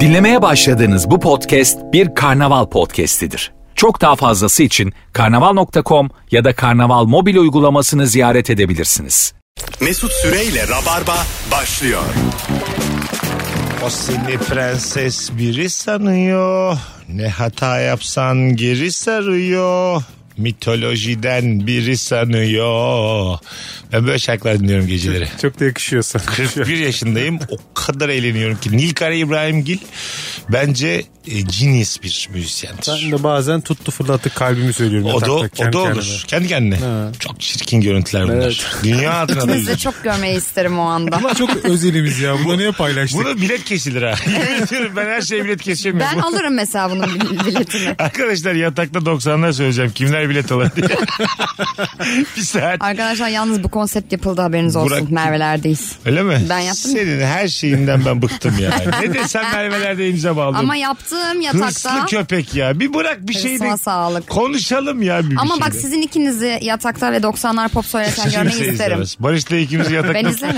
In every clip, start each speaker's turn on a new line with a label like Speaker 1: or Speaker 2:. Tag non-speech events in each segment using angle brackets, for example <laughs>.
Speaker 1: Dinlemeye başladığınız bu podcast bir karnaval podcastidir. Çok daha fazlası için karnaval.com ya da karnaval mobil uygulamasını ziyaret edebilirsiniz.
Speaker 2: Mesut Süreyle Rabarba başlıyor.
Speaker 3: O seni prenses biri sanıyor. Ne hata yapsan geri sarıyor. Mitolojiden biri sanıyor. Ben böyle şarkılar dinliyorum geceleri.
Speaker 4: Çok da
Speaker 3: <laughs>
Speaker 4: yakışıyor sana.
Speaker 3: 41 yaşındayım. O kadar eğleniyorum ki. Nilkara İbrahimgil bence e, genius bir
Speaker 4: Ben
Speaker 3: müzisyendir.
Speaker 4: de bazen tuttu fırlattı kalbimi söylüyorum.
Speaker 3: O da,
Speaker 4: yatakta,
Speaker 3: o
Speaker 4: kendi
Speaker 3: da
Speaker 4: kendime.
Speaker 3: olur. Kendi kendine. Çok çirkin görüntüler bunlar.
Speaker 4: Evet.
Speaker 3: Dünya adına da
Speaker 5: İkinizi de
Speaker 3: üzücü.
Speaker 5: çok görmeyi isterim o
Speaker 3: <laughs>
Speaker 5: anda.
Speaker 4: Bunlar çok özelimiz ya. Bunu niye paylaştık?
Speaker 3: Bunu bilet kesilir ha. <laughs> Yemin ediyorum ben her şeye bilet kesemiyorum.
Speaker 5: Ben alırım mesela bunun bil- biletini.
Speaker 3: Arkadaşlar yatakta 90'lar söyleyeceğim. Kimler bilet alır diye.
Speaker 5: <laughs>
Speaker 3: bir saat.
Speaker 5: Arkadaşlar yalnız bu konsept yapıldı haberiniz olsun.
Speaker 3: Burak-
Speaker 5: Merve'lerdeyiz.
Speaker 3: Öyle mi?
Speaker 5: Ben yaptım.
Speaker 3: Senin her şeyinden ben bıktım ya. ne desem Merve'lerde imza aldım.
Speaker 5: Ama yaptığım
Speaker 3: Hırslı
Speaker 5: yatakta...
Speaker 3: köpek ya. Bir bırak bir
Speaker 5: Hırsına
Speaker 3: şey de
Speaker 5: sağlık.
Speaker 3: konuşalım ya bir
Speaker 5: Ama
Speaker 3: bir
Speaker 5: bak
Speaker 3: şey de.
Speaker 5: sizin ikinizi yatakta ve 90'lar pop söylerken
Speaker 3: Kimse
Speaker 5: görmeyi isterim.
Speaker 3: izlemez. Barış'la ikimiz yatakta. <laughs>
Speaker 5: Ben izlerim.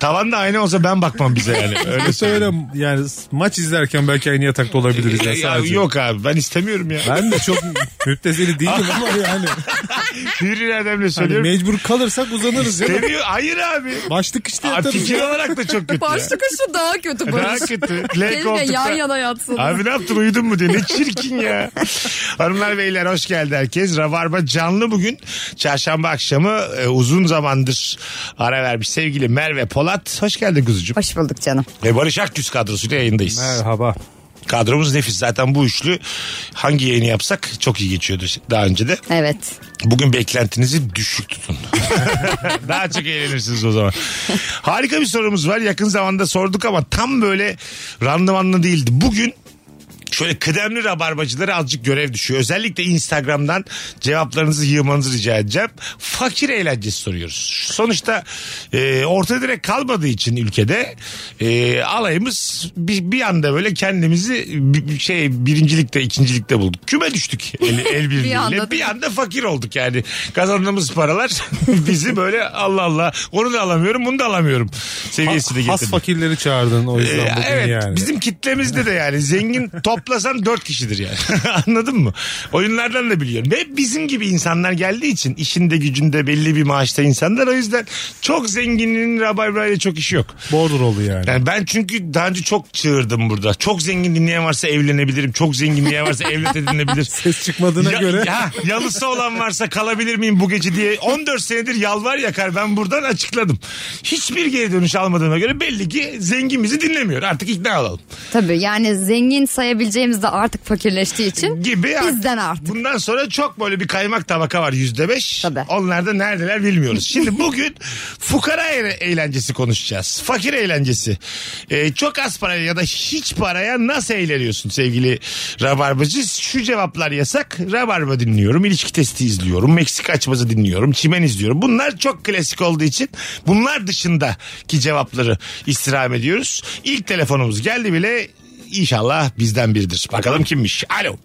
Speaker 3: Tavanda aynı olsa ben bakmam bize yani.
Speaker 5: <laughs>
Speaker 3: Öyle söyle.
Speaker 4: Söyle yani maç izlerken belki aynı yatakta olabiliriz ya
Speaker 3: Ya,
Speaker 4: sadece.
Speaker 3: yok abi ben istemiyorum ya.
Speaker 4: Ben de çok müptezeli değilim ama yani.
Speaker 3: Hürri Erdem'le
Speaker 4: Hani
Speaker 3: söylüyorum.
Speaker 4: mecbur kalırsak uzanırız ya.
Speaker 3: Demiyor. Hayır abi.
Speaker 4: Başlık işte
Speaker 3: abi
Speaker 4: yatarız.
Speaker 3: fikir
Speaker 4: ya.
Speaker 3: olarak da çok kötü. ya.
Speaker 5: şu daha kötü
Speaker 3: Daha kötü. L koltukta.
Speaker 5: yatsın.
Speaker 3: Abi ne yaptın uyudun mu diye. Ne çirkin ya. Hanımlar beyler hoş geldi herkes. Rabarba canlı bugün. Çarşamba akşamı e, uzun zamandır ara vermiş sevgili Merve Polat. Hoş geldin kuzucuğum.
Speaker 5: Hoş bulduk canım.
Speaker 3: Ve Barış Akgüz kadrosuyla yayındayız.
Speaker 4: Merhaba.
Speaker 3: Kadromuz nefis. Zaten bu üçlü hangi yayını yapsak çok iyi geçiyordu daha önce de.
Speaker 5: Evet.
Speaker 3: Bugün beklentinizi düşük tutun. <laughs> Daha çok eğlenirsiniz o zaman. Harika bir sorumuz var. Yakın zamanda sorduk ama tam böyle randımanlı değildi. Bugün şöyle kıdemli rabarbacılara azıcık görev düşüyor. Özellikle Instagram'dan cevaplarınızı yığmanızı rica edeceğim. Fakir eğlencesi soruyoruz. Sonuçta e, orta direk kalmadığı için ülkede e, alayımız bir, bir anda böyle kendimizi bir, şey birincilikte ikincilikte bulduk. Küme düştük <laughs> el, el birliğiyle. bir, anda,
Speaker 5: anda
Speaker 3: bir anda fakir olduk yani. Kazandığımız paralar <laughs> bizi böyle Allah Allah onu da alamıyorum bunu da alamıyorum seviyesi de
Speaker 4: Has
Speaker 3: getirdi.
Speaker 4: fakirleri çağırdın o yüzden
Speaker 3: Ee,
Speaker 4: bugün
Speaker 3: evet
Speaker 4: yani.
Speaker 3: bizim kitlemizde de yani
Speaker 4: <laughs>
Speaker 3: zengin toplasan dört kişidir yani <laughs> anladın mı? Oyunlardan da biliyorum. Hep bizim gibi insanlar geldiği için işinde gücünde belli bir maaşta insanlar o yüzden çok zenginin rabarbayla çok işi yok.
Speaker 4: Border oldu yani.
Speaker 3: Yani ben çünkü daha önce çok çığırdım burada. Çok zengin dinleyen varsa evlenebilirim. Çok zengin dinleyen varsa
Speaker 4: <laughs>
Speaker 3: evlat edinebilir.
Speaker 4: Ses çıkmadığına
Speaker 3: Ya-
Speaker 4: göre
Speaker 3: Ya, yalısı olan varsa kalabilir miyim bu gece diye 14 senedir yalvar yakar ben buradan açıkladım. Hiçbir geri dönüş almadığına göre belli ki zengin bizi dinlemiyor. Artık ikna olalım.
Speaker 5: Tabii yani zengin sayabileceğimiz de artık fakirleştiği için
Speaker 3: Gibi artık-
Speaker 5: bizden artık.
Speaker 3: Bundan sonra çok böyle bir kaymak tabaka var yüzde beş.
Speaker 5: Tabii.
Speaker 3: Onlar da neredeler bilmiyoruz. Şimdi bugün <laughs> fukara e- eğlencesi konuşacağız. Fakir eğlencesi. Ee, çok az paraya ya da hiç paraya nasıl eğleniyorsun sevgili Rabarbacı? Şu cevaplar yasak. Rabarba dinliyorum, ilişki testi izliyorum, Meksika açması dinliyorum, çimen izliyorum. Bunlar çok klasik olduğu için bunlar dışındaki cevapları istirham ediyoruz. İlk telefonumuz geldi bile İnşallah bizden biridir. Bakalım kimmiş? Alo.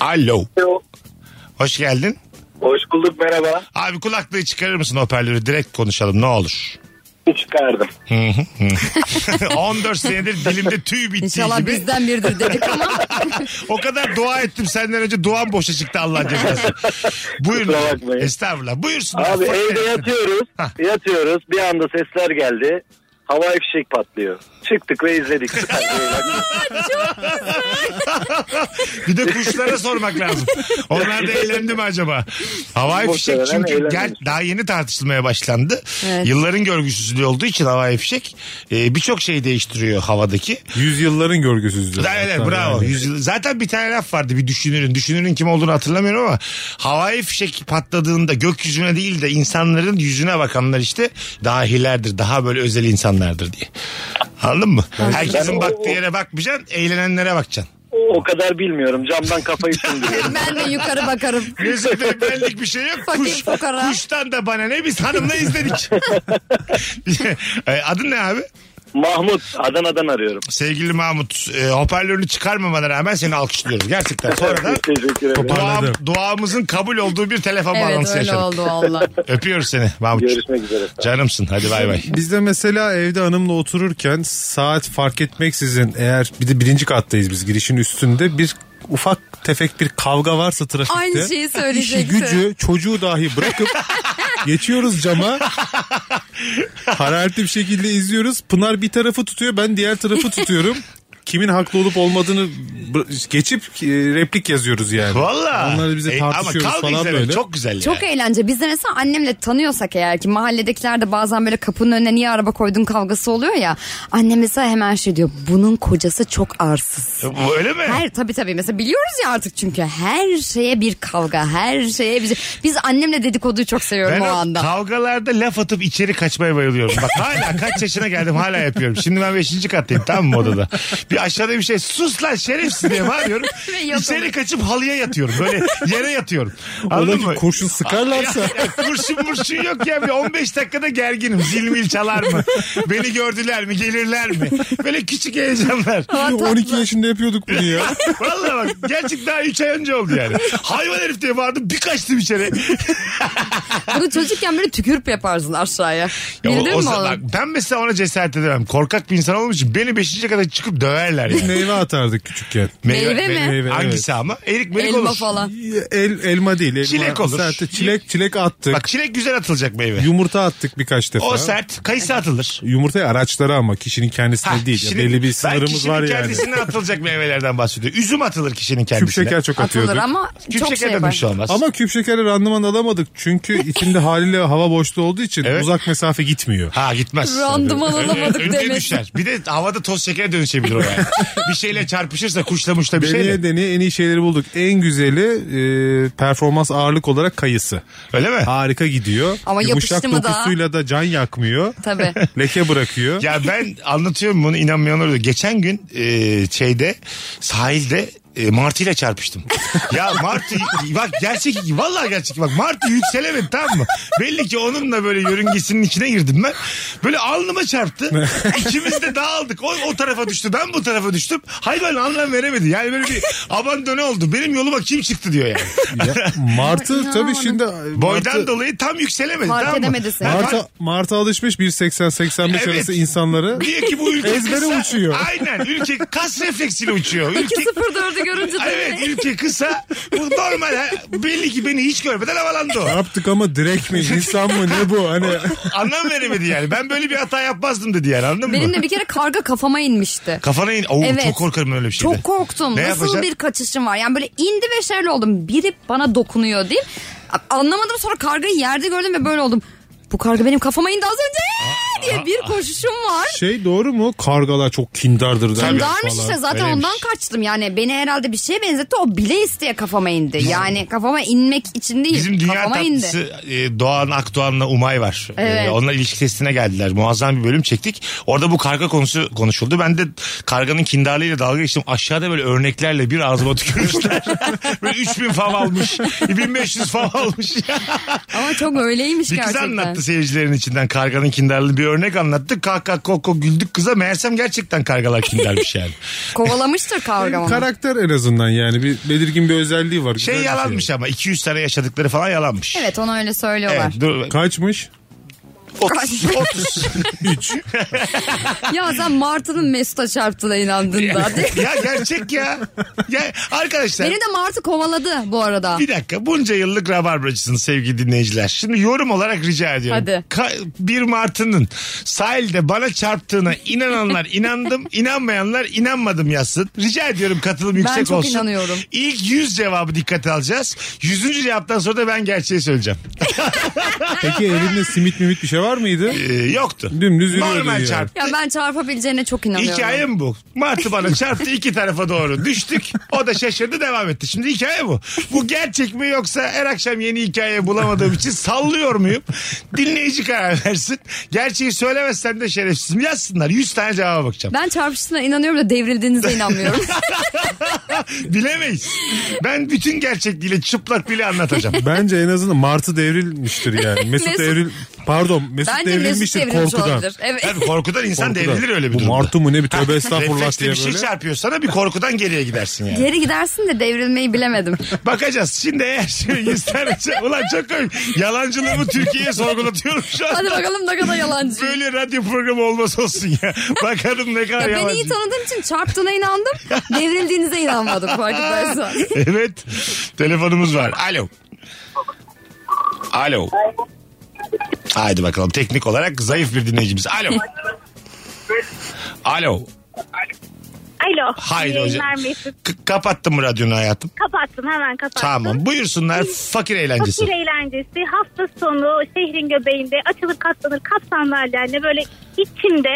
Speaker 3: Alo.
Speaker 6: Alo.
Speaker 3: Hoş geldin.
Speaker 6: Hoş bulduk merhaba.
Speaker 3: Abi kulaklığı çıkarır mısın hoparlörü? Direkt konuşalım ne
Speaker 6: <laughs>
Speaker 3: olur.
Speaker 6: Çıkardım.
Speaker 3: Hı hı hı. 14 senedir dilimde tüy bittiği
Speaker 5: İnşallah
Speaker 3: gibi.
Speaker 5: bizden biridir dedik
Speaker 3: <laughs>
Speaker 5: ama
Speaker 3: O kadar dua ettim senden önce duam boşa çıktı Allah'ın cezası. Buyurun.
Speaker 6: Kusura bakmayın.
Speaker 3: Estağfurullah. Buyursun.
Speaker 6: Abi
Speaker 3: Fakir
Speaker 6: evde
Speaker 3: eğlencesi.
Speaker 6: yatıyoruz.
Speaker 3: Hah.
Speaker 6: yatıyoruz. Bir anda sesler geldi. Havai fişek patlıyor. Çıktık ve
Speaker 3: <laughs>
Speaker 6: izledik. Süper bir eğlence.
Speaker 3: Bir de kuşlara sormak lazım. Onlar da eğlendi mi acaba? Havai fişek
Speaker 6: Muhtemelen
Speaker 3: çünkü gel,
Speaker 6: eğlenmemiş.
Speaker 3: daha yeni tartışılmaya başlandı.
Speaker 5: Evet.
Speaker 3: Yılların görgüsüzlüğü olduğu için havai fişek e, birçok şeyi değiştiriyor havadaki.
Speaker 4: yüzyılların görgüsüzlüğü.
Speaker 3: Da- Evet,
Speaker 4: Hatta
Speaker 3: bravo.
Speaker 4: yani.
Speaker 3: Yüzyıl- Zaten bir tane laf vardı bir düşünürün. Düşünürün kim olduğunu hatırlamıyorum ama havai fişek patladığında gökyüzüne değil de insanların yüzüne bakanlar işte dahilerdir. Daha böyle özel insanlardır diye. Anladın mı? Herkesin
Speaker 6: Ben-
Speaker 3: baktığı yere bakmayacaksın, eğlenenlere bakacaksın.
Speaker 6: o kadar bilmiyorum. Camdan
Speaker 3: <laughs>
Speaker 6: kafayı sındırıyorum.
Speaker 5: ben de yukarı bakarım.
Speaker 3: Gözümde benlik bir şey yok.
Speaker 5: Fakir
Speaker 3: Kuş,
Speaker 5: fukara. <laughs>
Speaker 3: kuştan da bana ne biz hanımla izledik. E, Adın ne abi?
Speaker 6: Mahmut Adana'dan arıyorum.
Speaker 3: Sevgili Mahmut e, hoparlörünü çıkarmamana rağmen seni alkışlıyoruz. Gerçekten sonra da
Speaker 6: Teşekkür ederim.
Speaker 3: dua,
Speaker 4: Toparladı.
Speaker 3: duamızın kabul olduğu bir telefon
Speaker 5: Evet
Speaker 3: bağlantısı
Speaker 5: öyle
Speaker 3: yaşadık.
Speaker 5: oldu valla.
Speaker 3: Öpüyoruz seni Mahmut.
Speaker 6: Görüşmek üzere.
Speaker 3: Canımsın hadi bay bay.
Speaker 4: Biz de mesela evde hanımla otururken saat fark etmeksizin eğer bir de birinci kattayız biz girişin üstünde bir ufak tefek bir kavga varsa trafikte.
Speaker 5: Aynı şeyi
Speaker 4: işi
Speaker 5: söyleyecektim.
Speaker 4: gücü çocuğu dahi bırakıp geçiyoruz cama. Hararetli bir şekilde izliyoruz. Pınar bir tarafı tutuyor ben diğer tarafı tutuyorum. Kimin haklı olup olmadığını bı- geçip e, replik yazıyoruz yani.
Speaker 3: Valla.
Speaker 4: Onlar bize
Speaker 3: E,
Speaker 4: tartışıyoruz
Speaker 3: ama kavga
Speaker 4: falan
Speaker 3: izlemek
Speaker 4: böyle.
Speaker 3: Çok güzel
Speaker 5: Çok
Speaker 3: ya.
Speaker 5: eğlence. Biz de mesela annemle tanıyorsak eğer ki mahalledekiler de bazen böyle kapının önüne niye araba koydun kavgası oluyor ya. Annem mesela hemen şey diyor bunun kocası çok arsız.
Speaker 3: Bu Öyle mi?
Speaker 5: Her tabii tabii mesela biliyoruz ya artık çünkü her şeye bir kavga her şeye bir şey. Biz annemle dedikoduyu çok seviyorum
Speaker 3: Ben
Speaker 5: o
Speaker 3: o
Speaker 5: anda.
Speaker 3: kavgalarda laf atıp içeri kaçmaya bayılıyorum. Bak hala kaç yaşına geldim hala yapıyorum. Şimdi ben 5. kattayım tamam mı odada? Bir aşağıda bir şey sus lan şerefsiz diye bağırıyorum.
Speaker 5: Ve <laughs> yok
Speaker 3: içeri
Speaker 5: oluyor.
Speaker 3: kaçıp halıya yatıyorum. Böyle yere yatıyorum. Anladın
Speaker 4: Oradaki
Speaker 3: mı? <laughs>
Speaker 4: kurşun sıkarlarsa. <laughs>
Speaker 3: Ya kurşun murşun yok ya. Bir 15 dakikada gerginim. Zil mil çalar mı? Beni gördüler mi? Gelirler mi? Böyle küçük heyecanlar.
Speaker 5: Ama tatlı.
Speaker 4: 12 yaşında yapıyorduk bunu ya.
Speaker 3: Valla bak gerçek daha 3 ay önce oldu yani. Hayvan herif diye bağırdım bir kaçtım içeri.
Speaker 5: Bunu çocukken böyle tükürüp yaparsın aşağıya.
Speaker 3: Ya o-
Speaker 5: Bildin
Speaker 3: o
Speaker 5: mi
Speaker 3: zaman-
Speaker 5: oğlum?
Speaker 3: bak ben mesela ona cesaret edemem. Korkak bir insan olduğum için beni 5. kadar çıkıp döverler yani.
Speaker 4: Meyve atardık küçükken.
Speaker 5: Meyve mi?
Speaker 4: Meyve,
Speaker 3: Hangisi ama? Erik merik
Speaker 5: Elma
Speaker 3: olur.
Speaker 5: falan.
Speaker 4: El, elma değil. Elma.
Speaker 3: Çilek olur.
Speaker 4: Sert- çilek, çilek attık.
Speaker 3: Bak çilek güzel atılacak meyve.
Speaker 4: Yumurta attık birkaç defa.
Speaker 3: O sert. Kayısı atılır.
Speaker 4: Yumurtaya araçlara ama kişinin kendisine
Speaker 3: Ha,
Speaker 4: değil. ya.
Speaker 3: kişinin-
Speaker 4: belli
Speaker 3: ben
Speaker 4: bir sınırımız
Speaker 3: kişinin
Speaker 4: var yani.
Speaker 3: kendisine atılacak meyvelerden bahsediyor. Üzüm atılır kişinin
Speaker 4: Küp
Speaker 3: kendisine.
Speaker 4: şeker çok atıyorduk.
Speaker 5: Atılır ama
Speaker 3: Küp
Speaker 5: çok şey
Speaker 3: şekerden bir
Speaker 5: yapar.
Speaker 3: şey olmaz.
Speaker 4: Ama küp şekeri randıman alamadık.
Speaker 3: <laughs>
Speaker 4: Çünkü içinde haliyle hava boşluğu olduğu için
Speaker 3: Evet.
Speaker 4: uzak mesafe gitmiyor.
Speaker 3: Ha gitmez.
Speaker 5: Randıman alamadık
Speaker 3: Önüne
Speaker 5: demek.
Speaker 3: düşer. Bir de havada toz şekere dönüşebilir o yani. bir şeyle çarpışırsa kuşla muşla bir şey
Speaker 4: Deneye
Speaker 3: şeyle.
Speaker 4: deneye en iyi şeyleri bulduk. En güzeli e, performans ağırlık olarak kayısı.
Speaker 3: Öyle mi?
Speaker 4: Harika gidiyor.
Speaker 5: Ama
Speaker 4: Yumuşak
Speaker 5: yapıştı mı da?
Speaker 4: dokusuyla da can yakmıyor.
Speaker 5: Tabii.
Speaker 4: <laughs> Leke bırakıyor.
Speaker 3: Ya ben anlatıyorum bunu inanmayanlar da. Geçen gün e, şeyde sahilde e, Martı ile
Speaker 4: <laughs>
Speaker 3: çarpıştım. ya Martı bak gerçek vallahi gerçek bak Martı yükselemedi tamam mı? Belli ki onunla böyle yörüngesinin içine girdim ben. Böyle alnıma
Speaker 4: <laughs>
Speaker 3: çarptı. İkimiz de dağıldık. O, o tarafa düştü ben bu tarafa düştüm. Hayvan anlam veremedi. Yani böyle bir abandone oldu. Benim yoluma kim çıktı diyor yani.
Speaker 4: Martı tabii şimdi
Speaker 3: <laughs> Boydan
Speaker 4: Martı-
Speaker 3: dolayı tam yükselemedi
Speaker 5: Fark
Speaker 3: tamam mı?
Speaker 5: edemedi seni.
Speaker 3: Ben-
Speaker 4: Martı, Martı alışmış 1.80-85
Speaker 3: Evet.
Speaker 4: arası insanlara.
Speaker 3: Diyor ki bu ülke
Speaker 4: Ezbere
Speaker 3: kısa.
Speaker 4: uçuyor.
Speaker 3: Aynen ülke kas refleksiyle uçuyor. Ülke
Speaker 5: 2-0-4'ü görünce de
Speaker 3: <laughs> Evet ülke kısa. Bu normal. ha. Belli ki beni hiç görmeden havalandı
Speaker 4: Ne
Speaker 3: o.
Speaker 4: yaptık ama direkt mi insan mı ne bu hani
Speaker 3: Anlam veremedi yani. Ben böyle bir hata yapmazdım dedi yani anladın
Speaker 5: Benim
Speaker 3: mı?
Speaker 5: de bir kere karga kafama inmişti.
Speaker 3: Kafana in. Oo,
Speaker 5: Evet.
Speaker 3: Çok korkarım öyle bir şeyde.
Speaker 5: Çok korktum.
Speaker 3: Ne
Speaker 5: Nasıl
Speaker 3: yapacaksın?
Speaker 5: bir kaçışım var? Yani böyle indi ve şöyle oldum. Biri bana dokunuyor değil. A- Anlamadım sonra kargayı yerde gördüm ve böyle oldum. Bu karga benim kafama indi az önce ee, diye bir koşuşum var.
Speaker 4: şey doğru mu kargalar çok kindardır derler
Speaker 5: Darmış
Speaker 4: falan.
Speaker 5: işte zaten
Speaker 3: Öyleymiş.
Speaker 5: ondan kaçtım. Yani beni herhalde bir şeye benzetti. O bile isteye kafama indi. Yani kafama inmek için değil.
Speaker 3: Bizim dünya
Speaker 5: kafama indi.
Speaker 3: tatlısı e, Doğan Akdoğan'la Umay var. E,
Speaker 5: Evet.
Speaker 3: onlar ilişki testine geldiler. Muazzam bir bölüm çektik. Orada bu karga konusu konuşuldu. Ben de karganın kindarlığıyla dalga geçtim. Aşağıda böyle örneklerle bir ağzıma
Speaker 5: <laughs>
Speaker 3: tükürmüşler. böyle 3000 fav almış. 1500 fav almış.
Speaker 5: Ama çok
Speaker 3: <laughs>
Speaker 5: öyleymiş
Speaker 3: Bir kız
Speaker 5: gerçekten.
Speaker 3: anlattı seyircilerin içinden karganın kindarlığı bir örnek anlattı. Kah kah kok kok güldük kıza. Meğersem gerçekten kargalar kindarmış
Speaker 5: <laughs>
Speaker 3: yani. Şey <laughs>
Speaker 5: Kovalamıştır karga onu.
Speaker 4: Karakter en azından yani bir belirgin bir özelliği var. Güzel
Speaker 3: Şey
Speaker 4: bir
Speaker 3: yalanmış ama 200 sene yaşadıkları falan yalanmış.
Speaker 5: Evet onu öyle söylüyorlar.
Speaker 3: Evet, dur,
Speaker 4: Kaçmış.
Speaker 3: 30, 30.
Speaker 5: Ya sen Martı'nın Mesut'a çarptığına inandın da.
Speaker 3: ya gerçek ya. ya arkadaşlar
Speaker 5: Beni de Martı kovaladı bu arada.
Speaker 3: bir dakika bunca yıllık rabarbacısınız sevgili dinleyiciler. Şimdi yorum olarak rica ediyorum.
Speaker 5: Hadi.
Speaker 3: Ka- 1 Mart'ının sahilde bana çarptığına inananlar
Speaker 5: <laughs>
Speaker 3: inandım, inanmayanlar inanmadım yazsın. Rica ediyorum katılım yüksek olsun.
Speaker 5: çok inanıyorum.
Speaker 3: İlk 100 cevabı dikkate alacağız. 100. cevaptan sonra da ben gerçeği söyleyeceğim.
Speaker 4: Peki elinde simit mimit bir şey var mıydı?
Speaker 3: Ee, yoktu.
Speaker 4: Dümdüz yürüyordu
Speaker 3: Normal
Speaker 4: yani.
Speaker 3: çarp.
Speaker 5: Ya ben çarpabileceğine çok inanıyorum.
Speaker 3: Hikayem bu. Martı
Speaker 5: <laughs>
Speaker 3: bana çarptı iki tarafa doğru düştük. O da şaşırdı devam etti. Şimdi hikaye bu. Bu gerçek mi yoksa her akşam yeni hikaye bulamadığım için sallıyor muyum? Dinleyici karar versin. Gerçeği söylemezsem de şerefsizim. Yazsınlar. 100 tane cevaba bakacağım.
Speaker 5: Ben çarpıştığına inanıyorum da devrildiğinize
Speaker 3: <laughs>
Speaker 5: inanmıyorum.
Speaker 3: Bilemeyiz. Ben bütün gerçekliğiyle çıplak bile anlatacağım.
Speaker 5: <laughs>
Speaker 4: Bence en azından Martı devrilmiştir yani. Mesut,
Speaker 5: Mesut-
Speaker 4: Evril Pardon Mesut
Speaker 5: Bence Mesut
Speaker 4: devrilmiştir
Speaker 5: devrilmiş
Speaker 4: korkudan.
Speaker 5: olabilir. Evet.
Speaker 3: Tabii korkudan insan
Speaker 4: Korkudan.
Speaker 3: devrilir öyle bir
Speaker 4: Bu
Speaker 3: durumda.
Speaker 4: martı mı ne bir tövbe estağfurullah
Speaker 3: Refleksle
Speaker 4: diye
Speaker 3: bir şey
Speaker 4: böyle.
Speaker 3: çarpıyor sana bir korkudan geriye gidersin yani.
Speaker 5: Geri gidersin de devrilmeyi bilemedim.
Speaker 3: Bakacağız. Şimdi eğer <laughs> isterse ulan çok komik. Yalancılığımı Türkiye'ye sorgulatıyorum şu an.
Speaker 5: Hadi bakalım ne kadar yalancı.
Speaker 3: Böyle radyo programı olmaz olsun
Speaker 5: <laughs>
Speaker 3: ya. Bakalım ne kadar
Speaker 5: Ya beni iyi
Speaker 3: yalancı.
Speaker 5: tanıdığım için çarptığına inandım. Devrildiğinize inanmadım farkındaysan.
Speaker 3: <laughs> evet. Telefonumuz var. Alo. Alo. Haydi bakalım teknik olarak zayıf bir dinleyicimiz. Alo. Alo.
Speaker 7: Alo.
Speaker 3: Haydi
Speaker 7: İyi
Speaker 3: hocam.
Speaker 7: yayınlar Mesut.
Speaker 3: K- kapattın mı radyonu hayatım?
Speaker 7: Kapattım hemen kapattım.
Speaker 3: Tamam. Buyursunlar fakir eğlencesi.
Speaker 7: Fakir eğlencesi hafta sonu şehrin göbeğinde açılır katlanır kat sandalyenle böyle içinde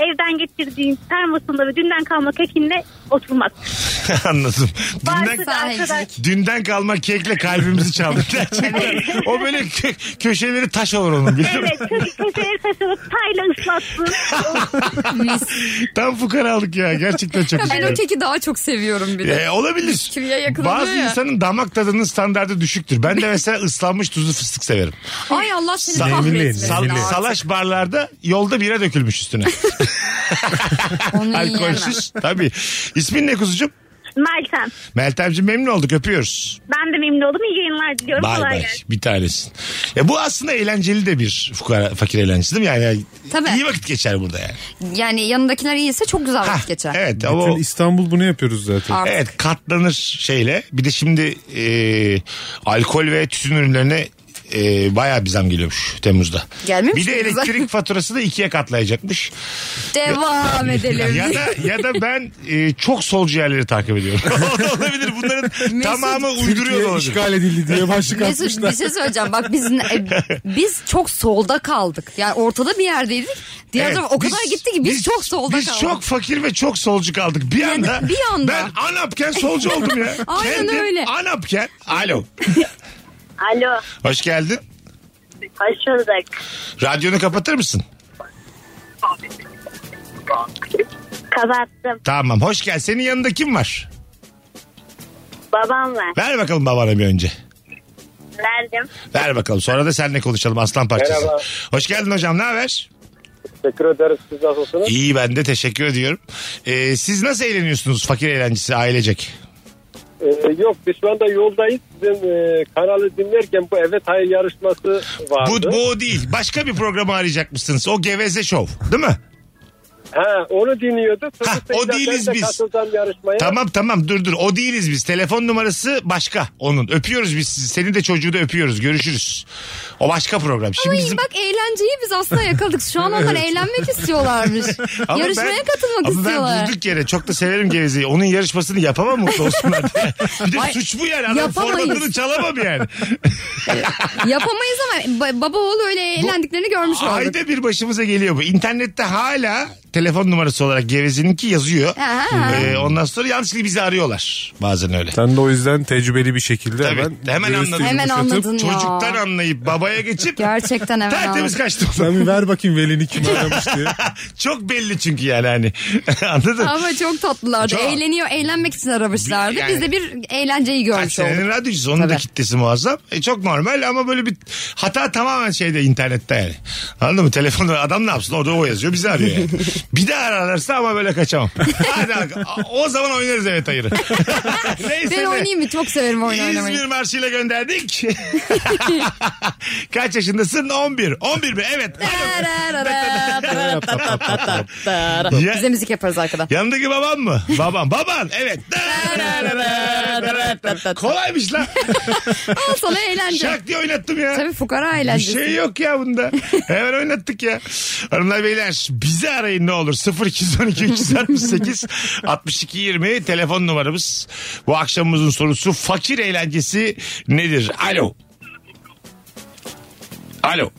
Speaker 7: evden getirdiğin termosunda ve dünden kalma kekinle oturmak.
Speaker 3: <laughs> Anladım. Dünden,
Speaker 7: Varsın arkadaş.
Speaker 3: dünden kalma kekle kalbimizi
Speaker 7: <laughs>
Speaker 3: çaldık. Gerçekten. o böyle kö- köşeleri taş olur onun. biliyor musun?
Speaker 7: Evet çocuk köşeye taşınıp tayla ıslatsın.
Speaker 3: Tam fukaralık ya. Gerçekten
Speaker 5: <laughs>
Speaker 3: çok
Speaker 5: Ya ben o
Speaker 3: üzüldüm.
Speaker 5: keki daha çok seviyorum bir de.
Speaker 3: Ee, olabilir.
Speaker 5: Kimya yakınılıyor
Speaker 3: Bazı
Speaker 5: ya.
Speaker 3: insanın damak tadının standardı düşüktür. Ben de
Speaker 5: <laughs>
Speaker 3: mesela ıslanmış tuzlu fıstık severim.
Speaker 5: Ay Allah seni
Speaker 3: Sa-
Speaker 5: kahretsin.
Speaker 3: Ee, Sal-
Speaker 5: Artık
Speaker 3: salaş barlarda yolda bira dökülmüş
Speaker 5: <laughs>
Speaker 3: üstüne.
Speaker 5: Onu yiyemem.
Speaker 3: Alkolsüz. Tabii. İsmin ne kuzucuğum?
Speaker 7: Meltem
Speaker 3: Meltemciğim memnun olduk öpüyoruz.
Speaker 7: ben de memnun oldum iyi yayınlar diliyorum.
Speaker 3: Bay
Speaker 7: Kolay
Speaker 3: bay.
Speaker 7: gelsin.
Speaker 3: Bir tanesin. Ya bu aslında eğlenceli de bir fukara, fakir eğlencesi değil mi? Yani
Speaker 5: Tabii.
Speaker 3: iyi vakit geçer burada yani.
Speaker 5: Yani yanındakiler iyiyse çok güzel
Speaker 3: Ha,
Speaker 5: vakit geçer.
Speaker 3: Evet ama o-
Speaker 4: Bütün İstanbul bunu yapıyoruz zaten.
Speaker 5: Artık.
Speaker 3: evet katlanır şeyle. Bir de şimdi e, alkol ve tütün ürünlerine e, bayağı bir zam geliyormuş Temmuz'da.
Speaker 5: Gelmemiş
Speaker 3: bir de
Speaker 5: mi bize? <laughs>
Speaker 3: elektrik faturası da ikiye katlayacakmış.
Speaker 5: Devam
Speaker 3: <laughs>
Speaker 5: edelim.
Speaker 3: ya da ya da ben e, çok solcu yerleri takip ediyorum. <laughs> O da olabilir. Bunların tamamı uyduruyor da
Speaker 4: Türkiye
Speaker 3: olabilir.
Speaker 4: işgal edildi
Speaker 3: <laughs>
Speaker 4: diye başlık
Speaker 5: Mesut
Speaker 4: atmışlar.
Speaker 5: bir şey söyleyeceğim. Bak biz e, biz çok solda kaldık. Yani ortada bir yerdeydik. Diğer
Speaker 3: Evet,
Speaker 5: taraf o kadar
Speaker 3: biz-
Speaker 5: gitti ki biz, çok solda
Speaker 3: biz
Speaker 5: kaldık.
Speaker 3: çok fakir ve çok solcu kaldık. Bir anda,
Speaker 5: bir anda.
Speaker 3: ben Anapken solcu oldum ya.
Speaker 5: <laughs> Aynen
Speaker 3: Kendim
Speaker 5: öyle.
Speaker 3: Anapken. Alo.
Speaker 7: Alo
Speaker 3: Hoş geldin.
Speaker 7: hoş bulduk.
Speaker 3: Radyonu kapatır mısın?
Speaker 7: Kapattım
Speaker 3: Tamam hoş gel. Senin yanında kim var?
Speaker 7: babam var.
Speaker 3: Ver bakalım babana bir önce.
Speaker 7: Verdim.
Speaker 3: Ver bakalım. Sonra da seninle konuşalım aslan parçası.
Speaker 6: Merhaba.
Speaker 3: Hoş geldin hocam. Ne haber?
Speaker 6: Teşekkür ederiz siz nasılsınız?
Speaker 3: İyi ben de teşekkür ediyorum. Ee, siz nasıl eğleniyorsunuz fakir eğlencesi ailecek?
Speaker 6: Ee, yok biz şu anda yoldayız. Sizin e, kanalı dinlerken bu evet hayır yarışması vardı.
Speaker 3: Bu, bu o değil. Başka bir programı arayacakmışsınız. O geveze şov. Değil mi?
Speaker 6: Ha, onu dinliyordu.
Speaker 3: Ha, o
Speaker 6: Seyda, ben
Speaker 3: değiliz
Speaker 6: de
Speaker 3: biz.
Speaker 6: Katılacağım yarışmaya.
Speaker 3: Tamam tamam dur dur. O değiliz biz. Telefon numarası başka onun. Öpüyoruz biz sizi. Seni de çocuğu da öpüyoruz. Görüşürüz. O başka program. Şimdi
Speaker 5: Ay,
Speaker 3: bizim...
Speaker 5: bak eğlenceyi biz aslında yakaladık. Şu an onlar eğlenmek istiyorlarmış.
Speaker 3: <laughs> Ama
Speaker 5: Yarışmaya
Speaker 3: ben-
Speaker 5: katılmak
Speaker 3: ama
Speaker 5: istiyorlar.
Speaker 3: ben durduk yere çok da severim Geveze'yi. Onun yarışmasını yapamam mutlu olsunlar diye. Bir de suç bu yani. Adam
Speaker 5: yapamayız.
Speaker 3: formatını çalamam
Speaker 5: <laughs>
Speaker 3: yani.
Speaker 5: Yapamayız ama ba- baba oğlu öyle eğlendiklerini görmüş olduk.
Speaker 3: Ayda bir başımıza geliyor bu. İnternette hala telefon numarası olarak Geveze'ninki yazıyor.
Speaker 5: Aha.
Speaker 3: Ee, ondan sonra yanlışlıkla bizi arıyorlar. Bazen öyle.
Speaker 4: Sen de o yüzden tecrübeli bir şekilde
Speaker 3: Tabii.
Speaker 4: hemen,
Speaker 3: Hemen
Speaker 4: göğüs
Speaker 3: anladım.
Speaker 5: Hemen
Speaker 4: yumuşatıp-
Speaker 5: anladın ya.
Speaker 3: Çocuktan anlayıp babaya geçip
Speaker 5: Gerçekten hemen
Speaker 3: tertemiz
Speaker 5: anladım.
Speaker 3: kaçtım.
Speaker 4: Sen bir ver bakayım velini kim aramış diye.
Speaker 3: <laughs> Çok belli çünkü yani hani. <laughs> Anladın?
Speaker 5: Ama çok tatlılardı.
Speaker 3: Çok.
Speaker 5: Eğleniyor, eğlenmek için aramışlardı.
Speaker 3: Yani-
Speaker 5: Biz de bir eğlenceyi
Speaker 3: Kaç
Speaker 5: görmüş olduk.
Speaker 3: senenin radyocusu onun da
Speaker 5: Tabii.
Speaker 3: kitlesi muazzam. E, çok normal ama böyle bir hata tamamen şeyde internette yani. Anladın mı? Telefonda adam ne yapsın orada o yazıyor bizi arıyor
Speaker 5: <laughs>
Speaker 3: yani. bir daha ararlarsa ama böyle kaçamam. Hadi bak, o zaman oynarız evet hayırı. Neyse
Speaker 5: <laughs> Ben
Speaker 3: ne.
Speaker 5: oynayayım mı? Çok severim oyun oynamayı.
Speaker 3: İzmir marşıyla
Speaker 5: <laughs>
Speaker 3: gönderdik. <laughs> Kaç yaşındasın? 11. 11 mi? Evet. Ya-
Speaker 5: Bize müzik yaparız arkada.
Speaker 3: Yanındaki babam mı? Babam. Baban.
Speaker 5: <laughs>
Speaker 3: Evet. Kolaymış lan.
Speaker 5: Al sana eğlence.
Speaker 3: Şak diye oynattım ya.
Speaker 5: Tabii fukara
Speaker 3: Bir
Speaker 5: eğlencesi.
Speaker 3: şey yok ya bunda. Hemen oynattık ya. Hanımlar beyler bizi arayın ne olur. 0212 368 62 20 telefon numaramız. Bu akşamımızın sorusu fakir eğlencesi nedir? Alo. Alo.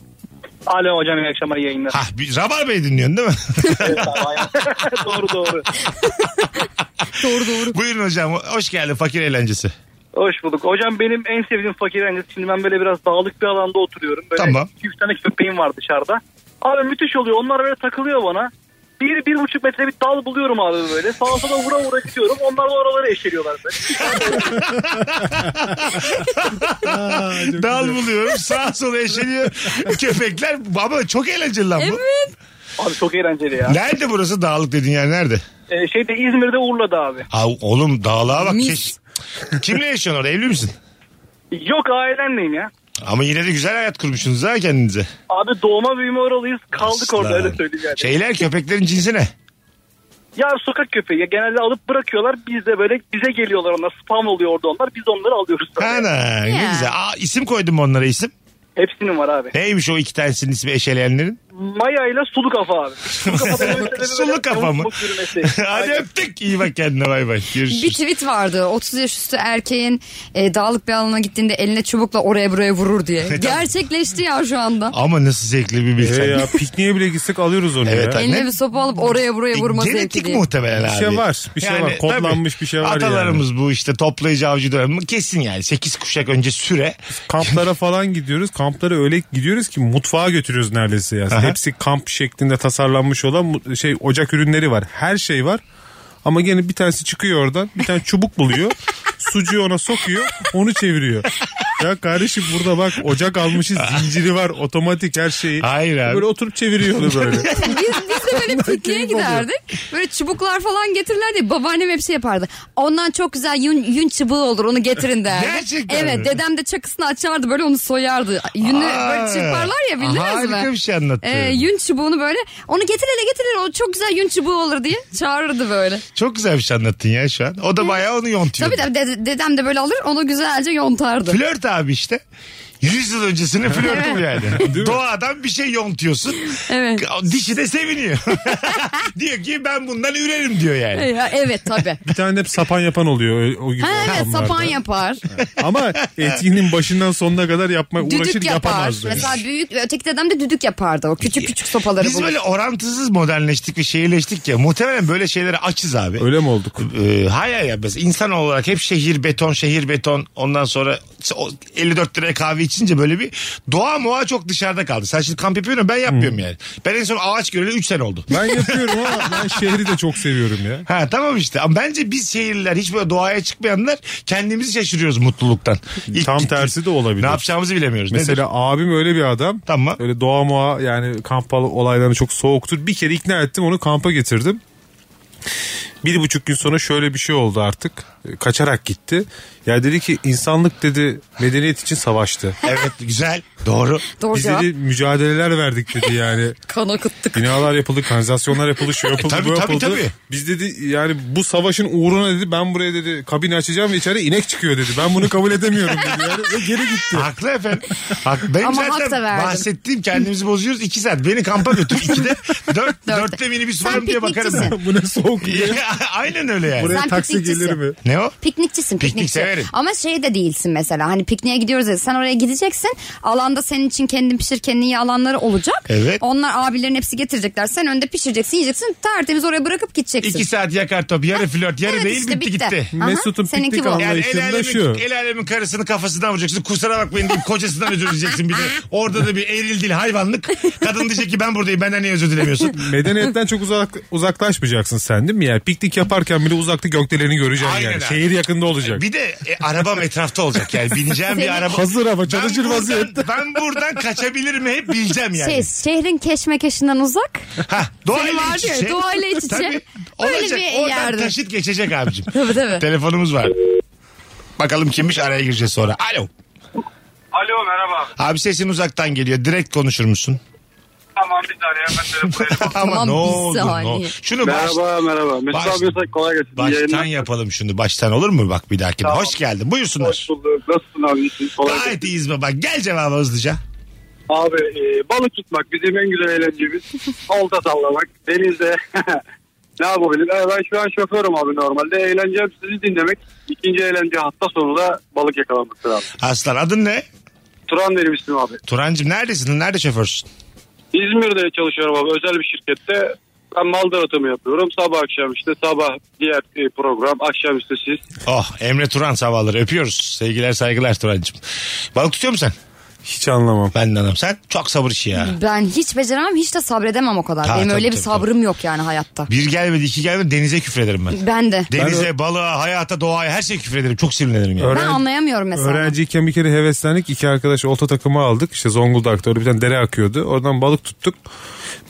Speaker 6: Alo hocam iyi akşamlar iyi yayınlar.
Speaker 3: Ha, bir Rabar Bey dinliyorsun değil mi?
Speaker 6: <laughs> doğru
Speaker 3: <laughs>
Speaker 6: doğru.
Speaker 5: Doğru doğru.
Speaker 3: Buyurun hocam. Hoş geldin fakir eğlencesi.
Speaker 6: Hoş bulduk. Hocam benim en sevdiğim fakir eğlencesi. Şimdi ben böyle biraz dağlık bir alanda oturuyorum. Böyle
Speaker 3: Tamam.
Speaker 6: 2-3 tane köpeğim var dışarıda. Abi müthiş oluyor. Onlar böyle takılıyor bana. bir, bir buçuk metre bir dal buluyorum abi böyle. Sağa sola vura vura gidiyorum. Onlar da oraları eşeliyorlar böyle.
Speaker 3: Dal buluyorum sağa sola
Speaker 6: <laughs>
Speaker 3: eşeliyor köpekler. Baba çok eğlenceli lan bu.
Speaker 6: Abi çok eğlenceli ya.
Speaker 3: Nerede burası dağlık dedin yani nerede?
Speaker 6: Ee, şeyde İzmir'de Urla'da abi.
Speaker 3: Ha, oğlum dağlığa bak.
Speaker 5: Mis.
Speaker 3: Keş... Kimle yaşıyorsun orada evli misin?
Speaker 6: Yok ailemleyim ya.
Speaker 3: Ama yine de güzel hayat kurmuşsunuz ha kendinize.
Speaker 6: Abi doğma büyüme oralıyız. Kaldık orada
Speaker 3: Aslan.
Speaker 6: öyle söyleyeyim yani.
Speaker 3: Şeyler köpeklerin cinsi ne?
Speaker 6: Ya sokak köpeği ya genelde alıp bırakıyorlar. Biz de böyle bize geliyorlar onlar. Spam oluyor orada onlar. Biz onları alıyoruz. tabii.
Speaker 3: Ana ne
Speaker 5: Ya.
Speaker 3: güzel. Aa, isim koydum mu onlara isim?
Speaker 6: Hepsinin var abi.
Speaker 3: Neymiş o iki tanesinin ismi eşeleyenlerin?
Speaker 6: Maya ile sulu kafa abi.
Speaker 3: <laughs>
Speaker 6: Sulu kafa, da böyle böyle
Speaker 3: Sulu kafa mı?
Speaker 6: yamuk
Speaker 3: <laughs>
Speaker 6: yürümesi.
Speaker 3: Hadi
Speaker 6: Aynen.
Speaker 3: öptük. İyi bak kendine bay bay. Görüşürüz.
Speaker 5: Bir tweet vardı 30 yaş üstü erkeğin e, dağlık bir alana gittiğinde eline çubukla oraya buraya vurur
Speaker 3: <laughs>
Speaker 5: diye. Gerçekleşti ya şu anda.
Speaker 3: <laughs> Ama nasıl zevkli bir
Speaker 4: E
Speaker 3: bilsen.
Speaker 4: ya pikniğe bile gitsek alıyoruz onu
Speaker 3: Evet,
Speaker 4: ya.
Speaker 3: abi.
Speaker 5: Eline bir sopa alıp oraya buraya
Speaker 3: E,
Speaker 5: vurma zevki
Speaker 3: Genetik
Speaker 5: diye.
Speaker 3: muhtemelen
Speaker 4: Bir
Speaker 3: abi.
Speaker 4: şey var, bir şey var. Kodlanmış bir şey var yani.
Speaker 3: Atalarımız bu işte toplayıcı avcı dönemi kesin yani. 8 kuşak önce süre.
Speaker 4: Kamplara falan gidiyoruz. Kamplara öyle gidiyoruz ki mutfağa götürüyoruz neredeyse ya.
Speaker 3: Aha.
Speaker 4: Hepsi kamp şeklinde tasarlanmış olan mu- şey ocak ürünleri var. Her şey var. Ama gene bir tanesi çıkıyor oradan. Bir tane çubuk buluyor. sucuğu ona sokuyor. Onu çeviriyor. Ya kardeşim burada bak ocak almışız. Zinciri var. Otomatik her şeyi.
Speaker 3: Hayır abi.
Speaker 4: Böyle oturup çeviriyor onu böyle.
Speaker 5: Biz, biz de böyle pikniğe
Speaker 4: keyif alıyor.
Speaker 5: giderdik. Böyle çubuklar falan getirirler diye babaannem hep şey yapardı. Ondan çok güzel yün, yün çubuğu olur onu getirin derdi.
Speaker 3: Gerçekten
Speaker 5: Evet
Speaker 3: mi?
Speaker 5: dedem de çakısını açardı böyle onu soyardı. Yünü
Speaker 3: Aa,
Speaker 5: böyle çırparlar ya bildiniz mi?
Speaker 3: Harika bir şey anlattın.
Speaker 5: Ee, yün çubuğunu böyle onu getir hele getir hele o çok güzel yün çubuğu olur diye çağırırdı böyle.
Speaker 3: Çok güzel bir şey anlattın ya şu an. O da bayağı onu yontuyor.
Speaker 5: Tabii tabii dede- dedem de böyle alır onu güzelce yontardı.
Speaker 3: Flört abi işte. 100 yıl öncesinin flörtü bu
Speaker 4: <laughs>
Speaker 3: yani.
Speaker 4: mi?
Speaker 3: Doğadan bir şey yontuyorsun.
Speaker 5: Evet.
Speaker 3: Dişi de
Speaker 5: <laughs>
Speaker 3: seviniyor. diyor ki ben bundan ürerim diyor yani.
Speaker 5: Ya, evet
Speaker 3: <laughs>
Speaker 5: tabii.
Speaker 4: Bir tane de hep sapan yapan oluyor. O, o gibi
Speaker 5: Ha, evet
Speaker 4: ortamlarda.
Speaker 3: <laughs>
Speaker 5: sapan yapar.
Speaker 4: Ama etkinin başından sonuna kadar yapmak uğraşır
Speaker 5: düdük yapar.
Speaker 4: yapamaz. böyle.
Speaker 5: Mesela büyük öteki dedem de düdük yapardı. O küçük küçük sopaları
Speaker 3: Biz
Speaker 5: bulur.
Speaker 3: böyle orantısız modernleştik ve şehirleştik ya. Muhtemelen böyle şeylere açız abi.
Speaker 4: Öyle mi olduk?
Speaker 3: Ee, hayır ya biz insan olarak hep şehir beton şehir beton ondan sonra o 54 liraya kahve içince böyle bir doğa moğa çok dışarıda kaldı. Sen şimdi kamp yapıyorsun ben yapmıyorum yani. Ben en son ağaç göreli 3 sene oldu.
Speaker 4: Ben yapıyorum ama ben şehri de çok seviyorum ya.
Speaker 3: Ha tamam işte ama bence biz şehirliler hiç böyle doğaya çıkmayanlar kendimizi şaşırıyoruz mutluluktan. İlk
Speaker 4: Tam
Speaker 3: gittik-
Speaker 4: tersi de olabilir.
Speaker 3: Ne yapacağımızı bilemiyoruz. Mesela
Speaker 4: Mesela abim öyle bir adam.
Speaker 3: Tamam.
Speaker 4: Öyle doğa moğa yani kamp olaylarına çok soğuktur. Bir kere ikna ettim onu kampa getirdim. Bir buçuk gün sonra şöyle bir şey oldu artık. E, Kaçarak gitti. Ya dedi ki insanlık dedi medeniyet için savaştı.
Speaker 3: evet güzel doğru.
Speaker 5: Doğru
Speaker 4: Biz
Speaker 5: cevap.
Speaker 4: dedi mücadeleler verdik dedi yani.
Speaker 5: Kan akıttık.
Speaker 4: Binalar yapıldı, kanalizasyonlar yapıldı, şu yapıldı,
Speaker 3: E, tabii,
Speaker 4: bu
Speaker 3: tabii,
Speaker 4: yapıldı.
Speaker 3: tabii.
Speaker 4: Biz dedi yani bu savaşın uğruna dedi ben buraya dedi kabini açacağım ve içeri inek çıkıyor dedi. Ben bunu kabul edemiyorum dedi. Yani. Ve geri gitti.
Speaker 3: Haklı efendim. Hak, benim
Speaker 5: Ama hak
Speaker 3: zaten
Speaker 5: da verdim.
Speaker 3: bahsettiğim kendimizi bozuyoruz 2 saat. Beni kampa götür
Speaker 5: <laughs>
Speaker 3: 2'de 4 4'te minibüs
Speaker 5: Sen
Speaker 3: var mı diye bakarım. ben.
Speaker 4: <laughs>
Speaker 5: piknikçisin.
Speaker 4: bu ne soğuk diye.
Speaker 3: <laughs> Aynen öyle yani.
Speaker 4: Buraya
Speaker 5: Sen
Speaker 4: taksi
Speaker 5: piknikçisin.
Speaker 4: gelir mi?
Speaker 3: Ne o?
Speaker 5: Piknikçisin
Speaker 3: Piknik
Speaker 5: piknikçi.
Speaker 3: severim.
Speaker 5: Ama şey de değilsin mesela hani pikniğe gidiyoruz ya sen oraya gideceksin alanda senin için kendin pişir kendin ye alanları olacak.
Speaker 3: Evet.
Speaker 5: Onlar abilerin hepsi getirecekler sen önde pişireceksin yiyeceksin tertemiz oraya bırakıp gideceksin.
Speaker 3: İki saat yakar top. Yarı flört, yarı
Speaker 5: Evet
Speaker 3: değil
Speaker 5: işte,
Speaker 3: bitti
Speaker 5: bitti.
Speaker 3: gitti.
Speaker 5: Aha,
Speaker 4: Mesut'un
Speaker 5: seninki
Speaker 4: piknik
Speaker 5: bu.
Speaker 4: alanı
Speaker 3: Yani el
Speaker 4: Anlayışında
Speaker 3: alemin,
Speaker 4: şu.
Speaker 3: el alemin karısını kafasından vuracaksın. Kusura bakmayın deyip kocasından özür dileyeceksin bir
Speaker 4: <laughs>
Speaker 3: de. Orada da bir eril dil hayvanlık. Kadın diyecek ki ben buradayım benden niye özür dilemiyorsun?
Speaker 4: Medeniyetten çok uzak uzaklaşmayacaksın sen değil mi? Yani piknik yaparken bile uzakta gökdeleni göreceksin
Speaker 3: Aynen
Speaker 4: yani.
Speaker 3: abi.
Speaker 4: Şehir yakında olacak.
Speaker 3: Bir de e, arabam etrafta olacak yani. Bineceğim bir araba.
Speaker 4: Hazır ama
Speaker 3: Ben
Speaker 4: çalışır
Speaker 3: buradan-
Speaker 4: vaziyette.
Speaker 3: Ben buradan kaçabilir mi hep bileceğim yani.
Speaker 5: Şey, şehrin keşmekeşinden uzak.
Speaker 3: Ha, doğayla
Speaker 5: Senin var
Speaker 3: iç
Speaker 5: ya,
Speaker 3: içe.
Speaker 5: doğayla iç içe.
Speaker 3: Tabii.
Speaker 5: <laughs> Öyle
Speaker 3: Olacak.
Speaker 5: bir
Speaker 3: Oradan
Speaker 5: yerde.
Speaker 3: taşıt geçecek abicim.
Speaker 5: <laughs> Tabii, tabii.
Speaker 3: Telefonumuz var. Bakalım kimmiş araya gireceğiz sonra. Alo.
Speaker 6: Alo merhaba.
Speaker 3: Abi sesin uzaktan geliyor. Direkt konuşur
Speaker 5: <laughs>
Speaker 3: musun?
Speaker 6: Tamam bir saniye hemen telefonu.
Speaker 3: Ama
Speaker 5: Tamam,
Speaker 3: ne
Speaker 5: bir
Speaker 3: oldu? Ne
Speaker 5: saniye.
Speaker 3: oldu? Şunu baş,
Speaker 6: merhaba merhaba.
Speaker 3: baş-
Speaker 6: Mesut abi kolay gelsin. İyi
Speaker 3: baştan
Speaker 6: yayınlar.
Speaker 3: yapalım şunu. Baştan olur mu bak bir dahakine?
Speaker 6: Tamam.
Speaker 3: Hoş geldin. Buyursunlar.
Speaker 6: Hoş bulduk. Nasılsın abi? İyisin. Kolay gelsin.
Speaker 3: Gayet iyiyiz baba. Gel cevabı hızlıca.
Speaker 6: Abi e, balık tutmak bizim en güzel eğlencemiz.
Speaker 3: <laughs>
Speaker 6: Olta sallamak. Denizde <laughs> ne yapabilirim? E, ben şu an şoförüm abi normalde. Eğlencem sizi dinlemek. İkinci eğlence hafta sonu da balık yakalamaktır abi.
Speaker 3: Aslan adın ne?
Speaker 6: Turan benim ismim abi.
Speaker 3: Turancım neredesin? Nerede şoförsün?
Speaker 6: İzmir'de çalışıyorum abi özel bir şirkette. Ben mal dağıtımı yapıyorum. Sabah akşam işte sabah diğer e, program. Akşam işte siz.
Speaker 3: Oh Emre Turan sabahları öpüyoruz. Sevgiler saygılar Turancım. Balık tutuyor musun sen?
Speaker 4: Hiç anlamam.
Speaker 3: Ben de anam. Sen çok sabır işi ya.
Speaker 5: Ben hiç beceremem hiç de sabredemem o kadar.
Speaker 3: Ha,
Speaker 5: Benim
Speaker 3: tabii,
Speaker 5: öyle bir
Speaker 3: tabii,
Speaker 5: sabrım yok yani hayatta.
Speaker 3: Bir gelmedi iki gelmedi denize küfrederim ben.
Speaker 5: Ben de.
Speaker 3: Denize, balığa, hayata, doğaya her şeye küfrederim. Çok sinirlenirim yani.
Speaker 5: Ben
Speaker 4: Öğren-
Speaker 5: anlayamıyorum mesela.
Speaker 4: Öğrenciyken bir kere heveslendik. iki arkadaş olta takımı aldık. İşte Zonguldak'ta orada bir tane dere akıyordu. Oradan balık tuttuk.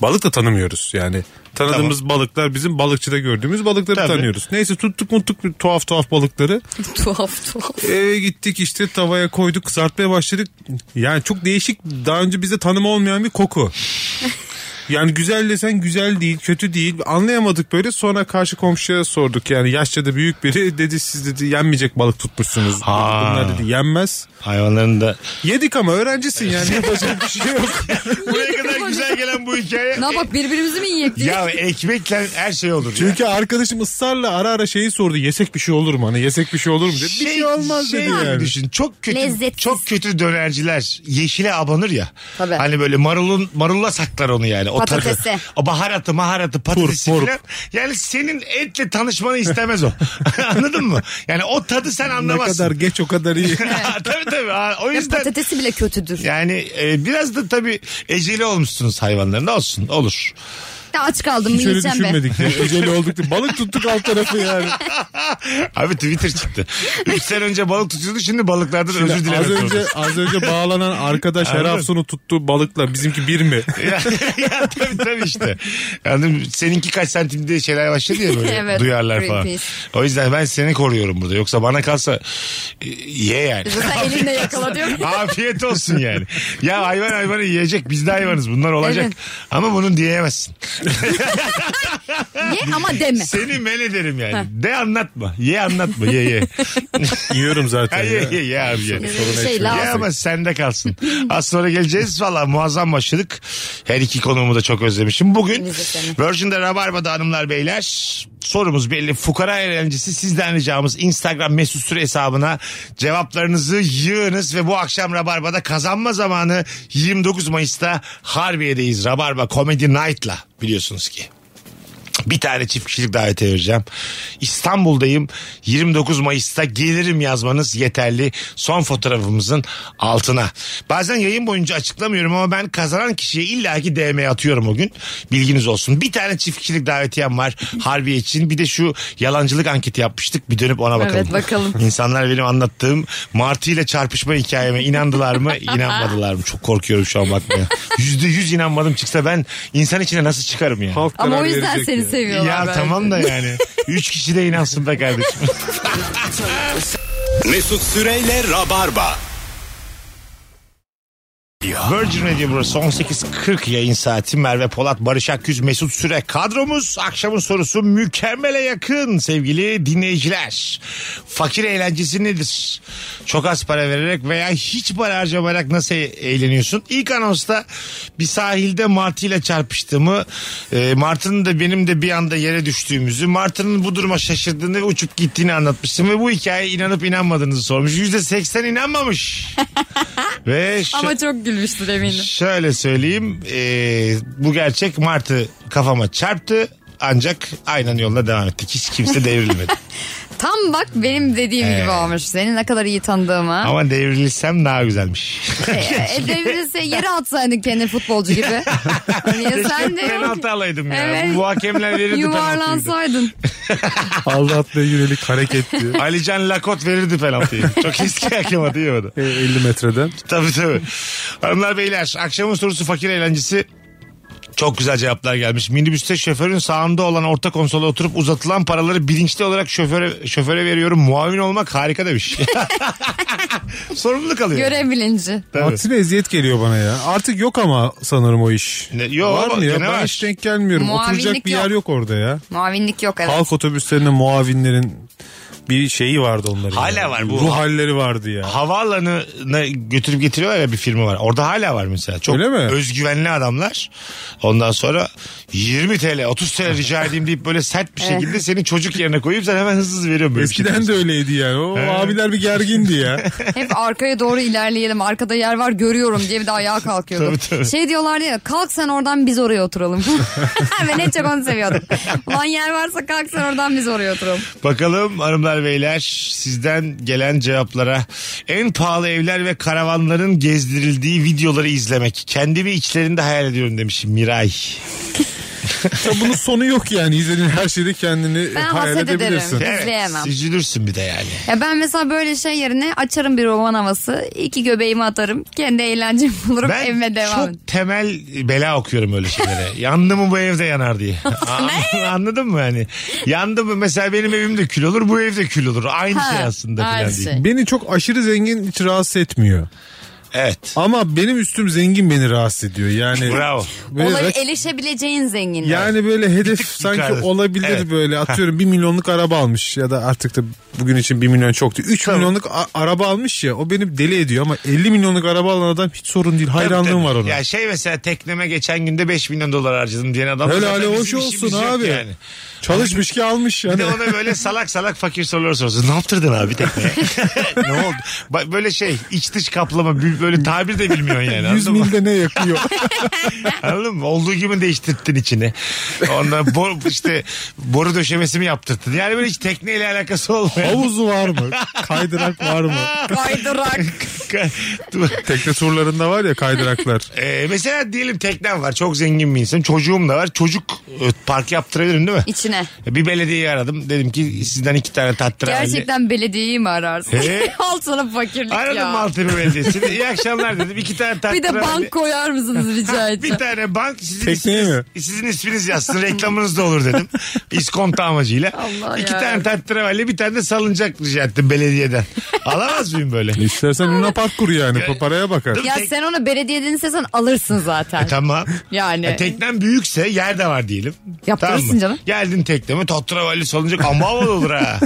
Speaker 4: Balık da tanımıyoruz yani. Tanıdığımız balıklar bizim balıkçıda gördüğümüz balıkları
Speaker 3: Tabii.
Speaker 4: tanıyoruz. Neyse tuttuk muttuk bir tuhaf tuhaf balıkları.
Speaker 5: tuhaf tuhaf.
Speaker 4: Eve gittik işte tavaya koyduk kızartmaya başladık. Yani çok değişik daha önce bize tanımı olmayan
Speaker 3: <laughs>
Speaker 4: bir koku. Yani güzel desen güzel değil, kötü değil. Anlayamadık böyle. Sonra karşı komşuya sorduk. Yani yaşça da büyük biri dedi siz dedi yenmeyecek balık tutmuşsunuz.
Speaker 3: Ha.
Speaker 4: Bunlar dedi yenmez.
Speaker 3: Hayvanların <laughs> da.
Speaker 4: Yedik ama öğrencisin
Speaker 3: <laughs>
Speaker 4: yani yapacak bir şey yok.
Speaker 3: Buraya kadar güzel gelen bu hikaye. E,
Speaker 5: Ne bak birbirimizi mi yiyek diye.
Speaker 3: Ya ekmekle her şey olur. ya.
Speaker 4: Çünkü arkadaşım ısrarla ara ara şeyi sordu. Yesek bir şey olur mu? Hani yesek bir şey olur mu dedi. bir şey olmaz
Speaker 3: şey
Speaker 4: dedi
Speaker 3: gibi
Speaker 4: yani.
Speaker 3: Düşün. Çok kötü
Speaker 5: Lezzetsiz.
Speaker 3: çok kötü dönerciler yeşile abanır ya.
Speaker 5: Tabii.
Speaker 3: Hani böyle marulun marulla saklar onu yani. O takı.
Speaker 5: Patatesi.
Speaker 3: O baharatı, maharatı, patatesi
Speaker 4: Turp,
Speaker 3: falan. Yani senin etle tanışmanı istemez o. <laughs> Anladın mı? Yani o tadı sen
Speaker 4: Ne kadar
Speaker 3: anlamazsın.
Speaker 4: geç o
Speaker 3: <laughs>
Speaker 4: kadar iyi.
Speaker 3: tabii tabii. Aa, O
Speaker 5: Ya
Speaker 3: yüzden
Speaker 5: patatesi bile kötüdür. Ya.
Speaker 3: yani e, biraz da tabii eceli olmuşsunuz hayvanların. Olsun olur.
Speaker 5: <laughs> aç kaldım mı
Speaker 4: Hiç öyle
Speaker 5: yiyeceğim <laughs> be.
Speaker 4: düşünmedik. ya. Özel olduk diye. Balık tuttuk alt tarafı yani.
Speaker 3: Abi Twitter çıktı. 3 sene önce balık tutuyordu şimdi balıklardan özür dilemek
Speaker 4: az
Speaker 3: zorundasın.
Speaker 4: önce az önce bağlanan arkadaş her hafta sonu tuttuğu balıkla bizimki bir mi?
Speaker 3: ya, <laughs> ya tabii tabii işte. Yani seninki kaç santim diye şeyler başladı ya böyle
Speaker 5: <laughs> Evet,
Speaker 3: duyarlar falan.
Speaker 5: Greenpeace.
Speaker 3: O yüzden ben seni koruyorum burada. Yoksa bana kalsa e, ye yani.
Speaker 5: Zaten elinle yakala <laughs> diyor.
Speaker 3: <laughs> Afiyet olsun yani. Ya hayvan hayvanı yiyecek. Biz de hayvanız. Bunlar olacak.
Speaker 5: Evet.
Speaker 3: Ama bunun diyemezsin.
Speaker 5: Ye ama deme.
Speaker 3: Seni men ederim yani. De anlatma. Ye anlatma. Ye
Speaker 5: <laughs>
Speaker 3: ye.
Speaker 4: Yiyorum zaten.
Speaker 3: Ha,
Speaker 4: ya.
Speaker 3: ye ye ye abi ye.
Speaker 5: Bir şey
Speaker 3: Ya
Speaker 5: lazım.
Speaker 3: ama sende kalsın. Az sonra geleceğiz. Valla muazzam başladık. Her iki konuğumu da çok özlemişim. Bugün
Speaker 5: Biz de seni.
Speaker 3: Virgin'de Rabarba'da hanımlar beyler. Sorumuz belli. Fukara eğlencesi sizden ricamız Instagram mesut süre hesabına cevaplarınızı yığınız ve bu akşam Rabarba'da kazanma zamanı 29 Mayıs'ta Harbiye'deyiz. Rabarba Comedy Night'la biliyorsunuz ki. Bir tane çift kişilik davete vereceğim. İstanbul'dayım. 29 Mayıs'ta gelirim yazmanız yeterli. Son fotoğrafımızın altına. Bazen yayın boyunca açıklamıyorum ama ben kazanan kişiye illaki DM atıyorum o gün. Bilginiz olsun. Bir tane çift kişilik davetiyem var Harbiye için. Bir de şu yalancılık anketi yapmıştık. Bir dönüp ona bakalım.
Speaker 5: Evet, bakalım.
Speaker 3: İnsanlar benim anlattığım Martı ile çarpışma hikayeme inandılar
Speaker 5: <laughs>
Speaker 3: mı? İnanmadılar mı? Çok korkuyorum şu an bakmaya. Yüzde yüz inanmadım çıksa ben insan içine nasıl çıkarım ya?
Speaker 4: Halk
Speaker 5: Ama o
Speaker 4: karar
Speaker 5: yüzden
Speaker 4: verecek
Speaker 5: seni
Speaker 4: ya.
Speaker 5: seviyorlar.
Speaker 3: Ya
Speaker 5: belki.
Speaker 3: tamam da yani. Üç kişi de inansın be kardeşim.
Speaker 2: Mesut Süreyle Rabarba.
Speaker 3: Virgin Radio burası 18.40 yayın saati. Merve Polat, Barış Akgüz, Mesut Süre kadromuz. Akşamın sorusu mükemmele yakın sevgili dinleyiciler. Fakir eğlencesi nedir? Çok az para vererek veya hiç para harcamayarak nasıl eğleniyorsun? İlk anonsta bir sahilde Martı ile çarpıştığımı, e, Martı'nın da benim de bir anda yere düştüğümüzü, Martı'nın bu duruma şaşırdığını ve uçup gittiğini anlatmıştım. Ve bu hikayeye inanıp inanmadığınızı sormuş. %80 inanmamış. ve şu...
Speaker 5: Ama çok gülmüştür eminim.
Speaker 3: Şöyle söyleyeyim. eee, bu gerçek Martı kafama çarptı. Ancak aynen yolda devam ettik. Hiç kimse
Speaker 5: <laughs>
Speaker 3: devrilmedi.
Speaker 5: Tam bak benim dediğim
Speaker 3: Ee.
Speaker 5: gibi olmuş. Seni ne kadar iyi tanıdığımı.
Speaker 3: Ama devrilsem daha güzelmiş.
Speaker 5: e, devrilse yere atsaydın kendini
Speaker 3: <laughs>
Speaker 5: futbolcu gibi. Niye sen de yok?
Speaker 3: penaltı alaydım ya.
Speaker 5: Evet.
Speaker 3: Bu hakemler
Speaker 5: <laughs>
Speaker 3: verirdi penaltıyı.
Speaker 5: Yuvarlansaydın.
Speaker 4: Aldatmaya yönelik hareketti.
Speaker 3: Alican Lakot verirdi penaltıyı. Çok eski hakem adı yemedi.
Speaker 4: 50 E, metreden.
Speaker 3: <laughs> Tabii tabii. Hanımlar beyler akşamın sorusu fakir eğlencesi. Çok güzel cevaplar gelmiş. Minibüste şoförün sağında olan orta konsola oturup uzatılan paraları bilinçli olarak şoföre, şoföre veriyorum. Muavin olmak harika demiş. <laughs> Sorumluluk alıyor.
Speaker 5: Görev bilinci.
Speaker 3: Tabii.
Speaker 4: Aksine eziyet geliyor bana ya. Artık yok ama sanırım o iş.
Speaker 3: Ne- yo,
Speaker 4: var mı ya?
Speaker 3: gene
Speaker 4: Ben
Speaker 3: var.
Speaker 4: hiç denk gelmiyorum.
Speaker 5: Muavinlik
Speaker 4: Oturacak bir yer
Speaker 5: yok.
Speaker 4: yok orada ya.
Speaker 5: Muavinlik yok evet.
Speaker 4: Halk otobüslerinde muavinlerin bir şeyi vardı onların.
Speaker 3: Hala
Speaker 4: ya.
Speaker 3: var bu.
Speaker 4: Ruh halleri vardı ya.
Speaker 3: Havaalanına götürüp getiriyorlar ya bir firma var. Orada hala var mesela. Çok
Speaker 4: Öyle mi?
Speaker 3: özgüvenli adamlar. Ondan sonra 20 TL 30 TL rica edeyim deyip böyle sert bir şekilde seni çocuk yerine koyup sen hemen hızlı hızlı veriyorum. böyle bir şey.
Speaker 4: Eskiden de öyleydi yani. O abiler bir
Speaker 3: <laughs>
Speaker 4: gergindi ya.
Speaker 5: Hep arkaya doğru ilerleyelim. Arkada yer var görüyorum diye bir de ayağa kalkıyordu.
Speaker 3: Tabii, tabii.
Speaker 5: Şey diyorlar ya kalk sen oradan biz oraya oturalım. <laughs> Ve ne çok onu seviyorduk. Ulan yer varsa kalk sen oradan biz oraya oturalım.
Speaker 3: Bakalım hanımlar hanımlar beyler sizden gelen cevaplara en pahalı evler ve karavanların gezdirildiği videoları izlemek. Kendimi içlerinde hayal ediyorum demiş Miray.
Speaker 4: Ya bunun sonu yok yani. İzlediğin her şeyde kendini
Speaker 5: Ben
Speaker 4: hayal
Speaker 5: haset ederim.
Speaker 4: edebilirsin.
Speaker 5: Evet. İzleyemem.
Speaker 3: Üzülürsün bir de yani.
Speaker 5: Ya ben mesela böyle şey yerine açarım bir roman havası. iki göbeğimi atarım. Kendi eğlencemi bulurum
Speaker 3: Ben
Speaker 5: evime devam.
Speaker 3: çok temel bela okuyorum öyle
Speaker 5: <laughs>
Speaker 3: şeylere. Yandı mı bu evde yanar diye. <laughs> A- Anladın mı yani? Yandı mı mesela benim evimde kül olur bu evde kül olur. Aynı
Speaker 5: Ha,
Speaker 3: şey aslında
Speaker 5: aynı
Speaker 3: falan diye.
Speaker 5: şey.
Speaker 4: Beni çok aşırı zengin hiç rahatsız etmiyor.
Speaker 3: Evet.
Speaker 4: Ama benim üstüm zengin beni rahatsız ediyor. Yani
Speaker 3: Bravo.
Speaker 4: Böyle
Speaker 5: Olay
Speaker 4: rak-
Speaker 5: erişebileceğin zenginlik.
Speaker 4: yani böyle hedef
Speaker 3: tık
Speaker 4: sanki
Speaker 3: yukarıda.
Speaker 4: olabilir
Speaker 3: Evet.
Speaker 4: böyle atıyorum 1 milyonluk araba almış ya da artık da bugün için 1 milyon çoktu. 3
Speaker 3: Tabii.
Speaker 4: milyonluk a- araba almış ya o beni deli ediyor ama 50 milyonluk araba alan adam hiç sorun değil hayranlığım
Speaker 3: Tabii, tabii.
Speaker 4: var ona.
Speaker 3: Ya şey mesela tekneme geçen günde 5 milyon dolar harcadım diyen adam.
Speaker 4: Helal
Speaker 3: zaten
Speaker 4: hoş
Speaker 3: bizim işimiz
Speaker 4: olsun
Speaker 3: yok
Speaker 4: abi. Çalışmış ki almış
Speaker 3: Bir
Speaker 4: yani.
Speaker 3: de ona böyle salak salak fakir sorular sorsun. Ne yaptırdın abi tekneye? <laughs> ne oldu? Bak Böyle şey iç dış kaplama bir- böyle tabir de bilmiyorsun yani.
Speaker 4: 100
Speaker 3: anladın mı?
Speaker 4: milde ne yakıyor?
Speaker 3: Anladın mı? Olduğu gibi değiştirttin içini. Ondan bor, işte boru döşemesi mi yaptırttın? Yani böyle hiç tekneyle alakası olmayan.
Speaker 4: Havuzu var mı? Kaydırak var mı?
Speaker 3: <laughs>
Speaker 5: Kaydırak.
Speaker 4: Tekne turlarında var ya kaydıraklar.
Speaker 3: Ee, mesela diyelim teknem var. Çok zengin bir insan. Çocuğum da var. Çocuk e, park yaptırabilirim değil mi? <laughs>
Speaker 5: İçine.
Speaker 3: Bir belediyeyi aradım. Dedim ki sizden iki tane tatlı
Speaker 5: Gerçekten belediyeyi mi ararsın?
Speaker 3: He?
Speaker 5: <laughs> Al sana fakirlik
Speaker 3: Aradım
Speaker 5: ya.
Speaker 3: Maltepe Belediyesi'ni. İyi akşamlar dedim. İki tane tatlı
Speaker 5: Bir de bank koyar mısınız rica
Speaker 3: <laughs> Bir
Speaker 5: etsem?
Speaker 3: tane bank sizin
Speaker 4: Tekneye
Speaker 3: isminiz, sizin isminiz yazsın reklamınız da olur
Speaker 4: <laughs>
Speaker 3: dedim. İskonto amacıyla.
Speaker 5: Allah
Speaker 3: İki
Speaker 5: ya.
Speaker 3: tane tatravalli bir tane de salıncak rica ettim belediyeden. Alamaz mıyım
Speaker 4: <laughs>
Speaker 3: böyle?
Speaker 4: İstersen Luna Park kur yani pa- paraya bakar.
Speaker 5: Ya
Speaker 3: Tek- E,
Speaker 5: sen onu belediyeden istesen alırsın zaten.
Speaker 3: Şey- Tamam.
Speaker 5: Yani.
Speaker 3: E, teknem büyükse yer de var diyelim.
Speaker 5: Yaptırırsın
Speaker 3: mı?
Speaker 5: canım.
Speaker 3: Geldin tekneme tatravalli salıncak ama havalı olur
Speaker 5: <laughs>
Speaker 3: ha.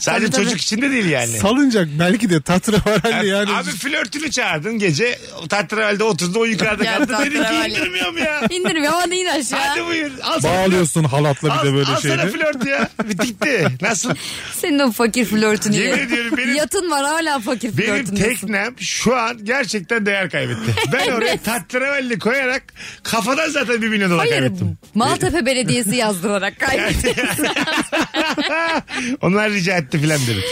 Speaker 3: Sadece
Speaker 5: Tabii, tabii.
Speaker 3: çocuk içinde değil yani. E,
Speaker 4: Salıncak belki de tatra var hani yani.
Speaker 3: Abi flörtünü çağırdın gece tatravalde oturdu o yukarıda
Speaker 5: Ya
Speaker 3: kaldı. Dedi ki
Speaker 5: tatravalli.
Speaker 3: indirmiyorum
Speaker 5: <laughs>
Speaker 3: ya.
Speaker 5: İndirmiyor hadi in aşağı.
Speaker 3: Hadi buyur. Al sana
Speaker 4: Bağlıyorsun halatla bir de böyle
Speaker 3: al sana
Speaker 4: şeyde.
Speaker 3: flört
Speaker 5: <laughs>
Speaker 3: ya. Bitikti. Nasıl?
Speaker 5: Senin o fakir flörtünü.
Speaker 3: Yemin
Speaker 5: ye.
Speaker 3: ediyorum benim-
Speaker 5: Yatın var hala fakir
Speaker 3: Benim
Speaker 5: flörtündesin.
Speaker 3: teknem şu an gerçekten değer kaybetti. Ben oraya tatravalli koyarak kafadan zaten bir milyon dolar
Speaker 5: Hayır
Speaker 3: kaybettim.
Speaker 5: Maltepe Belediyesi yazdırarak kaybettim.
Speaker 3: Ah, Onlar rica etti filan dedim.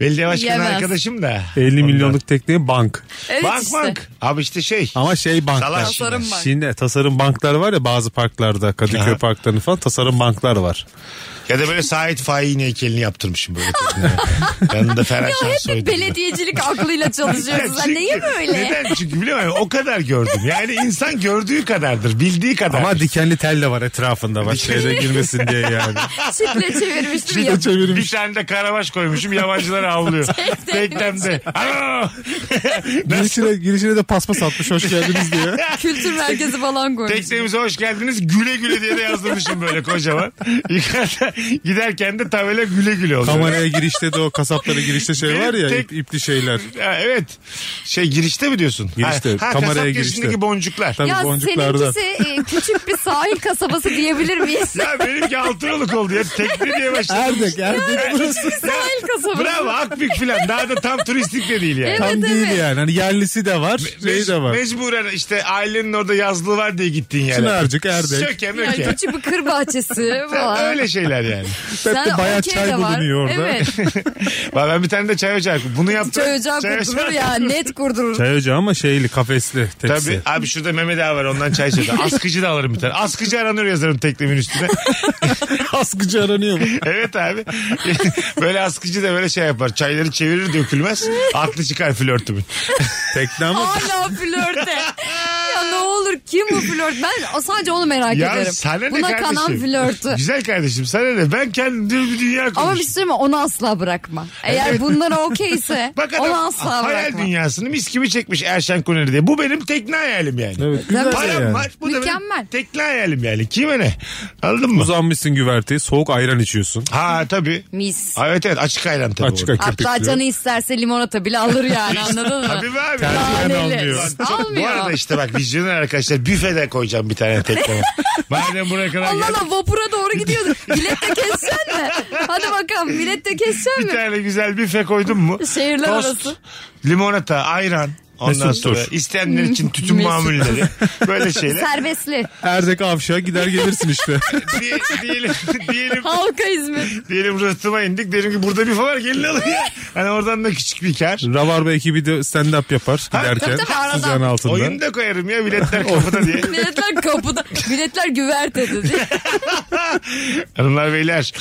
Speaker 3: Belediye başkanı
Speaker 5: Yemez.
Speaker 3: arkadaşım da.
Speaker 4: 50 milyonluk tekneye bank.
Speaker 5: evet
Speaker 3: bank
Speaker 5: işte.
Speaker 3: bank. Abi işte şey.
Speaker 4: Ama şey banklar.
Speaker 3: Salaş. Tasarım
Speaker 5: bank.
Speaker 4: Şimdi tasarım banklar var ya bazı parklarda Kadıköy
Speaker 3: Aha.
Speaker 4: parklarında falan tasarım banklar var.
Speaker 3: Ya da böyle Sait Faik'in heykelini yaptırmışım böyle. tekneye.
Speaker 5: <laughs>
Speaker 3: Yanında Ferhat
Speaker 5: Ya hep
Speaker 3: Şensoy.
Speaker 5: bir belediyecilik
Speaker 3: <laughs>
Speaker 5: aklıyla çalışıyorsun. Sen niye böyle?
Speaker 3: Neden? Çünkü biliyor musun? O kadar gördüm. Yani insan gördüğü kadardır. Bildiği kadar.
Speaker 4: Ama dikenli tel de var etrafında var
Speaker 3: Dikenli-
Speaker 4: şeyde girmesin
Speaker 3: <laughs>
Speaker 4: diye yani.
Speaker 5: Çitle çevirmiş bir yap.
Speaker 3: Bir tane de karabaş koymuşum yabancılar
Speaker 5: <laughs>
Speaker 3: avlıyor. Teknemde. Alo!
Speaker 4: girişine, girişine de paspas atmış hoş geldiniz diye.
Speaker 3: <laughs>
Speaker 5: Kültür merkezi falan koymuş.
Speaker 3: Teknemize hoş geldiniz. Güle güle diye de yazdırmışım böyle
Speaker 5: <laughs>
Speaker 3: kocaman. Yukarıda giderken de tabela güle güle oluyor.
Speaker 4: Kameraya girişte de o kasaplara girişte şey var ya
Speaker 3: Tek-
Speaker 4: ip- ipli şeyler.
Speaker 3: Ha, evet. Şey girişte mi diyorsun?
Speaker 4: Girişte,
Speaker 3: Ha, ha,
Speaker 4: kameraya
Speaker 3: kasap
Speaker 4: girişte.
Speaker 3: girişindeki boncuklar.
Speaker 4: Tabii
Speaker 5: Ya
Speaker 4: boncuklardan.
Speaker 5: seninkisi e, küçük bir sahil kasabası diyebilir
Speaker 3: <laughs>
Speaker 5: miyiz?
Speaker 3: Ya benimki altınoluk oldu ya. Tekne diye
Speaker 5: <laughs>
Speaker 3: başladı.
Speaker 4: Erdek, Erdek burası.
Speaker 5: sahil kasabası.
Speaker 3: Bravo Akbük filan. Daha da tam turistik de değil yani.
Speaker 5: Evet,
Speaker 4: Tam değil yani. Hani yerlisi de var, şey
Speaker 3: Mec-
Speaker 4: de var.
Speaker 3: Mecburen işte ailenin orada yazlığı var diye gittin yani.
Speaker 4: Çınarcık, Erdek.
Speaker 3: Söke
Speaker 5: Yani
Speaker 3: möke.
Speaker 5: küçük bir şey kır bahçesi
Speaker 3: <laughs>
Speaker 5: falan.
Speaker 3: Öyle şeyler yani.
Speaker 5: Sen
Speaker 4: Hep de bayağı
Speaker 5: okey
Speaker 4: çay
Speaker 5: de var.
Speaker 4: bulunuyor orada.
Speaker 5: Evet.
Speaker 3: <laughs> Valla ben bir tane de çay ocağı Bunu yaptım.
Speaker 5: Çay ocağı kurdurur ya. Net kurdurur.
Speaker 4: Çay ocağı Şey ama şeyli kafesli
Speaker 3: <laughs>
Speaker 4: tepsi.
Speaker 3: Tabii abi şurada Mehmet abi var ondan çay içeceğim. Askıcı da alırım bir tane. Askıcı aranır yazarım teknemin üstüne.
Speaker 4: <laughs>
Speaker 3: <laughs>
Speaker 4: Askıcı aranıyor mu?
Speaker 3: evet abi. <laughs> böyle askıcı da böyle şey yapar. Çayları çevirir dökülmez. Aklı çıkar flörtümün.
Speaker 4: Tekne ama
Speaker 5: Hala flörte. ya ne olur kim bu flört? Ben o- sadece onu merak
Speaker 3: Ya
Speaker 5: ederim.
Speaker 3: sana ne
Speaker 5: Buna
Speaker 3: kardeşim?
Speaker 5: kanan flörtü.
Speaker 3: Güzel kardeşim sana ne? Ben kendim bir dünya
Speaker 5: Ama bir
Speaker 3: kurmuşum.
Speaker 5: şey söyleyeyim mi? Onu asla bırakma. Eğer bunlara okeyse
Speaker 3: <laughs> Bak
Speaker 5: onu
Speaker 3: adam
Speaker 5: asla
Speaker 3: hayal
Speaker 5: bırakma.
Speaker 3: dünyasını mis gibi çekmiş Erşen Kuneri diye. Bu benim tekne hayalim yani.
Speaker 4: Evet, güzel
Speaker 5: Tabii.
Speaker 4: şey
Speaker 3: Param
Speaker 4: yani.
Speaker 3: var. Bu da benim
Speaker 5: Mükemmel.
Speaker 3: tekne hayalim yani. Kime ne? Anladın mı?
Speaker 4: Uzanmışsın güverteye soğuk ayran içiyorsun.
Speaker 3: Ha tabii.
Speaker 5: Mis.
Speaker 3: Ha, Evet evet açık ayran tabii.
Speaker 4: Açık
Speaker 3: orada.
Speaker 4: ayran.
Speaker 5: Hatta
Speaker 4: Köpüklüyor.
Speaker 5: canı isterse limonata bile alır yani anladın mı?
Speaker 3: Tabii be abi.
Speaker 4: Tercihen
Speaker 5: Taneli.
Speaker 4: almıyor.
Speaker 5: Almıyor.
Speaker 3: Bu arada işte bak vizyoner arkadaşlar büfeden koyacağım bir tane
Speaker 5: <laughs>
Speaker 3: tekne. Madem buraya kadar
Speaker 5: Allah
Speaker 3: geldik.
Speaker 5: Allah vapura doğru gidiyordu. Bilet de keseceksin mi? Hadi bakalım bilet de keseceksin
Speaker 3: Bir
Speaker 5: mi?
Speaker 3: tane güzel büfe koydum mu?
Speaker 5: Şehirler
Speaker 3: Tost,
Speaker 5: arası.
Speaker 3: Limonata, ayran. Ondan
Speaker 4: Mesut
Speaker 3: sonra
Speaker 4: Tur.
Speaker 3: isteyenler için tütün
Speaker 5: Mesut.
Speaker 3: mamulleri böyle şeyler.
Speaker 5: Serbestli.
Speaker 4: Erdek Avşa gider
Speaker 3: <laughs>
Speaker 4: gelirsin işte.
Speaker 3: Diye-
Speaker 5: <laughs>
Speaker 3: diyelim, diyelim,
Speaker 5: Halka hizmet.
Speaker 3: diyelim rıhtıma indik. Dedim ki burada bir fa var gelin alın ya. Hani oradan da küçük bir kar.
Speaker 4: Ravarba ekibi de stand up yapar giderken
Speaker 5: tabii, tabii, arada.
Speaker 4: sıcağın altında.
Speaker 3: Oyunu da koyarım ya biletler kapıda diye.
Speaker 5: Milletler kapıda. Milletler güvertede diye.
Speaker 3: Hanımlar beyler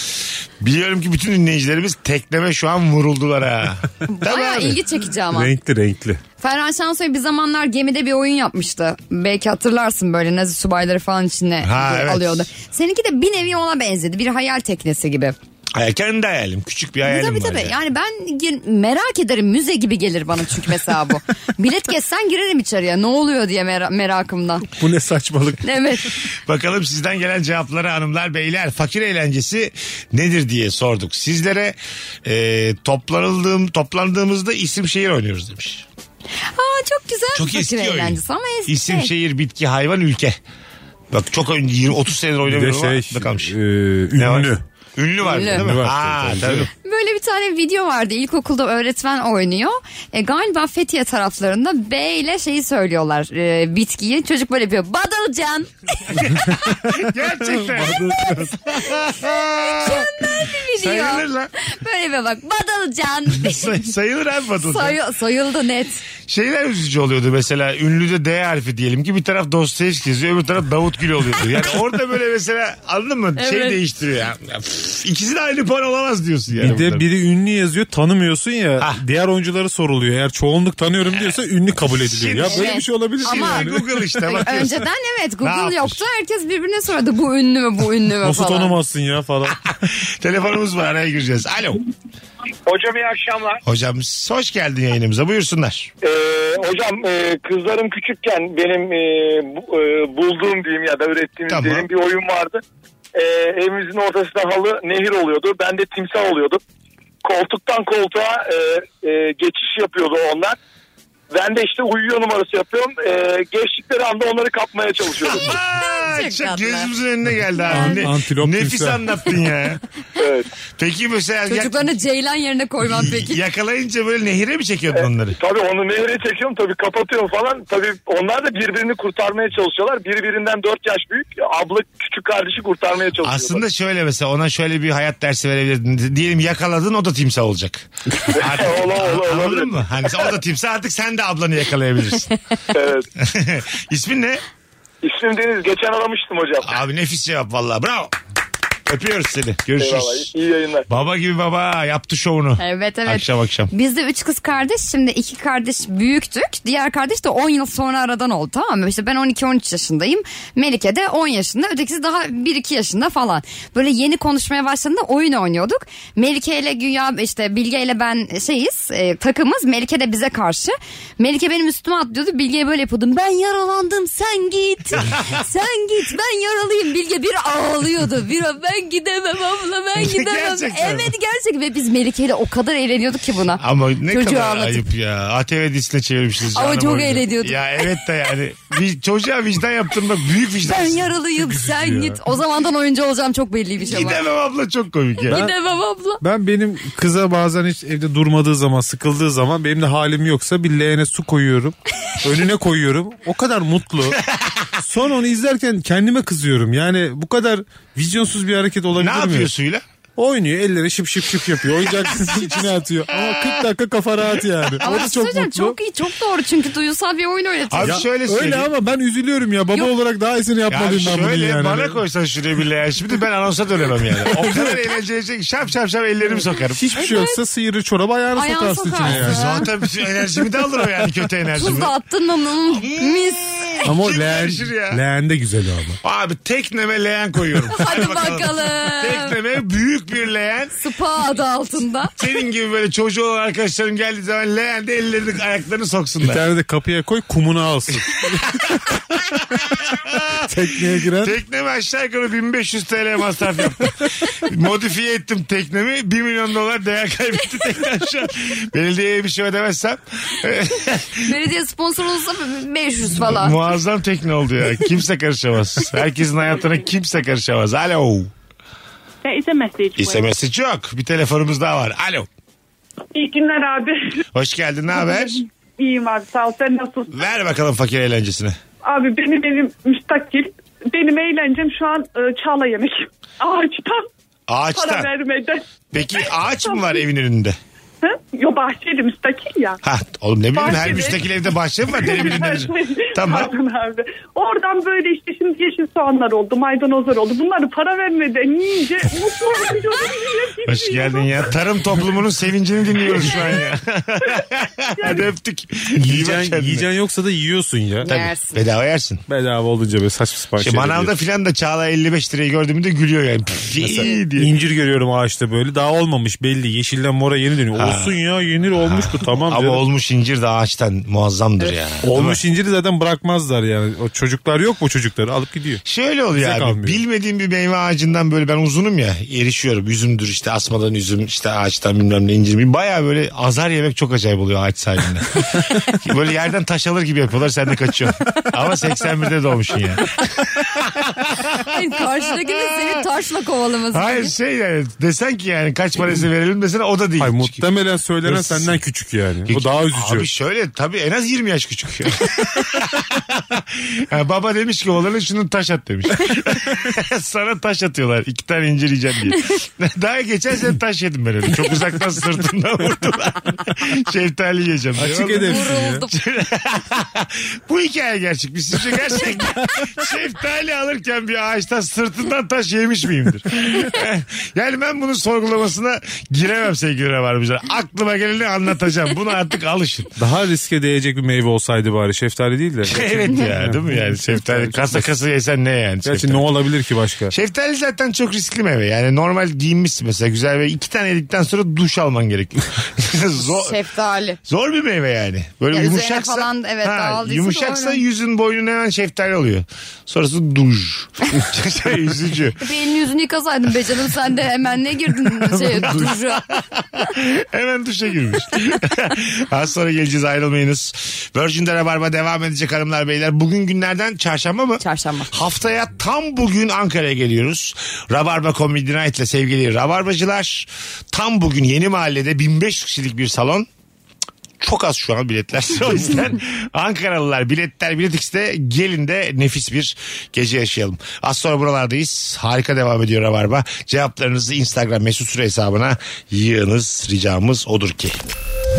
Speaker 3: biliyorum ki bütün dinleyicilerimiz tekneme şu an vuruldular
Speaker 5: <laughs>
Speaker 3: ha. <laughs> Tabii
Speaker 5: Baya
Speaker 3: abi.
Speaker 5: ilgi çekici ama.
Speaker 4: Renkli renkli.
Speaker 5: Ferhan Şansoy bir zamanlar gemide bir oyun yapmıştı. Belki hatırlarsın böyle Nazi subayları falan içine
Speaker 3: Ha,
Speaker 5: diye
Speaker 3: evet.
Speaker 5: alıyordu. Seninki de bir nevi ona benzedi. Bir hayal teknesi gibi.
Speaker 3: Ay, kendi hayalim küçük bir hayalim
Speaker 5: tabii
Speaker 3: var
Speaker 5: tabii.
Speaker 3: ya.
Speaker 5: Yani ben gir- merak ederim. Müze gibi gelir bana çünkü mesela
Speaker 3: <laughs>
Speaker 5: bu. Bilet kessen girerim içeriye. Ne oluyor diye mera- merakımdan.
Speaker 4: Bu ne saçmalık.
Speaker 3: <laughs>
Speaker 5: Evet.
Speaker 3: Bakalım sizden gelen cevaplara hanımlar beyler fakir eğlencesi nedir diye sorduk. Sizlere e, toplanıldığım, toplandığımızda isim şehir oynuyoruz demiş.
Speaker 5: Aa çok güzel.
Speaker 3: Çok
Speaker 5: Fakir
Speaker 3: eski oyun.
Speaker 5: eğlencesi ama eski.
Speaker 3: İsim şehir bitki hayvan ülke. Bak çok önce 20 30 senedir
Speaker 4: Bir de
Speaker 3: oynamıyorum ama
Speaker 4: şey
Speaker 3: aklımda kalmış.
Speaker 4: e,
Speaker 3: Ne var?
Speaker 4: ünlü.
Speaker 3: Ünlü var
Speaker 5: Ünlü.
Speaker 3: değil mi?
Speaker 4: Ünlü var,
Speaker 3: Aa,
Speaker 4: tabii,
Speaker 3: tabii.
Speaker 4: tabii.
Speaker 5: Böyle bir tane video vardı ilkokulda öğretmen oynuyor. E, galiba Fethiye taraflarında B ile şeyi söylüyorlar e, bitkiyi. Çocuk böyle yapıyor. Badılcan.
Speaker 3: Gerçekten. Sayılır
Speaker 5: Biliyor.
Speaker 3: lan.
Speaker 5: Böyle bir bak Badılcan.
Speaker 3: Say- <laughs> sayılır abi Batuhan.
Speaker 5: Soyu, soyuldu net.
Speaker 3: Şeyler üzücü oluyordu mesela ünlüde D harfi diyelim ki bir taraf Dostoyevski yazıyor öbür taraf Davut Gül oluyordu. Yani orada böyle mesela anladın mı şey
Speaker 5: Evet.
Speaker 3: değiştiriyor ya. Ya, üf, İkisi de aynı puan olamaz diyorsun yani.
Speaker 4: Bir de
Speaker 3: bunların.
Speaker 4: biri ünlü yazıyor tanımıyorsun ya diğer oyunculara soruluyor. Eğer çoğunluk tanıyorum diyorsa ünlü kabul ediliyor.
Speaker 3: Şimdi-
Speaker 4: ya böyle
Speaker 5: Evet.
Speaker 4: bir şey olabilir mi?
Speaker 3: Şimdi
Speaker 5: Ama-
Speaker 4: yani?
Speaker 3: Google
Speaker 5: <laughs>
Speaker 3: işte bakıyorsun.
Speaker 5: Önceden evet
Speaker 3: Ne yapmış?
Speaker 5: Google yoktu. Herkes birbirine sorardı bu ünlü mü bu ünlü mü
Speaker 4: Nasıl
Speaker 5: falan.
Speaker 4: tanımazsın ya
Speaker 5: <laughs>
Speaker 4: falan.
Speaker 3: Telefonumuz var araya gireceğiz. Alo.
Speaker 6: Hocam iyi akşamlar.
Speaker 3: Hocam hoş geldin yayınımıza buyursunlar.
Speaker 6: Ee, hocam e, kızlarım küçükken benim e, bu- e, bulduğum diyeyim ya da ürettiğimiz
Speaker 3: Tamam.
Speaker 6: diyeyim bir oyun vardı. Ee, evimizin ortasında halı nehir oluyordu. Ben de timsah oluyordum. Koltuktan koltuğa e, e, geçiş yapıyordu onlar. Ben de işte uyuyor numarası yapıyorum. Ee, geçtikleri anda onları
Speaker 3: <laughs>
Speaker 6: kapmaya çalışıyordum.
Speaker 3: Aa,
Speaker 5: Çok
Speaker 3: çok
Speaker 5: tatlı.
Speaker 3: gözümüzün önüne geldi abi. Ne-
Speaker 4: Antilop
Speaker 3: nefis
Speaker 4: timsah.
Speaker 3: anlattın ya.
Speaker 6: evet.
Speaker 3: Peki mesela yak-
Speaker 5: Çocuklarını ceylan yerine koyman
Speaker 3: <laughs>
Speaker 5: peki.
Speaker 3: yakalayınca böyle nehire mi çekiyordun onları?
Speaker 6: Tabii onu nehre çekiyorum tabii kapatıyorum falan. Tabii onlar da birbirini kurtarmaya çalışıyorlar. Biri birinden 4 yaş büyük. Abla küçük kardeşi kurtarmaya çalışıyor.
Speaker 3: Aslında şöyle mesela ona şöyle bir hayat dersi verebilirdin. Diyelim yakaladın o da timsah olacak. Artık,
Speaker 6: <laughs> Ola, ola,
Speaker 3: Anladın
Speaker 6: olabilir.
Speaker 3: mı? Hani sen- o da timsah artık sen de ablanı
Speaker 6: <laughs>
Speaker 3: yakalayabilirsin.
Speaker 6: Evet.
Speaker 3: İsmin ne?
Speaker 6: İsmim Deniz. Geçen aramıştım hocam.
Speaker 3: Abi nefis cevap valla bravo. Öpüyoruz seni. Görüşürüz.
Speaker 6: Eyvallah. İyi yayınlar.
Speaker 3: Baba gibi baba yaptı şovunu.
Speaker 5: Evet evet.
Speaker 3: Akşam akşam.
Speaker 5: Biz de üç kız kardeş şimdi iki kardeş büyüktük. Diğer kardeş de 10 yıl sonra aradan oldu tamam mı? İşte ben 12-13 yaşındayım. Melike de 10 yaşında. Ötekisi daha 1-2 yaşında falan. Böyle yeni konuşmaya başladığında oyun oynuyorduk. Melike ile Güya işte Bilge ile ben şeyiz e, takımız. Melike de bize karşı. Melike benim üstüme atlıyordu. Bilge'ye böyle yapıyordum. Ben yaralandım
Speaker 3: <laughs>
Speaker 5: sen git. sen git ben yaralıyım. Bilge bir ağlıyordu. Bir ben gidemem abla ben gidemem.
Speaker 3: <laughs> Gerçekten mi?
Speaker 5: evet gerçek ve biz Melike ile o kadar eğleniyorduk ki buna.
Speaker 3: Ama ne
Speaker 5: Çocuğu
Speaker 3: kadar
Speaker 5: ağlatıp.
Speaker 3: ayıp ya. ATV disle çevirmişsiniz.
Speaker 5: Ama
Speaker 3: canım
Speaker 5: çok
Speaker 3: oyunu.
Speaker 5: eğleniyorduk.
Speaker 3: Ya evet de yani. Bir çocuğa vicdan yaptırmak büyük vicdan.
Speaker 5: Ben yaralıyım sen git. O zamandan oyuncu olacağım çok belliymiş ama.
Speaker 3: Gidemem abla çok komik ya.
Speaker 5: Gidemem abla.
Speaker 4: Ben benim kıza bazen hiç evde durmadığı zaman sıkıldığı zaman benim de halim yoksa bir leğene su
Speaker 5: <laughs>
Speaker 4: koyuyorum. önüne koyuyorum. O kadar mutlu. Son onu izlerken kendime kızıyorum. Yani bu kadar vizyonsuz bir hareket olabilir
Speaker 3: Ne
Speaker 4: mi?
Speaker 3: yapıyor suyla?
Speaker 4: Oynuyor elleri şıp şıp şıp yapıyor.
Speaker 5: <laughs>
Speaker 4: Oyuncaklarının içine atıyor. Ama 40 dakika kafa rahat yani.
Speaker 5: Ama
Speaker 4: o da
Speaker 5: çok,
Speaker 4: çok mutlu.
Speaker 5: çok iyi çok doğru çünkü duygusal bir oyun öğretiyor.
Speaker 3: Abi
Speaker 4: Ya
Speaker 3: şöyle söyleyeyim.
Speaker 4: öyle ama ben üzülüyorum ya. Baba
Speaker 5: Yok.
Speaker 4: olarak daha iyisini
Speaker 3: Ya
Speaker 4: yapmalıyım ben bunu
Speaker 3: şöyle
Speaker 4: yani.
Speaker 3: bana koysan şuraya bir leğen şimdi ben anonsa dönemem yani. O
Speaker 4: <laughs>
Speaker 3: kadar eğlenceli şey şap şap şap ellerimi sokarım.
Speaker 4: Hiçbir şey yoksa sıyırır çorabı ayağını
Speaker 5: Ayağını
Speaker 4: sokarsın, içine
Speaker 3: <laughs>
Speaker 5: sokarsın.
Speaker 4: yani.
Speaker 3: Zaten bütün enerjimi de alır o yani kötü enerjimi.
Speaker 5: Tuz da attın mı? Hmm, Mis.
Speaker 4: Ama o
Speaker 3: Kim
Speaker 4: leğen,
Speaker 3: karışır ya?
Speaker 4: leğen de güzel o ama.
Speaker 3: Abi tekneme leğen koyuyorum.
Speaker 5: <laughs> Hadi bakalım.
Speaker 3: tekneme büyük bir leğen.
Speaker 5: Spa adı altında.
Speaker 3: Senin gibi böyle çocuğu olan arkadaşlarım geldiği zaman leğende ellerini ayaklarını
Speaker 4: Bir
Speaker 3: soksunlar.
Speaker 4: tane de kapıya koy kumunu alsın.
Speaker 3: <laughs>
Speaker 4: Tekneye giren
Speaker 3: Tekneme aşağı yukarı 1500 TL masraf
Speaker 4: <laughs>
Speaker 3: yaptım. Modifiye ettim teknemi. 1 milyon dolar değer kaybetti tekne şu an. Belediyeye bir şey ödemezsem
Speaker 5: Belediye sponsor olsa 500 falan.
Speaker 3: Muazzam tekne oldu ya. Kimse karışamaz. Herkesin hayatına kimse karışamaz. Alo.
Speaker 8: There is a message. waiting.
Speaker 3: İstemesi çok. Bir telefonumuz daha var. Alo.
Speaker 8: İyi günler abi.
Speaker 3: Hoş geldin. Ne haber?
Speaker 8: İyiyim abi sağ ol. Sen nasılsın?
Speaker 3: Ver bakalım fakir eğlencesini.
Speaker 8: Abi benim benim müstakil. Benim eğlencem şu an e, çağla yemek. <laughs> Ağaçtan.
Speaker 3: Ağaçtan.
Speaker 8: Para vermeden.
Speaker 3: Peki ağaç mı var evin önünde?
Speaker 8: Hı? Yo bahçeli müstakil ya.
Speaker 3: Ha oğlum ne bileyim her
Speaker 8: Bahçede.
Speaker 3: müstakil evde bahçe mi var? Deli bilin nedir? tamam.
Speaker 8: Pardon abi. Oradan böyle işte şimdi yeşil soğanlar oldu, maydanozlar oldu. Bunları para vermeden yiyince mutlu oluyorum. diye
Speaker 3: Hoş geldin
Speaker 8: bilmiyorum.
Speaker 3: ya. Tarım toplumunun sevincini dinliyoruz şu an ya. Hadi öptük. İyi bak
Speaker 4: Yiyeceğin,
Speaker 3: kendine.
Speaker 4: yiyeceğin yoksa da yiyorsun ya.
Speaker 3: Tabii,
Speaker 5: Yersin.
Speaker 3: Bedava yersin.
Speaker 4: Bedava olunca böyle saçma sapan
Speaker 3: İşte
Speaker 4: şeyler
Speaker 3: Şey, manavda
Speaker 4: yiyorsun.
Speaker 3: filan da Çağla 55 lirayı gördüğümde gülüyor yani. Pff, iyi diye.
Speaker 4: İncir görüyorum ağaçta böyle. Daha olmamış belli. Yeşilden mora yeni dönüyor. Olsun ya yenir olmuş bu tamam.
Speaker 3: Ama
Speaker 4: canım.
Speaker 3: olmuş incir de ağaçtan muazzamdır ya.
Speaker 4: olmuş inciri zaten bırakmazlar yani. O çocuklar yok mu çocukları alıp gidiyor.
Speaker 3: Şöyle oluyor
Speaker 4: Bize
Speaker 3: abi.
Speaker 4: kalmıyor.
Speaker 3: Bilmediğim bir meyve ağacından böyle ben uzunum ya. Erişiyorum. Üzümdür işte asmadan üzüm işte ağaçtan bilmem ne incir. Baya böyle azar yemek çok acayip oluyor ağaç
Speaker 4: <laughs>
Speaker 3: sahibinden. böyle yerden taş alır gibi yapıyorlar sen de kaçıyorsun. Ama 81'de doğmuşsun yani.
Speaker 5: Hayır, Karşıdakinin seni taşla kovalaması.
Speaker 3: Hayır şey yani desen ki yani kaç parası verelim desene o da değil.
Speaker 4: Hayır
Speaker 3: Çünkü-
Speaker 4: muhtemelen söylenen
Speaker 3: Hırsız.
Speaker 4: senden küçük yani. O daha üzücü.
Speaker 3: Abi şöyle tabii en az 20 yaş küçük. <laughs> Ha, baba demiş ki oğlanın şunu taş at demiş. <laughs> Sana taş atıyorlar. iki tane incir yiyeceğim diye. <laughs> Daha geçen sene taş yedim ben öyle. Çok uzaktan sırtımdan <laughs> vurdular. Şeftali yiyeceğim. diye.
Speaker 4: Açık
Speaker 3: Vallahi-
Speaker 4: edemsin ya.
Speaker 5: Vuruldum.
Speaker 3: Bu hikaye gerçek mi? Sizce
Speaker 4: <laughs>
Speaker 3: gerçek mi? Şeftali alırken bir ağaçtan sırtından taş yemiş miyimdir? <laughs> yani ben bunun sorgulamasına giremem sevgili Rabarbacılar. Aklıma geleni anlatacağım. Buna artık alışın.
Speaker 4: Daha riske değecek bir meyve olsaydı bari. Şeftali değil de.
Speaker 3: Şey, evet ya değil mi yani şeftali kasa kasa yesen ne yani
Speaker 4: Gerçi
Speaker 3: şeftali.
Speaker 4: ne olabilir ki başka?
Speaker 3: Şeftali zaten çok riskli meyve yani normal giyinmişsin mesela güzel ve iki tane yedikten sonra duş alman gerekiyor. <laughs> zor,
Speaker 5: Şeftali.
Speaker 3: zor bir meyve yani. Böyle
Speaker 5: Ya üzerine
Speaker 3: yumuşaksa,
Speaker 5: falan, evet, dağıldıysa
Speaker 3: yumuşaksa
Speaker 5: doğru.
Speaker 3: yüzün boynun hemen şeftali oluyor. Sonrası
Speaker 5: <laughs>
Speaker 3: duş. <laughs> Şey, Üzücü.
Speaker 5: Benim yüzünü yıkasaydın be canım sen de hemen ne girdin
Speaker 3: <laughs>
Speaker 5: şey, duşa.
Speaker 3: Hemen duşa girmiş. <laughs> Az sonra geleceğiz ayrılmayınız. Virgin'de Rabarba devam edecek hanımlar beyler. Bugün günlerden çarşamba mı?
Speaker 5: Çarşamba.
Speaker 3: Haftaya tam bugün Ankara'ya geliyoruz. Rabarba Comedy Night'le sevgili Rabarbacılar. Tam bugün yeni mahallede 1500 kişilik bir salon. Çok az şu an biletler. <laughs> O yüzden Ankaralılar biletler bilet X'de gelin de nefis bir gece yaşayalım. Az sonra buralardayız. Harika devam ediyor Rabarba. Cevaplarınızı Instagram mesut süre hesabına yığınız. Ricamız odur ki.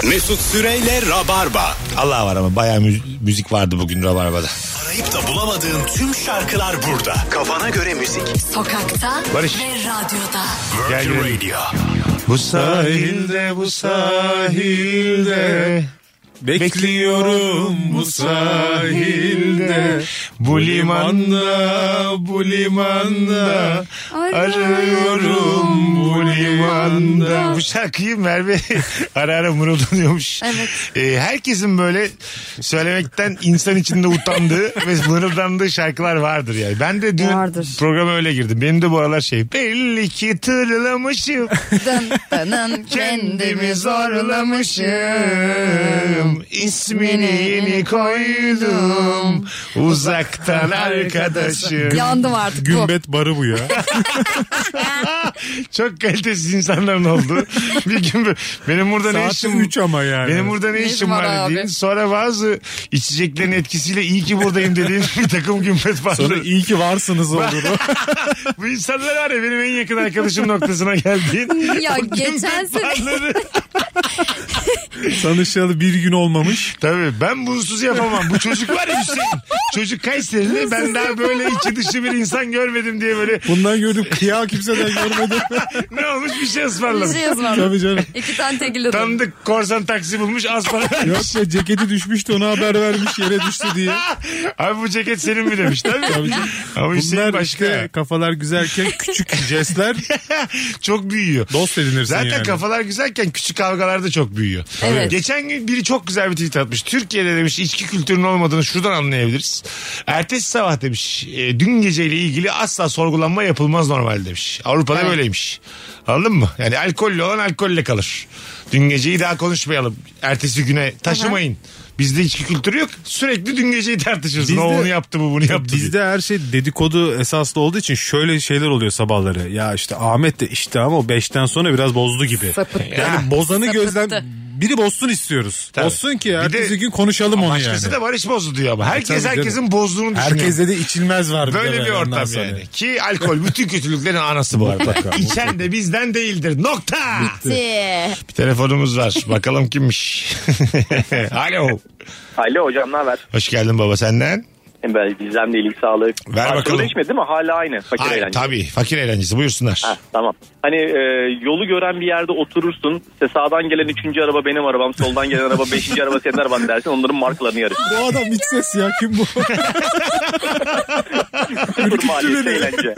Speaker 2: Mesut Süreyle Rabarba.
Speaker 3: Allah var ama bayağı mü- müzik vardı bugün Rabarba'da.
Speaker 2: Arayıp da bulamadığın tüm şarkılar burada. Kafana göre müzik.
Speaker 9: Sokakta
Speaker 3: Barış.
Speaker 9: ve radyoda.
Speaker 3: Gel
Speaker 2: Virgin
Speaker 3: gelelim.
Speaker 2: Radio.
Speaker 3: Bu sahilde bu sahilde
Speaker 4: Bekliyorum bu sahilde.
Speaker 3: Bu limanda, bu limanda arıyorum bu limanda. Bu şarkıyı Merve <laughs> ara ara mırıldanıyormuş.
Speaker 5: Evet.
Speaker 3: Ee, herkesin böyle söylemekten insan içinde utandığı ve mırıldandığı şarkılar vardır yani. Ben de dün
Speaker 5: Vardır.
Speaker 3: programa öyle girdim. Benim de bu aralar şey belli ki tırlamışım.
Speaker 5: Dın dının
Speaker 3: <laughs> Kendimi zorlamışım ismini yeni koydum Uzaktan arkadaşım
Speaker 5: Yandım artık bu.
Speaker 4: Gümbet barı bu
Speaker 3: <laughs>
Speaker 4: ya.
Speaker 3: Çok kalitesiz insanların
Speaker 4: <laughs>
Speaker 3: oldu Bir gün bu- benim burada ne
Speaker 4: Saat
Speaker 3: işim
Speaker 4: 3 ama yani.
Speaker 3: Benim burada ne
Speaker 5: Ne
Speaker 3: işim
Speaker 5: işim var
Speaker 3: var
Speaker 5: abi?
Speaker 3: dediğin. Sonra bazı içeceklerin etkisiyle iyi ki buradayım dediğin bir takım gümbet vardı. <laughs>
Speaker 4: Sonra iyi ki varsınız olur.
Speaker 3: Bu insanlar var ya benim en yakın arkadaşım noktasına geldiğin.
Speaker 5: <laughs> Ya
Speaker 3: o gümbet
Speaker 5: geçen sene-
Speaker 3: varları-
Speaker 4: <laughs> Tanışalı bir gün olmamış.
Speaker 3: Tabii ben bunsuz yapamam. Bu çocuk var ya Hüseyin. Çocuk Kayseri'de ben daha böyle içi dışı bir insan görmedim diye böyle
Speaker 4: Bundan gördüm kıya kimseden
Speaker 3: <laughs>
Speaker 4: görmedim.
Speaker 3: ne olmuş bir şey
Speaker 5: Bir
Speaker 3: ısmarlamış.
Speaker 5: şey yazmadım.
Speaker 4: Tabii canım.
Speaker 5: İki tane tekil adım.
Speaker 3: Tanıdık korsan taksi bulmuş az para vermiş.
Speaker 4: Yok ya ceketi düşmüştü ona haber vermiş yere düştü diye.
Speaker 3: Abi bu ceket senin mi demiş tabii.
Speaker 4: Tabii canım.
Speaker 3: Ama Hüseyin
Speaker 4: Bunlar
Speaker 3: şey başka.
Speaker 4: işte kafalar güzelken küçük jestler
Speaker 3: Çok büyüyor.
Speaker 4: dost edinirsin
Speaker 3: Zaten
Speaker 4: yani.
Speaker 3: kafalar güzelken küçük kavgalar da çok büyüyor.
Speaker 5: Evet.
Speaker 3: Geçen gün biri çok güzel bir tweet atmış. Türkiye'de demiş içki kültürünün olmadığını şuradan anlayabiliriz. Ertesi sabah demiş e, dün geceyle ilgili asla sorgulanma yapılmaz normal demiş. Avrupa'da böyleymiş. Anladın mı? Yani alkollü olan alkolle kalır. Dün geceyi daha konuşmayalım. Ertesi güne taşımayın. Bizde içki kültürü yok. Sürekli dün geceyi tartışırız.
Speaker 4: Bizde-
Speaker 3: o onu yaptı bu bunu yaptı. diye.
Speaker 4: Bizde her şey dedikodu esaslı olduğu için şöyle şeyler oluyor sabahları. Ya işte Ahmet de işte ama o 5'ten sonra biraz bozdu gibi.
Speaker 5: Sapıttı.
Speaker 4: Yani bozanı
Speaker 5: Sapıttı.
Speaker 4: gözlem biri bozsun istiyoruz.
Speaker 3: Tabii.
Speaker 4: Bozsun ki
Speaker 3: Bir
Speaker 4: ertesi
Speaker 3: de-
Speaker 4: gün konuşalım onu
Speaker 3: Başkası
Speaker 4: yani. E,
Speaker 3: da barış bozdu diyor ama. Herkes
Speaker 4: tabii canım.
Speaker 3: herkesin bozduğunu düşünüyor.
Speaker 4: Herkeste de içilmez var.
Speaker 3: Böyle
Speaker 4: de
Speaker 3: bir
Speaker 4: ondan
Speaker 3: ortam
Speaker 4: sonra.
Speaker 3: yani. Ki alkol bütün kötülüklerin anası bu arada.
Speaker 4: Mutlaka,
Speaker 3: <laughs> İçen de bizden değildir. Nokta.
Speaker 5: Bitti.
Speaker 3: Bir telefonumuz var. Bakalım kimmiş. <laughs> Alo.
Speaker 9: Alo hocam ne haber?
Speaker 3: Hoş geldin baba senden.
Speaker 9: Ben Gizem'le iyilik sağlık.
Speaker 3: Ver
Speaker 9: Başka
Speaker 3: bakalım.
Speaker 9: Değişmedi değil mi? Hala aynı. Fakir
Speaker 3: Ay,
Speaker 9: eğlence.
Speaker 3: tabii fakir eğlencesi buyursunlar.
Speaker 9: Ha, tamam. Hani e, yolu gören bir yerde oturursun. İşte sağdan gelen üçüncü araba benim arabam. Soldan gelen araba beşinci araba senin araban dersin. Onların markalarını yarıştır.
Speaker 4: Bu adam iç ses ya kim bu?
Speaker 9: Sıfır maliyetli
Speaker 4: beni.
Speaker 9: eğlence.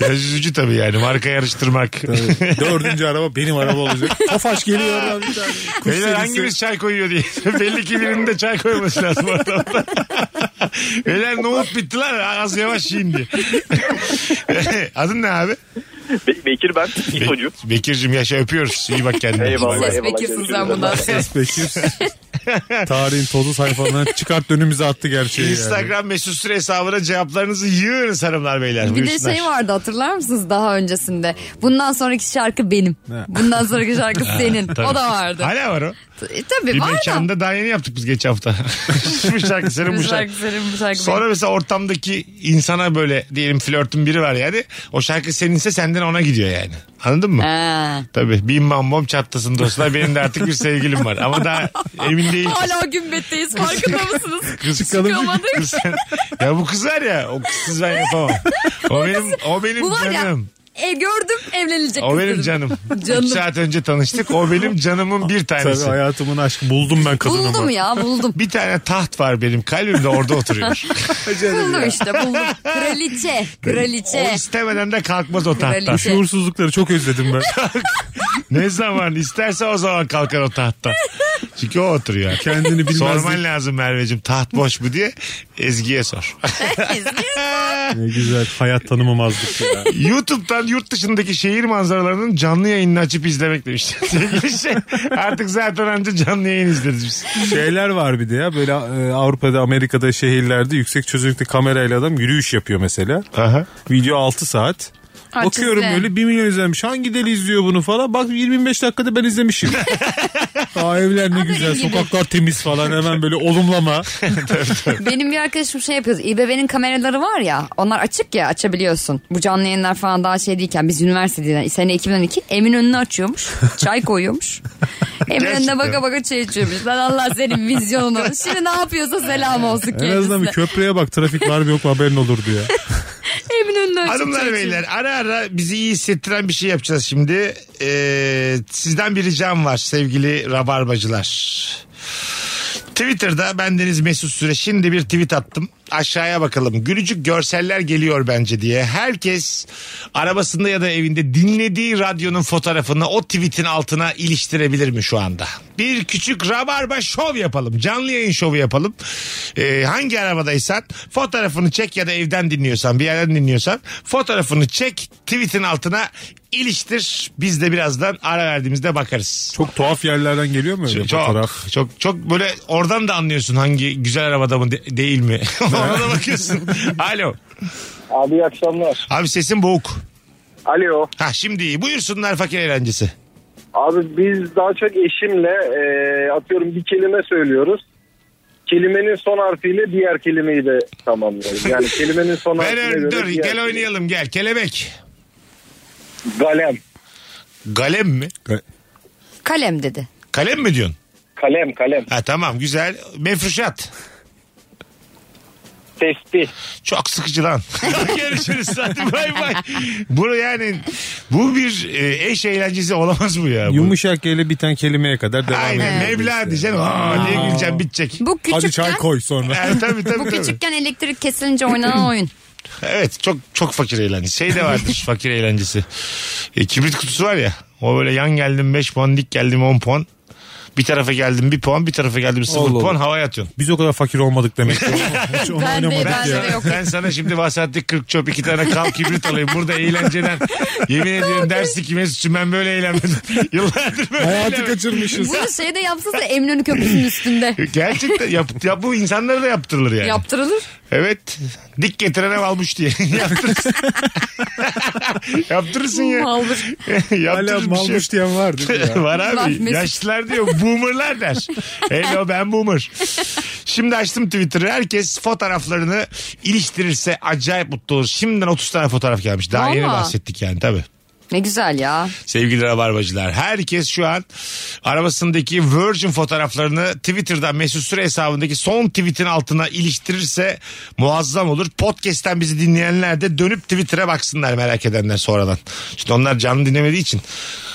Speaker 3: Biraz Üzücü tabii yani marka yarıştırmak.
Speaker 4: Dördüncü araba benim araba olacak. Tofaş geliyor oradan bir tane. Kuş
Speaker 3: Beyler şey?
Speaker 4: serisi.
Speaker 3: hangimiz çay koyuyor diye. <laughs> Belli ki birinin de çay koyması lazım ortamda. <laughs> Beyler nohut bitti lan az yavaş yiyin diye. <laughs> Adın ne abi?
Speaker 9: Be- Bekir ben.
Speaker 3: Be-
Speaker 9: İtocu.
Speaker 3: Bekir'cim yaşa öpüyoruz. İyi bak kendine.
Speaker 9: Eyvallah.
Speaker 5: Ses bekirsin sen bundan.
Speaker 4: Ses Bekir. Tarihin tozlu sayfalarından çıkart önümüze attı gerçeği. yani.
Speaker 3: Instagram mesut süre hesabına cevaplarınızı yığınız hanımlar beyler.
Speaker 5: Bir de
Speaker 3: Buyursunlar.
Speaker 5: şey vardı hatırlar mısınız daha öncesinde? Bundan sonraki şarkı benim. Bundan sonraki
Speaker 3: <laughs>
Speaker 5: şarkı senin. O da vardı.
Speaker 3: Hala var o.
Speaker 5: E, tabii
Speaker 3: Bir
Speaker 5: var da.
Speaker 3: mekanda daha yeni yaptık biz geçen hafta. <laughs>
Speaker 5: <laughs>
Speaker 3: bu şarkı senin bu
Speaker 5: Bu
Speaker 3: şarkı.
Speaker 5: şarkı senin bu şarkı
Speaker 3: Sonra
Speaker 5: benim.
Speaker 3: mesela ortamdaki insana böyle diyelim flörtün biri var yani. O şarkı seninse senden ona gidiyor yani. Anladın mı?
Speaker 5: Ha.
Speaker 3: Tabii bim bam bom çatlasın dostlar benim de artık bir sevgilim var ama
Speaker 5: <laughs>
Speaker 3: daha emin değil. <laughs>
Speaker 5: Hala gümbetteyiz farkında mısınız?
Speaker 3: Kız,
Speaker 5: Çıkamadık.
Speaker 3: kız sen- ya bu kız var ya o kızsız ben yapamam. O benim o benim
Speaker 5: Bu var ya
Speaker 3: canım.
Speaker 5: e, gördüm evlenilecek
Speaker 3: O
Speaker 5: kız
Speaker 3: benim
Speaker 5: dedim.
Speaker 3: canım.
Speaker 5: Canım.
Speaker 3: 3 saat önce tanıştık. O benim canımın bir
Speaker 4: Tabii
Speaker 3: tanesi.
Speaker 4: hayatımın aşkı buldum ben kadını.
Speaker 5: Buldum
Speaker 4: bak.
Speaker 5: ya
Speaker 4: <laughs>
Speaker 5: buldum.
Speaker 3: Bir tane taht var benim kalbimde orada oturuyor.
Speaker 5: buldum işte buldum.
Speaker 4: <laughs>
Speaker 5: Kraliçe.
Speaker 3: O
Speaker 5: Kraliçe.
Speaker 3: istemeden de kalkmaz o tahttan.
Speaker 5: Kraliçe.
Speaker 4: Şuursuzlukları çok özledim ben.
Speaker 3: Ne zaman isterse o zaman kalkar o tahttan. Çünkü o oturuyor.
Speaker 4: Kendini bilmezlik.
Speaker 3: Sorman lazım Merveciğim taht boş mu diye Ezgi'ye sor.
Speaker 4: <laughs> Ne güzel hayat tanımamazlık ya.
Speaker 3: YouTube'dan yurt dışındaki şehir manzaralarının canlı yayınını açıp izlemek demiş. <laughs> Sevgili şey, artık zaten anca canlı yayın izleriz biz.
Speaker 4: Şeyler var bir de ya böyle e, Avrupa'da Amerika'da şehirlerde yüksek çözünürlükte kamerayla adam yürüyüş yapıyor mesela.
Speaker 3: Aha.
Speaker 4: Video 6 saat.
Speaker 5: Açız
Speaker 4: Bakıyorum
Speaker 5: be.
Speaker 4: böyle 1 milyon izlenmiş. Hangi deli izliyor bunu falan. Bak 25 dakikada ben izlemişim. Aa, evler ne güzel.
Speaker 5: gibi.
Speaker 4: Sokaklar temiz falan. Hemen böyle
Speaker 5: <laughs>
Speaker 4: olumlama.
Speaker 5: Benim bir arkadaşım şey yapıyordu. İBB'nin kameraları var ya onlar açık ya açabiliyorsun. Bu canlı yayınlar falan daha şey değilken biz üniversitedeyken sene 2012 Eminönü'nü açıyormuş. Çay
Speaker 4: <laughs>
Speaker 5: koyuyormuş. Eminönü'ne
Speaker 3: Gerçekten.
Speaker 5: baka baka çay içiyormuş. Lan Allah
Speaker 4: <laughs>
Speaker 5: senin vizyonunu. Şimdi ne yapıyorsa selam olsun
Speaker 4: En azından bir
Speaker 5: kendisine.
Speaker 4: köprüye bak trafik var mı yok mu haberin olur diye.
Speaker 5: Eminönü'nü açıp
Speaker 3: Hanımlar
Speaker 5: çay
Speaker 3: beyler ara ara bizi iyi hissettiren bir şey yapacağız şimdi. Ee, sizden bir ricam var sevgili rabarbacılar. Twitter'da bendeniz Mesut Süre şimdi bir tweet attım. Aşağıya bakalım. Gülücük görseller geliyor bence diye. Herkes arabasında ya da evinde dinlediği radyonun fotoğrafını o tweetin altına iliştirebilir mi şu anda? Bir küçük rabarba şov yapalım. Canlı yayın şovu yapalım. Ee, hangi arabadaysan fotoğrafını çek ya da evden dinliyorsan bir yerden dinliyorsan fotoğrafını çek tweetin altına iliştir. Biz de birazdan ara verdiğimizde bakarız.
Speaker 4: Çok tuhaf yerlerden geliyor mu öyle
Speaker 3: Şey, Çok,
Speaker 4: fotoğraf?
Speaker 3: çok çok böyle oradan da anlıyorsun hangi güzel arabada mı de- değil mi? <laughs> Ona da
Speaker 4: <laughs>
Speaker 3: bakıyorsun. Alo.
Speaker 6: Abi iyi akşamlar.
Speaker 3: Abi sesin boğuk.
Speaker 6: Alo.
Speaker 3: Ha şimdi iyi. Buyursunlar fakir eğlencesi.
Speaker 6: Abi biz daha çok eşimle e, atıyorum bir kelime söylüyoruz. Kelimenin son harfiyle diğer kelimeyi de tamamlıyoruz.
Speaker 3: <laughs>
Speaker 6: Yani kelimenin son
Speaker 3: Ben
Speaker 6: harfiyle
Speaker 3: ö-
Speaker 6: göre
Speaker 3: dur
Speaker 6: diğer
Speaker 3: gel oynayalım gel. Kelebek.
Speaker 6: Galem.
Speaker 3: Galem mi?
Speaker 5: içiyorsun. Kalem dedi.
Speaker 3: Kalem mi diyorsun?
Speaker 6: Kalem kalem.
Speaker 3: Ha tamam güzel. Mefruşat.
Speaker 6: Tespih.
Speaker 3: Çok sıkıcı lan. <laughs> Görüşürüz hadi bay bay. Bu yani bu bir e, eş eğlencesi olamaz bu ya. Bu.
Speaker 4: Yumuşak ele biten kelimeye kadar devam ediyor.
Speaker 3: Aynen Mevla diyeceksin. Aa, diye güleceğim bitecek.
Speaker 5: Bu
Speaker 4: Hadi çay
Speaker 5: küçükken,
Speaker 4: koy sonra.
Speaker 3: Evet, tabii, tabii,
Speaker 5: bu
Speaker 3: tabii.
Speaker 5: küçükken elektrik
Speaker 4: <clears throat>
Speaker 5: kesilince oynanan oyun.
Speaker 3: Evet çok çok fakir eğlencesi. Şey de
Speaker 5: <laughs>
Speaker 3: vardır fakir eğlencesi. E, kibrit kutusu var ya. O böyle yan geldim 5 puan dik geldim 10 puan. Bir tarafa geldim 1 puan bir tarafa geldim 0
Speaker 4: Allah Allah.
Speaker 3: puan havaya atıyorsun.
Speaker 4: Biz o kadar fakir olmadık demek ki. Hiç onu
Speaker 5: Ben de-
Speaker 4: oynamadık
Speaker 5: ben de
Speaker 4: ya.
Speaker 5: yok.
Speaker 3: Ben sana şimdi vasattaki 40 çöp iki tane kav kibrit alayım. Burada eğlenceden yemin ediyorum dersi ki Mesut'cum ben böyle eğlenmedim.
Speaker 5: <laughs>
Speaker 3: Yıllardır böyle
Speaker 4: <laughs> Hayatı
Speaker 3: eğlenmedim.
Speaker 4: kaçırmışız.
Speaker 5: Bunu şeyde yapsanız da Eminönü Köprüsü'nün üstünde.
Speaker 3: Gerçekten yap, ya bu insanlara da yaptırılır yani.
Speaker 5: Yaptırılır.
Speaker 3: Evet. Dik getirene almış diye. <laughs>
Speaker 5: <laughs>
Speaker 3: Yaptırırsın. Yaptırırsın <laughs> ya.
Speaker 5: Malmış.
Speaker 4: Hala
Speaker 3: Yaptırırsın bir şey.
Speaker 4: malmış diyen var değil mi <laughs>
Speaker 3: <laughs>
Speaker 4: ya?
Speaker 3: Var abi.
Speaker 5: Var Mesut.
Speaker 3: Yaşlılar diyor boomerlar der. Hello ben boomer. Şimdi açtım Twitter'ı. Herkes fotoğraflarını iliştirirse acayip mutlu olur. Şimdiden 30 tane fotoğraf gelmiş. Daha yeni
Speaker 5: Valla.
Speaker 3: bahsettik yani tabii.
Speaker 5: Ne güzel ya.
Speaker 3: Sevgili Rabarbacılar herkes şu an arabasındaki Virgin fotoğraflarını Twitter'dan Mesut Süre hesabındaki son tweetin altına iliştirirse muazzam olur. Podcast'ten bizi dinleyenler de dönüp Twitter'a baksınlar merak edenler sonradan. Şimdi onlar canlı dinlemediği için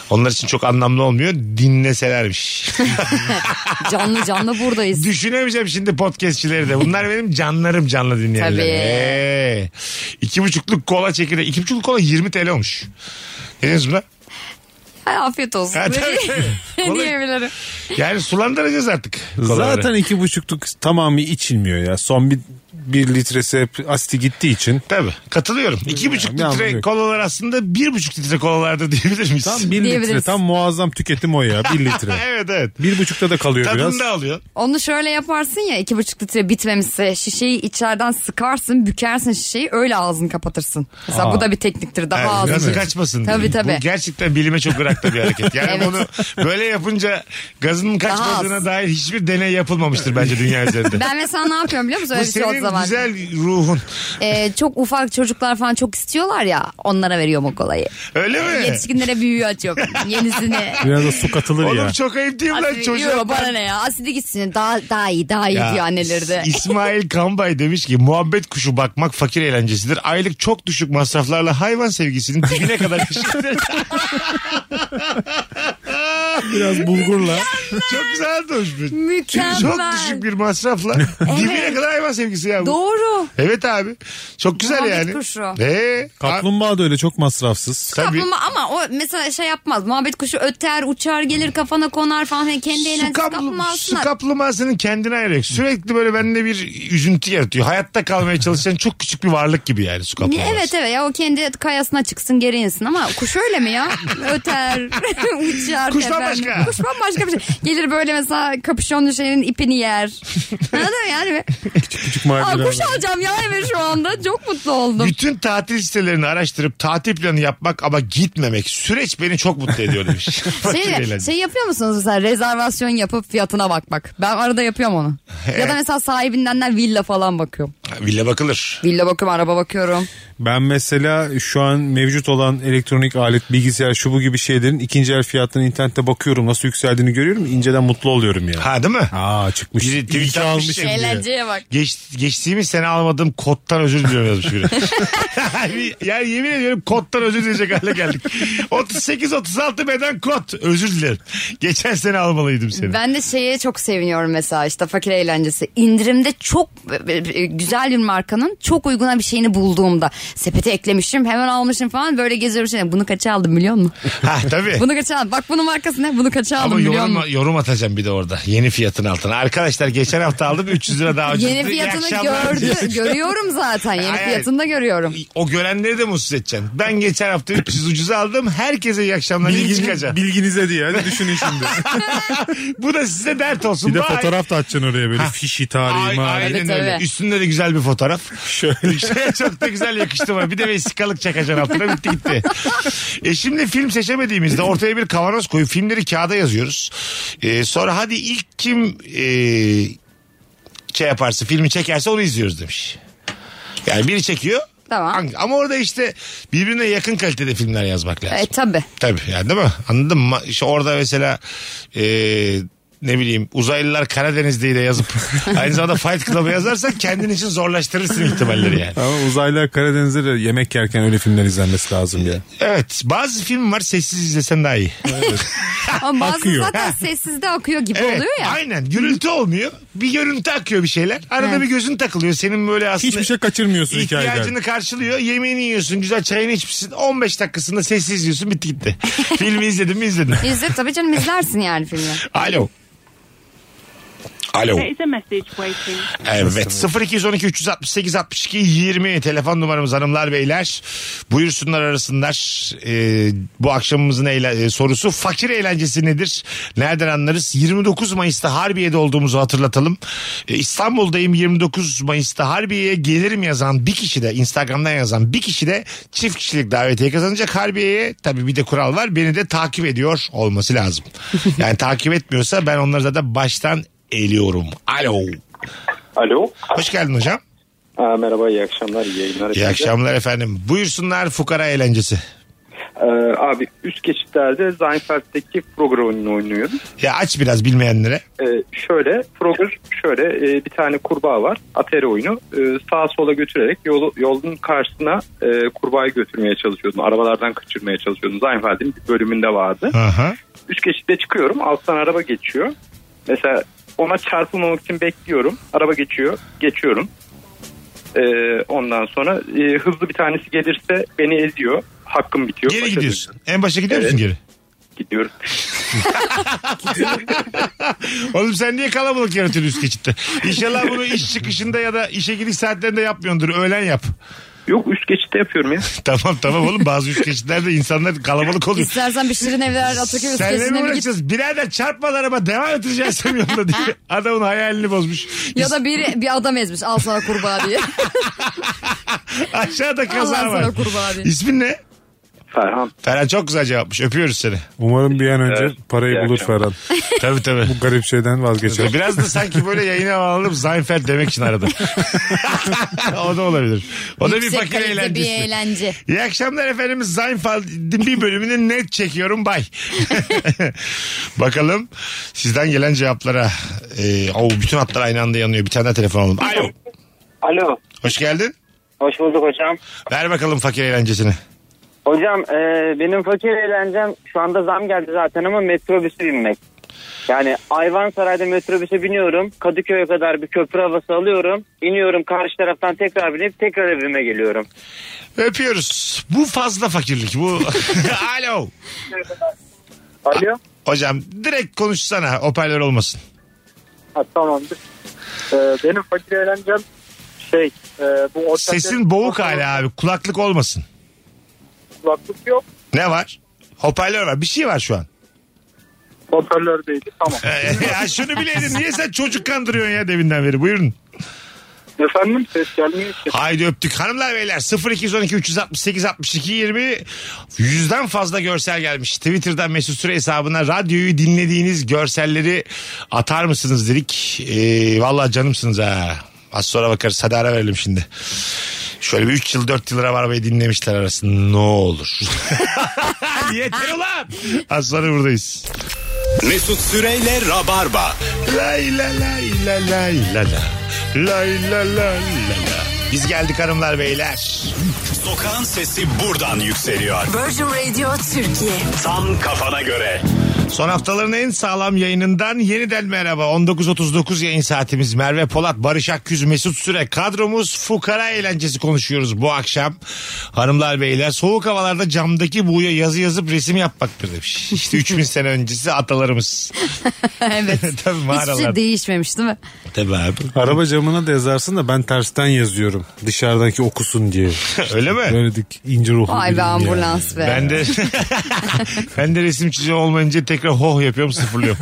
Speaker 3: onlar için çok anlamlı olmuyor. Dinleselermiş.
Speaker 5: Canlı canlı
Speaker 3: <laughs>
Speaker 5: buradayız.
Speaker 3: Düşünemeyeceğim şimdi podcastçileri de. Bunlar benim canlarım canlı dinleyenler.
Speaker 5: Tabii.
Speaker 3: Ee, iki buçukluk kola çekirdeği. İki buçukluk kola 20 TL olmuş. Ne diyorsunuz buna?
Speaker 5: Ha, afiyet olsun.
Speaker 3: Ha, tabii, tabii.
Speaker 5: <laughs> Ne diyebilirim?
Speaker 3: Yani sulandıracağız artık. kolaları.
Speaker 4: Zaten iki buçukluk tamamı içilmiyor ya. Son bir, bir litresi hep asiti gittiği için.
Speaker 3: Tabii katılıyorum. İki buçuk
Speaker 4: ne anlamı
Speaker 3: litre
Speaker 4: yok.
Speaker 3: kolalar aslında bir buçuk litre kolalarda diyebilir miyiz?
Speaker 4: Tam bir litre.
Speaker 5: Diyebiliriz.
Speaker 4: Tam muazzam tüketim o <laughs> ya.
Speaker 3: <laughs>
Speaker 4: Bir litre.
Speaker 3: evet evet.
Speaker 4: bir buçukta da kalıyor biraz.
Speaker 3: Tadını da alıyor.
Speaker 5: Onu şöyle yaparsın ya iki buçuk litre bitmemişse şişeyi içeriden sıkarsın bükersin şişeyi öyle ağzını kapatırsın. Mesela bu da bir tekniktir daha
Speaker 3: Yani
Speaker 5: ağzını.
Speaker 3: gazı kaçmasın.
Speaker 5: Tabii
Speaker 3: diye.
Speaker 5: tabii.
Speaker 3: Bu gerçekten bilime çok bıraktı bir hareket. Yani
Speaker 5: <laughs> Evet.
Speaker 3: bunu böyle yapınca gazının kaçmadığına
Speaker 5: az.
Speaker 3: dair hiçbir deney yapılmamıştır bence dünya üzerinde.
Speaker 5: <laughs> Ben mesela ne yapıyorum biliyor musun?
Speaker 3: Bu
Speaker 5: Öyle bir şey olduğu
Speaker 3: senin
Speaker 5: zaman.
Speaker 3: güzel ruhun.
Speaker 5: Ee, çok ufak çocuklar falan çok istiyorlar ya onlara veriyorum o kolayı.
Speaker 3: Öyle mi?
Speaker 5: Yetişkinlere büyüğü açıyorum.
Speaker 3: <laughs>
Speaker 5: Yenisini.
Speaker 4: Biraz da su katılır
Speaker 3: Oğlum
Speaker 4: ya.
Speaker 3: çok ayıp değil mi lan
Speaker 5: Asidi
Speaker 3: çocuğa?
Speaker 5: yiyor bana ne ya? Asidi gitsin. Daha, daha iyi daha iyi
Speaker 3: Ya,
Speaker 5: diyor anneleri de.
Speaker 3: İsmail Kambay demiş ki muhabbet kuşu bakmak fakir eğlencesidir. Aylık çok düşük masraflarla hayvan sevgisinin dibine
Speaker 5: <laughs>
Speaker 3: kadar yaşanır.
Speaker 4: Biraz <laughs> bulgurla.
Speaker 3: çok güzel olmuş. bu.
Speaker 5: Mükemmel.
Speaker 3: Çok düşük bir masrafla <laughs> dibine kadar hayvan sevgisi ya bu.
Speaker 5: Doğru.
Speaker 3: Evet abi. Çok güzel
Speaker 5: Muhabbet
Speaker 3: yani.
Speaker 5: kuşu.
Speaker 3: Ee, a-
Speaker 4: Kaplumbağa da öyle çok masrafsız.
Speaker 3: tabii.
Speaker 5: Kaplumbağa ama o mesela şey yapmaz. Muhabbet kuşu öter, uçar, gelir kafana konar falan. Hani kendi
Speaker 3: Su,
Speaker 5: eğlencesi
Speaker 3: kaplu, su
Speaker 5: kaplumbağasına.
Speaker 3: kaplumbağasının kendine ayrı. yok. Sürekli böyle bende bir üzüntü yaratıyor. Hayatta kalmaya çalışan çok küçük bir varlık gibi yani su
Speaker 5: Niye?
Speaker 3: kaplumbağası.
Speaker 5: Evet evet ya o kendi kayasına çıksın geri insin ama kuş öyle
Speaker 3: <laughs>
Speaker 5: mi ya? Öter, <laughs> uçar.
Speaker 3: Kuş
Speaker 5: teper.
Speaker 3: bambaşka.
Speaker 5: Kuş bambaşka bir şey. Gelir böyle mesela kapüşonlu şeyin ipini yer.
Speaker 3: <laughs>
Speaker 5: Anladın mı yani?
Speaker 4: Küçük
Speaker 5: Aa,
Speaker 4: maceralar.
Speaker 5: kuş alacağım ya eve şu anda. Çok mutlu oldum.
Speaker 3: Bütün tatil sitelerini araştırıp tatil planı yapmak ama gitmemek süreç beni çok mutlu ediyor demiş. Fakir
Speaker 5: Şey,
Speaker 3: eğlence.
Speaker 5: şey yapıyor musunuz mesela rezervasyon yapıp fiyatına bakmak? Ben arada
Speaker 3: <laughs>
Speaker 5: yapıyorum onu. ya da mesela sahibindenler villa falan bakıyorum.
Speaker 3: Villa bakılır.
Speaker 5: Villa bakıyorum,
Speaker 3: <laughs>
Speaker 5: araba bakıyorum.
Speaker 4: Ben mesela şu an mevcut olan elektronik alet, bilgisayar, şu bu gibi şeylerin ikinci el fiyatlarını internette bakıyorum. Nasıl yükseldiğini görüyorum. İnceden mutlu oluyorum ya.
Speaker 3: Ha değil mi?
Speaker 4: Aa çıkmış.
Speaker 3: Biri şey
Speaker 4: İyi
Speaker 3: tweet
Speaker 4: ki
Speaker 3: atmış
Speaker 4: almışım
Speaker 3: ya.
Speaker 4: diye.
Speaker 5: Eğlenceye bak.
Speaker 3: Geç, geçtiğimiz sene almadığım kodtan özür diliyorum yazmış
Speaker 5: <laughs>
Speaker 3: biri. yani yemin ediyorum kodtan özür dileyecek hale geldik. 38-36 beden kod. Özür dilerim. Geçen sene almalıydım seni.
Speaker 5: Ben de şeye çok seviniyorum mesela işte fakir eğlencesi. İndirimde çok e, e, güzel bir markanın çok uyguna bir şeyini bulduğumda sepete eklemişim hemen almışım falan böyle geziyorum şey bunu kaça aldım
Speaker 3: <laughs>
Speaker 5: biliyor musun?
Speaker 3: Ha tabii.
Speaker 5: Bunu kaça aldım bak bunun markası ne bunu kaça aldım
Speaker 3: Ama
Speaker 5: biliyor
Speaker 3: yorum,
Speaker 5: musun?
Speaker 3: yorum atacağım bir de orada. Yeni fiyatın altına. Arkadaşlar geçen hafta aldım 300 lira daha ucuz.
Speaker 5: Yeni
Speaker 3: İyi
Speaker 5: fiyatını
Speaker 3: akşamlar diye. <laughs>
Speaker 5: gördü, görüyorum zaten yeni
Speaker 3: Hayır, hayır.
Speaker 5: fiyatını da görüyorum.
Speaker 3: O görenleri de mutsuz edeceksin. Ben geçen hafta 300 ucuza aldım. Herkese iyi akşamlar. iyi
Speaker 4: Bilginiz,
Speaker 3: şey çıkacak.
Speaker 4: bilginize diye. Hadi
Speaker 3: <laughs>
Speaker 4: düşünün şimdi.
Speaker 3: Bu da size dert olsun.
Speaker 4: Bir de
Speaker 3: Bye.
Speaker 4: fotoğraf da atacaksın oraya böyle fişi tarihi
Speaker 3: Ay,
Speaker 4: mali.
Speaker 3: aynen
Speaker 5: Tabii,
Speaker 3: öyle.
Speaker 5: tabii.
Speaker 3: Üstünde de güzel bir fotoğraf. <laughs> Şöyle. Çok da güzel yakıştı bana. Bir de vesikalık çakacaksın altına bitti gitti. E şimdi film seçemediğimizde ortaya bir kavanoz koyup filmleri kağıda yazıyoruz. E, sonra hadi ilk kim e, şey yaparsa filmi çekerse onu izliyoruz demiş. Yani biri çekiyor.
Speaker 5: Tamam.
Speaker 3: Hangi- Ama orada işte birbirine yakın kalitede filmler yazmak lazım.
Speaker 5: E tabi.
Speaker 3: Tabii yani değil mi? Anladın mı? İşte orada mesela e, ne bileyim uzaylılar Karadeniz'deyi de
Speaker 5: <laughs>
Speaker 3: yazıp aynı zamanda Fight Club'ı yazarsan kendin için zorlaştırırsın ihtimalleri yani.
Speaker 4: Ama uzaylılar Karadeniz'de de yemek yerken öyle filmler izlenmesi lazım ya.
Speaker 3: Evet bazı film var sessiz izlesen daha iyi.
Speaker 5: Ama bazı
Speaker 3: <laughs>
Speaker 4: Akıyor.
Speaker 5: zaten sessizde akıyor gibi
Speaker 3: Evet,
Speaker 5: oluyor ya.
Speaker 3: Aynen gürültü olmuyor. Bir görüntü akıyor bir şeyler. Arada
Speaker 5: Evet.
Speaker 3: bir gözün takılıyor. Senin böyle aslında...
Speaker 4: Hiçbir şey kaçırmıyorsun hikayeden.
Speaker 3: İhtiyacını karşılıyor. Yemeğini yiyorsun. Güzel çayını içmişsin. 15 dakikasında sessiz yiyorsun. Bitti
Speaker 5: <laughs>
Speaker 3: gitti. Filmi izledin mi izledin. <laughs>
Speaker 5: İzle tabii canım izlersin yani filmi.
Speaker 3: Alo. Alo.
Speaker 8: There is a message waiting.
Speaker 3: Evet 0212 368 62 20 telefon numaramız hanımlar beyler buyursunlar arasınlar Ee, bu akşamımızın eyle- e, sorusu fakir eğlencesi nedir nereden anlarız 29 Mayıs'ta Harbiye'de olduğumuzu hatırlatalım Ee, İstanbul'dayım 29 Mayıs'ta Harbiye'ye gelirim yazan bir kişi de Instagram'dan yazan bir kişi de çift kişilik davetiye kazanacak Harbiye'ye tabi bir de kural var beni de takip ediyor olması lazım yani takip etmiyorsa ben onları da baştan eliyorum alo
Speaker 9: Alo.
Speaker 3: Hoş geldin hocam.
Speaker 9: Aa, merhaba iyi akşamlar iyi yayınlar.
Speaker 3: İyi akşamlar efendim. Buyursunlar fukara eğlencesi.
Speaker 9: Ee, abi üst geçitlerde Seinfeld'deki Frogger oyununu oynuyoruz.
Speaker 3: Ya aç biraz bilmeyenlere.
Speaker 9: Ee, şöyle Frogger şöyle e, bir tane kurbağa var. Atari oyunu. Ee, sağa sola götürerek yolu, yolun karşısına e, kurbağayı götürmeye çalışıyordum. Arabalardan kaçırmaya çalışıyordum. Seinfeld'in bir bölümünde vardı.
Speaker 3: Aha.
Speaker 9: Üst geçitte çıkıyorum. Alttan araba geçiyor. Mesela ona çarpılmamak için bekliyorum. Araba geçiyor. Geçiyorum. Ee, ondan sonra e, hızlı bir tanesi gelirse beni eziyor. Hakkım bitiyor.
Speaker 3: Geri
Speaker 9: Başa
Speaker 3: gidiyorsun. En başa gidiyor
Speaker 9: Evet.
Speaker 3: musun geri?
Speaker 9: dönüyorum. Gidiyorum.
Speaker 3: <laughs> Oğlum sen niye kalabalık yaratıyorsun üst geçitte? İnşallah bunu iş çıkışında ya da işe gidiş saatlerinde yapmıyordur. Öğlen yap. <laughs>
Speaker 9: Yok üst geçitte yapıyorum ya.
Speaker 3: tamam tamam oğlum bazı üst geçitlerde insanlar kalabalık oluyor.
Speaker 5: İstersen bir şirin evler Ataköy
Speaker 3: Senle mi
Speaker 5: üskesine bir git.
Speaker 3: uğraşacağız? Birader çarpmadan araba devam ettireceğiz yolda
Speaker 5: <laughs>
Speaker 3: diye. Adamın hayalini bozmuş.
Speaker 5: Ya da biri bir adam ezmiş al sana kurbağa diye.
Speaker 3: Aşağıda kaza
Speaker 5: Allah
Speaker 3: var.
Speaker 5: sana kurbağa diye.
Speaker 3: İsmin ne?
Speaker 9: Ferhan.
Speaker 3: Ferhan çok güzel cevapmış. Öpüyoruz seni.
Speaker 4: Umarım bir an önce parayı
Speaker 9: iyi
Speaker 4: bulur
Speaker 9: akşamlar.
Speaker 4: Ferhan.
Speaker 3: tabii tabii.
Speaker 4: Bu garip şeyden vazgeçer.
Speaker 3: Biraz da sanki böyle yayına bağlanıp Seinfeld demek için aradım. <laughs> o da olabilir. <laughs> O da bir
Speaker 5: Yüksek
Speaker 3: fakir
Speaker 5: kalite
Speaker 3: eğlencesi.
Speaker 5: Bir eğlence.
Speaker 3: İyi akşamlar efendim. Seinfeld'in bir bölümünü net çekiyorum. Bay. <laughs> Bakalım sizden gelen cevaplara. Ee, o bütün hatlar aynı anda yanıyor. Bir tane daha telefon alalım. Alo.
Speaker 10: Alo.
Speaker 3: Hoş geldin.
Speaker 10: Hoş bulduk hocam.
Speaker 3: Ver bakalım fakir eğlencesini.
Speaker 10: Hocam e, benim fakir eğlencem şu anda zam geldi zaten ama metrobüse binmek. Yani Ayvansaray'da metrobüse biniyorum. Kadıköy'e kadar bir köprü havası alıyorum. İniyorum karşı taraftan tekrar binip tekrar evime geliyorum.
Speaker 3: Öpüyoruz. Bu fazla fakirlik. Bu <laughs> Alo.
Speaker 10: Alo.
Speaker 3: Hocam direkt konuşsana. Hoparlör olmasın.
Speaker 10: Ha, tamamdır. E, benim fakir eğlencem şey e, bu ortak
Speaker 3: Sesin boğuk hala abi. Kulaklık olmasın.
Speaker 10: kulaklık yok.
Speaker 3: Ne var? Hoparlör var. Bir şey var şu an. <laughs>
Speaker 10: Hoparlördeydi tamam.
Speaker 3: Ee, ya şunu bileydin. Niye sen çocuk kandırıyorsun ya deminden beri? Buyurun.
Speaker 10: Efendim ses gelmiyor ki.
Speaker 3: Haydi öptük. Hanımlar beyler 0212 368 62 20 yüzden fazla görsel gelmiş. Twitter'dan Mesut Süre hesabına radyoyu dinlediğiniz görselleri atar mısınız dedik. Ee, vallahi canımsınız ha. Az sonra bakarız. Hadi ara verelim şimdi. Şöyle bir 3 yıl 4 yıl arabayı dinlemişler arasında. Ne olur. <laughs> Yeter ulan. Az sonra buradayız.
Speaker 2: Mesut Süreyle Rabarba.
Speaker 3: Lay la lay la lay la la. Lay la lay la la. Biz geldik hanımlar beyler.
Speaker 2: Sokağın sesi buradan yükseliyor.
Speaker 11: Virgin Radio Türkiye.
Speaker 2: Tam kafana göre.
Speaker 3: Son haftaların en sağlam yayınından yeniden merhaba. 19.39 yayın saatimiz. Merve Polat, Barış Akgüz, Mesut Süre. Kadromuz fukara eğlencesi konuşuyoruz bu akşam. Hanımlar beyler soğuk havalarda camdaki buğuya yazı yazıp resim yapmaktır demiş. İşte 3000 sene öncesi atalarımız.
Speaker 5: <laughs>
Speaker 3: <laughs>
Speaker 5: evet.
Speaker 3: Tabii
Speaker 5: Hiçbir şey
Speaker 3: mağaralar.
Speaker 5: değişmemiş değil mi?
Speaker 3: <laughs> Tabii abi.
Speaker 4: Araba camına da yazarsın da ben tersten yazıyorum. Dışarıdaki okusun diye.
Speaker 3: <laughs> Öyle mi?
Speaker 4: Böyle dik ince ruhlu
Speaker 5: Ay be
Speaker 4: biriyim yani.
Speaker 5: ambulans be. <laughs>
Speaker 3: Ben de ben de resim çiziyor olmayınca tekrar hoh yapıyorum
Speaker 5: <laughs>
Speaker 3: sıfırlıyorum.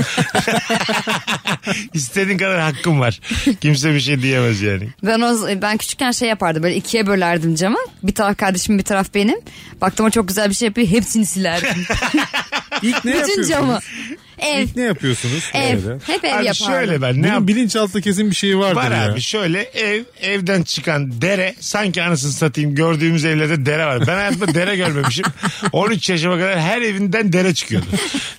Speaker 3: İstediğin kadar hakkım var. Kimse bir şey diyemez yani.
Speaker 5: Ben o ben küçükken şey yapardım böyle ikiye bölerdim camı. Bir taraf kardeşim bir taraf benim. Baktım o çok güzel bir şey yapıyor
Speaker 3: <laughs>
Speaker 5: hepsini silerdim.
Speaker 4: İlk ne
Speaker 5: Bütün
Speaker 4: yapıyorsunuz?
Speaker 5: camı. Ev.
Speaker 4: İlk ne yapıyorsunuz?
Speaker 5: Ev.
Speaker 4: Böyle.
Speaker 5: Hep ev
Speaker 3: abi
Speaker 5: yapardım.
Speaker 3: şöyle ben ne
Speaker 4: Bunun
Speaker 3: yap-
Speaker 4: bilinçaltı kesin bir şey vardır
Speaker 3: Var
Speaker 4: ya.
Speaker 3: abi şöyle ev evden çıkan dere sanki anasını satayım gördüğümüz evlerde dere var. Ben hayatımda dere
Speaker 4: <laughs>
Speaker 3: görmemişim. 13 yaşıma kadar her evinden dere çıkıyordu.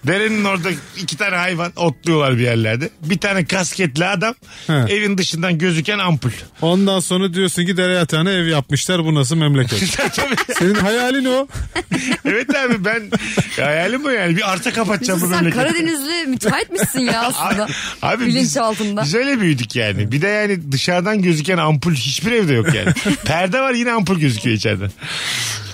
Speaker 3: Derenin orada iki tane hayvan otluyorlar bir yerlerde. Bir tane kasketli adam
Speaker 4: He.
Speaker 3: evin dışından gözüken ampul. <laughs>
Speaker 4: Ondan sonra diyorsun ki dere yatağına ev yapmışlar bu nasıl
Speaker 5: <laughs>
Speaker 4: memleket? Senin hayalin o.
Speaker 3: Evet abi ben hayalim bu yani. Bir arsa kapatacağım bu
Speaker 5: Mesut, sen
Speaker 3: memleketi.
Speaker 5: Karadenizli müteahhit misin ya aslında?
Speaker 3: Abi, abi biz,
Speaker 5: Bilinç altında.
Speaker 3: biz öyle büyüdük yani. Bir de yani dışarıdan gözüken ampul hiçbir evde yok
Speaker 5: <laughs>
Speaker 3: yani. Perde var yine ampul gözüküyor içeriden.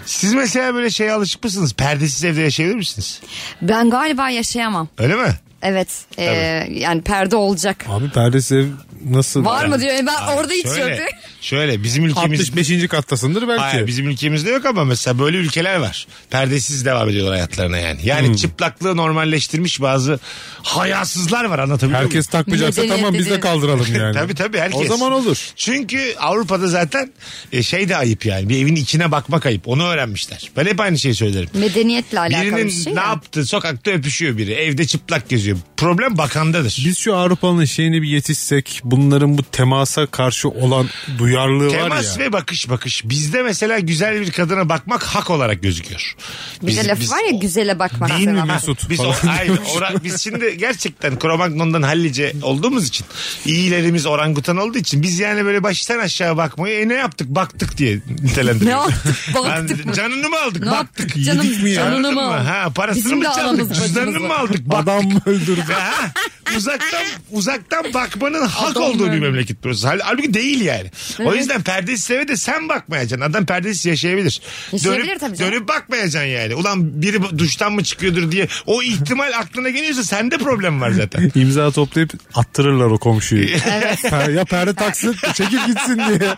Speaker 3: Siz mesela böyle şeye alışık mısınız? Perdesiz evde yaşayabilir misiniz?
Speaker 5: Ben galiba yaşayamam.
Speaker 3: Öyle mi?
Speaker 5: Evet. e, yani perde olacak.
Speaker 4: Abi perdesi ev nasıl?
Speaker 5: Var mı diyor. E, ben
Speaker 3: Abi
Speaker 5: orada hiç
Speaker 3: şöyle,
Speaker 5: yok.
Speaker 3: Şöyle bizim ülkemiz...
Speaker 4: 65. kattasındır belki.
Speaker 3: Hayır, bizim ülkemizde yok ama mesela böyle ülkeler var. Perdesiz devam ediyorlar hayatlarına yani. Yani çıplaklığı normalleştirmiş bazı hayasızlar var anlatabiliyor muyum?
Speaker 4: Herkes takmayacaksa
Speaker 5: Medeniyet
Speaker 4: tamam biz de
Speaker 3: <laughs>
Speaker 5: dediğin-
Speaker 4: kaldıralım yani.
Speaker 3: tabii tabii herkes.
Speaker 4: O zaman olur.
Speaker 3: Çünkü Avrupa'da zaten e, şey de ayıp yani. Bir evin içine bakmak ayıp. Onu öğrenmişler. Ben hep aynı şeyi söylerim.
Speaker 5: Medeniyetle alakalı
Speaker 3: Birinin
Speaker 5: bir şey.
Speaker 3: ne
Speaker 5: ya.
Speaker 3: yaptı? Sokakta öpüşüyor biri. Evde çıplak geziyor. Problem bakandadır.
Speaker 4: Biz şu Avrupa'nın şeyini bir yetişsek bunların bu temasa karşı olan duyarlılığı var ya.
Speaker 3: Temas ve bakış bakış. Bizde mesela güzel bir kadına bakmak hak olarak gözüküyor.
Speaker 5: Bir de laf var ya güzele bakmak.
Speaker 4: Değil mi
Speaker 5: falan.
Speaker 4: Mesut?
Speaker 3: Biz, o,
Speaker 4: falan
Speaker 3: hayır, ora- biz şimdi gerçekten Kromagnon'dan hallice olduğumuz için iyilerimiz orangutan olduğu için biz yani böyle baştan aşağı bakmayı e ne yaptık baktık diye nitelendiriyoruz.
Speaker 5: Ne yaptık, baktık
Speaker 3: Ben-
Speaker 5: mı?
Speaker 3: Canını mı aldık
Speaker 5: Ne
Speaker 3: baktık.
Speaker 5: yaptık canım?
Speaker 4: yedik mi ya?
Speaker 5: Canını mı?
Speaker 3: Anladın Ha, parasını
Speaker 5: Bizim
Speaker 3: mı
Speaker 5: de anamız
Speaker 3: çaldık
Speaker 5: bacımız
Speaker 3: cüzdanını mı
Speaker 5: var.
Speaker 3: aldık baktık.
Speaker 4: Adam <laughs> öldürdü.
Speaker 3: Ha, uzaktan uzaktan bakmanın hak
Speaker 5: Adam
Speaker 3: olduğu bir
Speaker 5: öldü.
Speaker 3: memleket burası. Hal- Halbuki değil yani. O yüzden perdesiz eve de sen bakmayacaksın. Adam perdesiz yaşayabilir.
Speaker 5: Yaşayabilir
Speaker 3: dönüp,
Speaker 5: tabii canım.
Speaker 3: dönüp bakmayacaksın yani. Ulan biri bu- duştan mı çıkıyordur diye. O ihtimal <laughs> aklına geliyorsa sende problem var zaten. <laughs>
Speaker 4: İmza toplayıp attırırlar o komşuyu. Per- ya perde taksın çekip gitsin diye.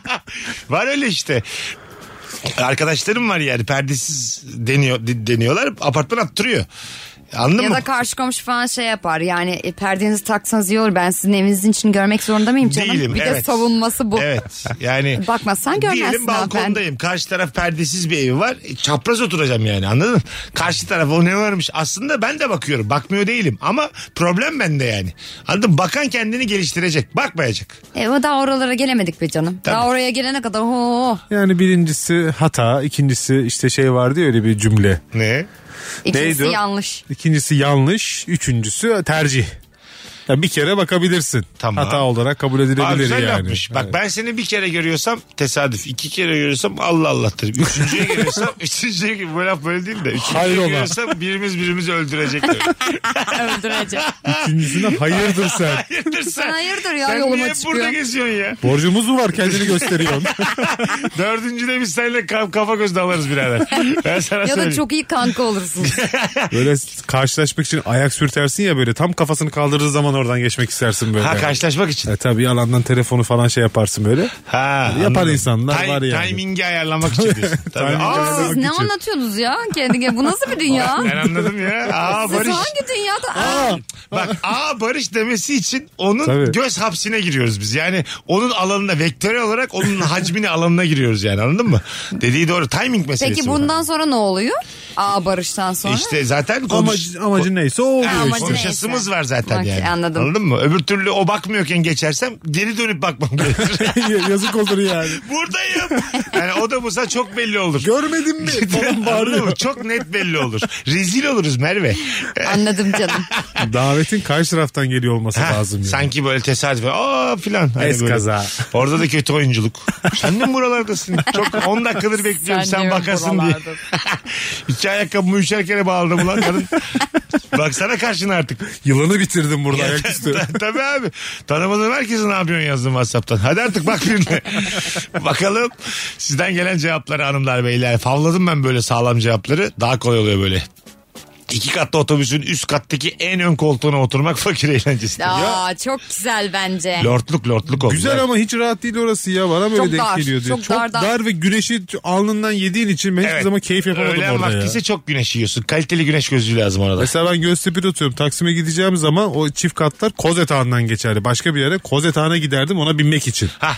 Speaker 3: var öyle işte. Arkadaşlarım var yani perdesiz deniyor de- deniyorlar apartman attırıyor. Anladın
Speaker 5: Ya
Speaker 3: mı?
Speaker 5: da karşı komşu falan şey yapar. Yani e, perdenizi taksanız iyi olur. Ben sizin evinizin için görmek zorunda mıyım canım?
Speaker 3: Değilim,
Speaker 5: bir de
Speaker 3: evet.
Speaker 5: savunması bu.
Speaker 3: Evet. Yani
Speaker 5: Bakmazsan görmezsin
Speaker 3: Diyelim
Speaker 5: hanımefendi.
Speaker 3: balkondayım. Karşı taraf perdesiz bir evi var. E, Çapraz oturacağım yani anladın mı? Karşı taraf o ne varmış? Aslında ben de bakıyorum. Bakmıyor değilim ama problem bende yani. Anladın mı? Bakan kendini geliştirecek. Bakmayacak.
Speaker 5: E, o daha oralara gelemedik be canım.
Speaker 3: Tabii.
Speaker 5: Daha oraya gelene kadar ho.
Speaker 4: Yani birincisi hata, ikincisi işte şey vardı ya öyle bir cümle.
Speaker 3: Ne?
Speaker 5: İkincisi
Speaker 4: Neydi o? <laughs>
Speaker 5: yanlış.
Speaker 4: İkincisi yanlış, üçüncüsü tercih. Ya bir kere bakabilirsin.
Speaker 3: Tamam.
Speaker 4: Hata olarak kabul
Speaker 3: Abi
Speaker 4: edilebilir
Speaker 3: güzel
Speaker 4: yani.
Speaker 3: yapmış. Bak ben seni bir kere görüyorsam tesadüf. iki kere görüyorsam Allah Allah derim. Üçüncüye
Speaker 5: <laughs>
Speaker 3: görüyorsam üçüncüye gibi bu laf böyle değil de. Üçüncüye
Speaker 4: Hayrola.
Speaker 3: görüyorsam birimiz birimizi öldürecek.
Speaker 5: <laughs>
Speaker 3: derim.
Speaker 5: Öldürecek.
Speaker 4: Üçüncüsüne hayırdır
Speaker 3: <laughs>
Speaker 4: sen.
Speaker 3: Hayırdır sen?
Speaker 5: Hayırdır ya,
Speaker 3: sen
Speaker 5: yoluma
Speaker 3: niye burada
Speaker 5: çıkıyor.
Speaker 3: geziyorsun ya?
Speaker 4: Borcumuz mu var kendini gösteriyorsun? <laughs>
Speaker 3: Dördüncüde biz seninle ka- kafa göz dalarız
Speaker 5: <laughs>
Speaker 3: birader. Ben sana
Speaker 5: ya da
Speaker 3: söyleyeyim.
Speaker 5: çok iyi kanka olursunuz.
Speaker 4: böyle karşılaşmak için ayak sürtersin ya böyle tam kafasını kaldırdığı zaman oradan geçmek istersin böyle.
Speaker 3: Ha karşılaşmak için.
Speaker 4: E tabii yalandan telefonu falan şey yaparsın böyle.
Speaker 3: Ha,
Speaker 4: Yapar insanlar
Speaker 3: Tay-
Speaker 4: var yani.
Speaker 3: Timingi ayarlamak için diyorsun. Tabii.
Speaker 4: <laughs> Timingi
Speaker 3: Aa,
Speaker 5: Siz
Speaker 4: ayarlamak
Speaker 5: ne
Speaker 4: için.
Speaker 5: anlatıyorsunuz ya? Kendine bu nasıl
Speaker 3: <laughs>
Speaker 5: bir dünya?
Speaker 3: ben anladım
Speaker 4: <laughs>
Speaker 3: ya. Aa
Speaker 5: Siz
Speaker 3: Barış. şey
Speaker 5: hangi dünyada? <laughs>
Speaker 3: Bak aa Barış demesi için onun
Speaker 4: Tabii.
Speaker 3: göz hapsine giriyoruz biz. Yani onun alanına vektörel olarak onun hacmini alanına giriyoruz yani anladın mı? Dediği doğru. Timing meselesi.
Speaker 5: Peki
Speaker 3: bu.
Speaker 5: bundan sonra ne oluyor? Aa barıştan sonra.
Speaker 3: İşte zaten konuş...
Speaker 4: Amacı, amacı neyse o oluyor
Speaker 5: Ha,
Speaker 4: işte.
Speaker 5: amacı
Speaker 3: konuşasımız
Speaker 5: neyse.
Speaker 3: var zaten
Speaker 5: Okey,
Speaker 3: yani.
Speaker 5: anladım.
Speaker 3: Anladın mı? Öbür türlü o bakmıyorken geçersem geri dönüp bakmam gerekir.
Speaker 4: <laughs> Yazık olur yani.
Speaker 3: Buradayım. Yani o da bulsa çok belli olur.
Speaker 4: Görmedin mi?
Speaker 3: <laughs>
Speaker 4: Falan
Speaker 3: Anladın mı?
Speaker 4: bağırıyor.
Speaker 3: Çok net belli olur. Rezil oluruz Merve.
Speaker 5: Anladım
Speaker 3: <laughs>
Speaker 5: canım.
Speaker 4: Davetin karşı taraftan geliyor olması
Speaker 3: Ha,
Speaker 4: lazım. Yani.
Speaker 3: Sanki böyle tesadüf. Aa filan. Hani
Speaker 4: Es
Speaker 3: böyle.
Speaker 4: kaza.
Speaker 3: Orada da kötü oyunculuk. Sen de mi buralardasın? Çok 10 dakikadır bekliyorum sen,
Speaker 5: Sen de mi
Speaker 3: bakasın diye.
Speaker 5: buralardasın?
Speaker 3: <laughs> İki ayakkabımı üçer kere bağladım ulan kadın. Baksana karşına artık.
Speaker 4: Yılanı bitirdim burada ayaküstü.
Speaker 3: <laughs> Tabii abi. Tanımadığım herkese ne yapıyorsun yazdım Whatsapp'tan. Hadi artık bak birine. Bakalım sizden gelen cevapları hanımlar beyler. Favladım ben böyle sağlam cevapları. Daha kolay oluyor böyle. İki katlı otobüsün üst kattaki en ön koltuğuna oturmak fakir eğlencesi.
Speaker 5: Aa, çok güzel bence.
Speaker 3: Lortluk lortluk oldu.
Speaker 4: Güzel ama hiç rahat değil orası ya. Bana böyle
Speaker 5: Çok
Speaker 4: denk
Speaker 5: dar,
Speaker 4: geliyor diyor.
Speaker 5: çok
Speaker 4: Çok,
Speaker 5: dar,
Speaker 4: dar,
Speaker 5: dar.
Speaker 4: ve güneşi alnından yediğin için ben hiçbir zaman keyif yapamadım
Speaker 3: Öğlen
Speaker 4: orada
Speaker 3: vakti
Speaker 4: ya.
Speaker 3: ise çok güneş yiyorsun. Kaliteli güneş gözlüğü lazım orada.
Speaker 4: Mesela ben Göztepe'de oturuyorum. Taksim'e gideceğim zaman o çift katlar Kozetağ'ından geçerdi. Başka bir yere Kozetağ'ına giderdim ona binmek için.
Speaker 3: Hah.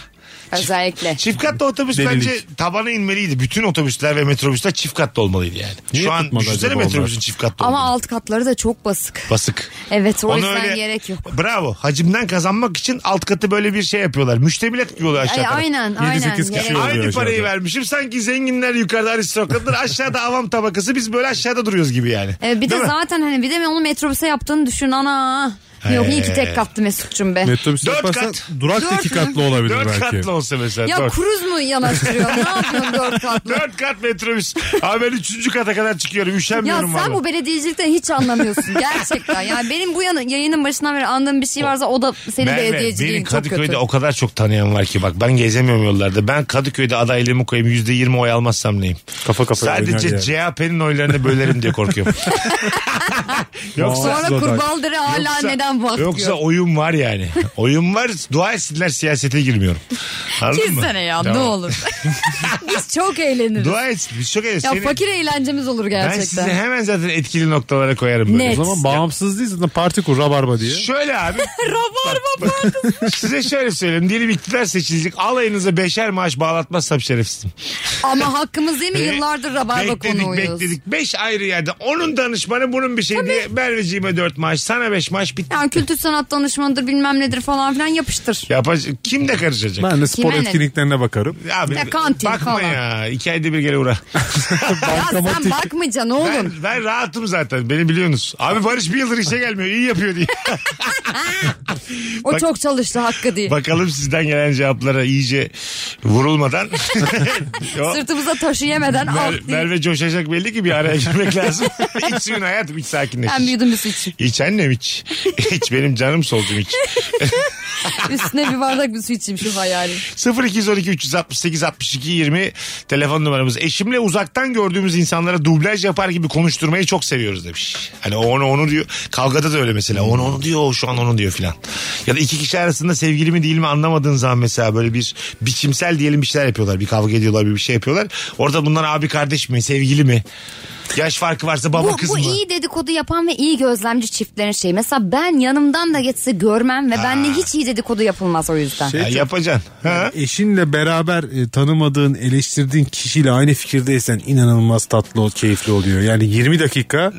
Speaker 5: Özellikle.
Speaker 3: Çift katlı otobüs
Speaker 4: Delilik.
Speaker 3: bence tabana inmeliydi. Bütün otobüsler ve metrobüsler çift katlı olmalıydı yani.
Speaker 4: Niye
Speaker 3: Şu an
Speaker 4: tutmadı
Speaker 3: düşünsene
Speaker 4: acaba
Speaker 3: metrobüsün
Speaker 4: onlar?
Speaker 3: çift katlı
Speaker 5: Ama
Speaker 3: olduğunu.
Speaker 5: alt katları da çok basık.
Speaker 3: Basık.
Speaker 5: Evet o
Speaker 3: Onu
Speaker 5: yüzden
Speaker 3: öyle-
Speaker 5: gerek yok.
Speaker 3: Bravo. Hacimden kazanmak için alt katı böyle bir şey yapıyorlar. Müştemilat yapıyorlar aşağı
Speaker 5: Ay,
Speaker 3: tarafa.
Speaker 5: aynen
Speaker 4: Yedi,
Speaker 5: aynen.
Speaker 4: sekiz kişi
Speaker 5: Gerek-
Speaker 4: oluyor.
Speaker 3: Aynı
Speaker 4: aşağıda.
Speaker 3: parayı vermişim. Sanki zenginler yukarıda aristokratlar aşağıda avam tabakası. Biz böyle aşağıda duruyoruz gibi yani.
Speaker 5: Ee, bir de
Speaker 3: Değil mi?
Speaker 5: zaten hani bir de onu metrobüse yaptığını düşün ana. Yok iyi
Speaker 3: Ee,
Speaker 5: ki tek katlı Mesut'cum be.
Speaker 4: Metrobüs
Speaker 3: Dört
Speaker 4: yaparsan
Speaker 3: kat.
Speaker 4: durak
Speaker 5: Dört
Speaker 4: da iki katlı olabilir
Speaker 3: Dört
Speaker 4: belki.
Speaker 3: katlı olsa mesela.
Speaker 5: Ya
Speaker 3: dört.
Speaker 5: kruz mu yanaştırıyor? ne yapıyorsun dört katlı?
Speaker 3: Dört kat metrobüs. Abi ben üçüncü kata kadar çıkıyorum.
Speaker 5: Ya
Speaker 3: Üşenmiyorum
Speaker 5: sen
Speaker 3: vallahi.
Speaker 5: bu belediyecilikten
Speaker 3: <laughs>
Speaker 5: hiç anlamıyorsun gerçekten. Yani benim bu yana, yayının başından beri andığım bir şey varsa o da senin
Speaker 3: Merve,
Speaker 5: belediyeciliğin
Speaker 3: beni
Speaker 5: çok
Speaker 3: Kadıköy'de
Speaker 5: kötü.
Speaker 3: o kadar çok tanıyan var ki bak ben gezemiyorum yollarda. Ben Kadıköy'de adaylığımı koyayım %20 oy almazsam neyim?
Speaker 4: Kafa kafaya
Speaker 3: Sadece
Speaker 4: oynar
Speaker 3: CHP'nin oylarını bölerim diye
Speaker 4: <laughs>
Speaker 3: korkuyorum. yoksa
Speaker 5: Sonra
Speaker 4: Zor
Speaker 5: kurbaldırı hala
Speaker 3: yoksa-
Speaker 5: neden bahsediyor?
Speaker 3: Yoksa oyun var yani. Oyun var. Dua etsinler siyasete girmiyorum. Anladın mı?
Speaker 5: Kessene ya ne
Speaker 3: Tamam. <laughs>
Speaker 5: olur. Biz çok eğleniriz.
Speaker 3: Dua etsin. Biz çok
Speaker 5: ya
Speaker 3: eğleniriz. Seni-
Speaker 5: fakir eğlencemiz olur
Speaker 3: Ben
Speaker 5: gerçekten.
Speaker 3: sizi hemen zaten etkili noktalara koyarım böyle.
Speaker 5: Net.
Speaker 4: O zaman bağımsız değil zaten parti kur rabarba diye.
Speaker 3: Şöyle abi.
Speaker 5: <laughs> Rabarba
Speaker 3: size şöyle söyleyeyim. Diyelim iktidar seçilecek. Alayınıza beşer maaş bağlatmazsam şerefsizim.
Speaker 5: Ama hakkımız değil mi?
Speaker 3: Be-
Speaker 5: Yıllardır rabarba
Speaker 3: bekledik,
Speaker 5: konuğuyuz.
Speaker 3: Bekledik Beş ayrı yerde. Onun danışmanı bunun bir şey diye. Merveciğime dört maaş. Sana beş maaş bitti.
Speaker 5: Yani kültür sanat danışmanıdır bilmem nedir falan filan yapıştır.
Speaker 3: Yapacak. Kim de karışacak?
Speaker 4: Ben de spor
Speaker 5: Kime ne?
Speaker 4: etkinliklerine bakarım.
Speaker 3: Abi,
Speaker 5: Ya kantin
Speaker 3: bakma
Speaker 5: falan.
Speaker 3: ya. İki ayda bir gele
Speaker 5: <laughs>
Speaker 3: uğra.
Speaker 5: Ya sen bakmayacaksın oğlum.
Speaker 3: Ben, ben rahatım zaten. Beni biliyorsunuz. Abi Barış bir yıldır işe gelmiyor. iyi yapıyor
Speaker 5: <laughs>
Speaker 3: diye.
Speaker 5: o
Speaker 3: bak-
Speaker 5: çok çalıştı hakkı değil.
Speaker 3: Bakalım sizden gelen cevaplara iyice
Speaker 5: <laughs>
Speaker 3: vurulmadan. O-
Speaker 5: Sırtımıza taşı yemeden
Speaker 3: Mer-
Speaker 5: alt değil.
Speaker 3: Merve coşacak belli ki bir araya girmek lazım. <laughs> iç suyun hayatım iç
Speaker 5: Ben bir
Speaker 3: sakinleşir.
Speaker 5: yudum su içeyim.
Speaker 3: İç annem iç. <laughs> iç benim canım solcum iç.
Speaker 5: Üstüne bir bardak bir su içeyim şu hayali.
Speaker 3: 0212 368 62 20 telefon numaramız. Eşimle uzaktan gördüğümüz insanlara dublaj yapar gibi konuşturmayı çok seviyoruz demiş. Hani o onu onu diyor. Kavgada da öyle mesela. Onu onu diyor o şu an onu diyor filan. Ya da iki kişi arasında sevgili mi değil mi anlamadığın zaman mesela böyle bir biçimsel diyelim bir şeyler yapıyorlar. Bir kavga ediyorlar bir bir şey yapıyorlar. Orada bunlar abi kardeş mi sevgili mi? Yaş farkı varsa baba
Speaker 5: Bu,
Speaker 3: kız
Speaker 5: bu
Speaker 3: mı?
Speaker 5: iyi dedikodu yapan ve iyi gözlemci çiftlerin şeyi. Mesela ben yanımdan da geçse görmem ve benle hiç iyi dedikodu yapılmaz o yüzden.
Speaker 3: Ya yapacaksın. Ha?
Speaker 4: Eşinle beraber e, tanımadığın, eleştirdiğin kişiyle aynı fikirdeysen inanılmaz tatlı, o keyifli oluyor. Yani 20 dakika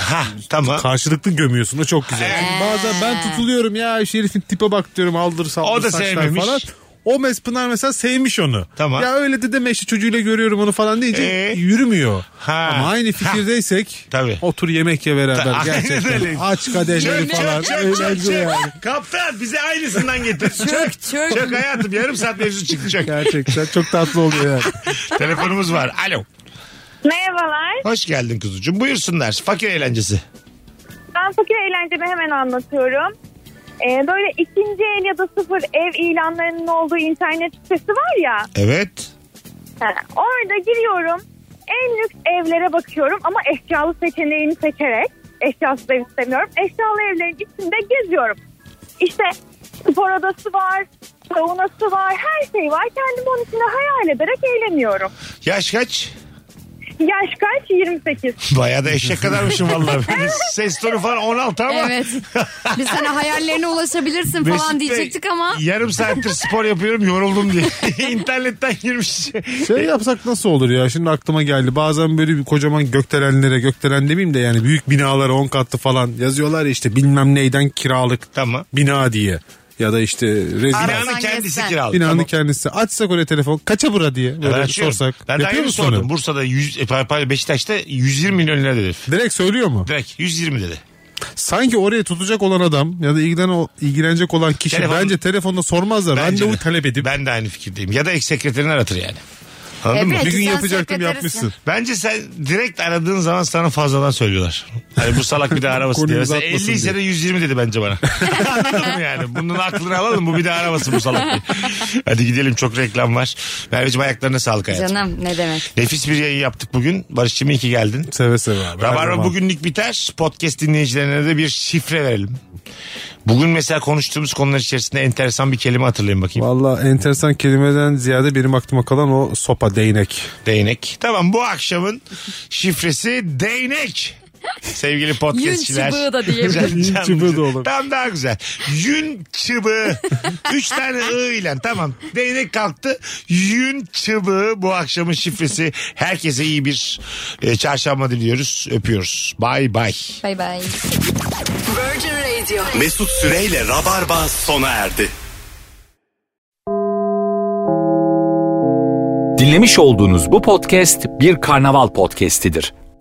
Speaker 3: Ha, tamam.
Speaker 4: karşılıklı gömüyorsun. O çok güzel. Yani bazen ben tutuluyorum ya şu herifin tipe bak diyorum aldır saldır
Speaker 3: O da
Speaker 4: saçlar
Speaker 3: sevmemiş.
Speaker 4: falan. O mes Pınar mesela sevmiş onu.
Speaker 3: Tamam.
Speaker 4: Ya öyle de deme işte çocuğuyla görüyorum onu falan deyince
Speaker 3: Ee?
Speaker 4: yürümüyor.
Speaker 3: Ha.
Speaker 4: Ama aynı fikirdeysek
Speaker 3: Tabii.
Speaker 4: otur yemek ye beraber
Speaker 3: Ta- <laughs> aynen öyle.
Speaker 4: gerçekten. Aç kadehleri
Speaker 3: Çök
Speaker 4: falan.
Speaker 3: çök çök çök
Speaker 4: Eğlence
Speaker 3: çök.
Speaker 4: yani.
Speaker 3: Kaptan bize aynısından getir. Çök
Speaker 5: çök.
Speaker 3: çök. hayatım yarım saat mevzu çıktı çök.
Speaker 4: Gerçekten çok tatlı oluyor yani.
Speaker 3: Telefonumuz var. Alo.
Speaker 7: Merhabalar.
Speaker 3: Hoş geldin kuzucuğum. Buyursunlar. Fakir eğlencesi.
Speaker 7: Ben fakir eğlencemi hemen anlatıyorum. Ee, böyle ikinci el ya da sıfır ev ilanlarının olduğu internet sitesi var ya.
Speaker 3: Evet.
Speaker 7: Ha, orada giriyorum. En lüks evlere bakıyorum ama eşyalı seçeneğini seçerek eşyasız ev istemiyorum. Eşyalı evlerin içinde geziyorum. İşte spor odası var, saunası var, her şey var. Kendimi onun içinde hayal ederek eğleniyorum.
Speaker 3: Yaş kaç?
Speaker 7: Yaş kaç? 28.
Speaker 3: Bayağı da eşek kadarmışım vallahi. Benim Ses tonu falan 16 ama.
Speaker 5: Evet. Biz sana hayallerine ulaşabilirsin
Speaker 3: <laughs> Mesut Bey,
Speaker 5: falan diyecektik ama.
Speaker 3: Yarım saattir spor yapıyorum yoruldum diye. İnternetten girmiş. E,
Speaker 4: Şey yapsak nasıl olur ya şimdi aklıma geldi bazen böyle bir kocaman gökdelenlere gökdelen demeyeyim de yani büyük binalara 10 katlı falan yazıyorlar ya işte bilmem neyden kiralık
Speaker 3: Tamam.
Speaker 4: bina diye ya da işte rezil
Speaker 3: Binanın kendisi
Speaker 5: gezsen.
Speaker 3: kiralı.
Speaker 4: binanın
Speaker 3: Tamam.
Speaker 4: kendisi açsak oraya telefon kaça bura diye
Speaker 3: Ben
Speaker 4: böyle
Speaker 3: açıyorum.
Speaker 4: sorsak
Speaker 3: Ben daha
Speaker 4: yapıyor
Speaker 3: yeni
Speaker 4: musun
Speaker 3: sordum.
Speaker 4: onu?
Speaker 3: Bursa'da 100, e, pardon, Beşiktaş'ta 120 milyon lira dedi.
Speaker 4: Direkt söylüyor mu?
Speaker 3: Direkt 120 dedi.
Speaker 4: Sanki oraya tutacak olan adam ya da ilgilen, ilgilenecek olan kişi
Speaker 3: Telefon-
Speaker 4: bence telefonda sormaz da
Speaker 3: Bence
Speaker 4: randevu
Speaker 3: de.
Speaker 4: talep edip
Speaker 3: Ben de aynı fikirdeyim. Ya da ek sekreterini aratır yani. Anladın mı?
Speaker 5: Evet.
Speaker 4: bir gün
Speaker 5: Sen
Speaker 4: yapacaktım
Speaker 5: sekreterisin.
Speaker 4: yapmışsın.
Speaker 3: Bence sen direkt aradığın zaman sana fazladan söylüyorlar. Hani bu salak bir daha aramasın diye.
Speaker 4: Konuyu
Speaker 3: Mesela
Speaker 4: uzatmasın
Speaker 3: 50 ise de 120 dedi bence bana. <laughs> Anladın mı yani? Bunun aklını alalım bu bir daha aramasın bu salak diye. Hadi gidelim çok reklam var. Merveciğim ayaklarına sağlık hayatım.
Speaker 5: Canım ne demek.
Speaker 3: Nefis bir yayın yaptık bugün. Barış'cığım iyi ki geldin.
Speaker 4: Seve seve abi. her
Speaker 3: Rabarba
Speaker 4: zaman.
Speaker 3: bugünlük biter. Podcast dinleyicilerine de bir şifre verelim. Bugün mesela konuştuğumuz konular içerisinde enteresan bir kelime hatırlayın bakayım.
Speaker 4: Valla enteresan kelimeden ziyade benim aklıma kalan o sopa değnek.
Speaker 3: Değnek. Tamam bu akşamın şifresi değnek. Sevgili podcastçiler.
Speaker 5: Yün
Speaker 3: <laughs>
Speaker 5: çıbığı da diyebiliriz.
Speaker 3: Can-
Speaker 4: Yün
Speaker 3: can-
Speaker 4: çıbığı da olur.
Speaker 3: Tam daha güzel. Yün çıbığı. Üç tane ı ile tamam. Değnek kalktı. Yün çıbığı bu akşamın şifresi. Herkese iyi bir e, çarşamba diliyoruz. Öpüyoruz. Bay bay.
Speaker 5: Bay bay.
Speaker 11: Virgin Radio.
Speaker 2: Mesut Süreyle Rabarba sona erdi.
Speaker 1: Dinlemiş olduğunuz bu podcast bir karnaval podcastidir.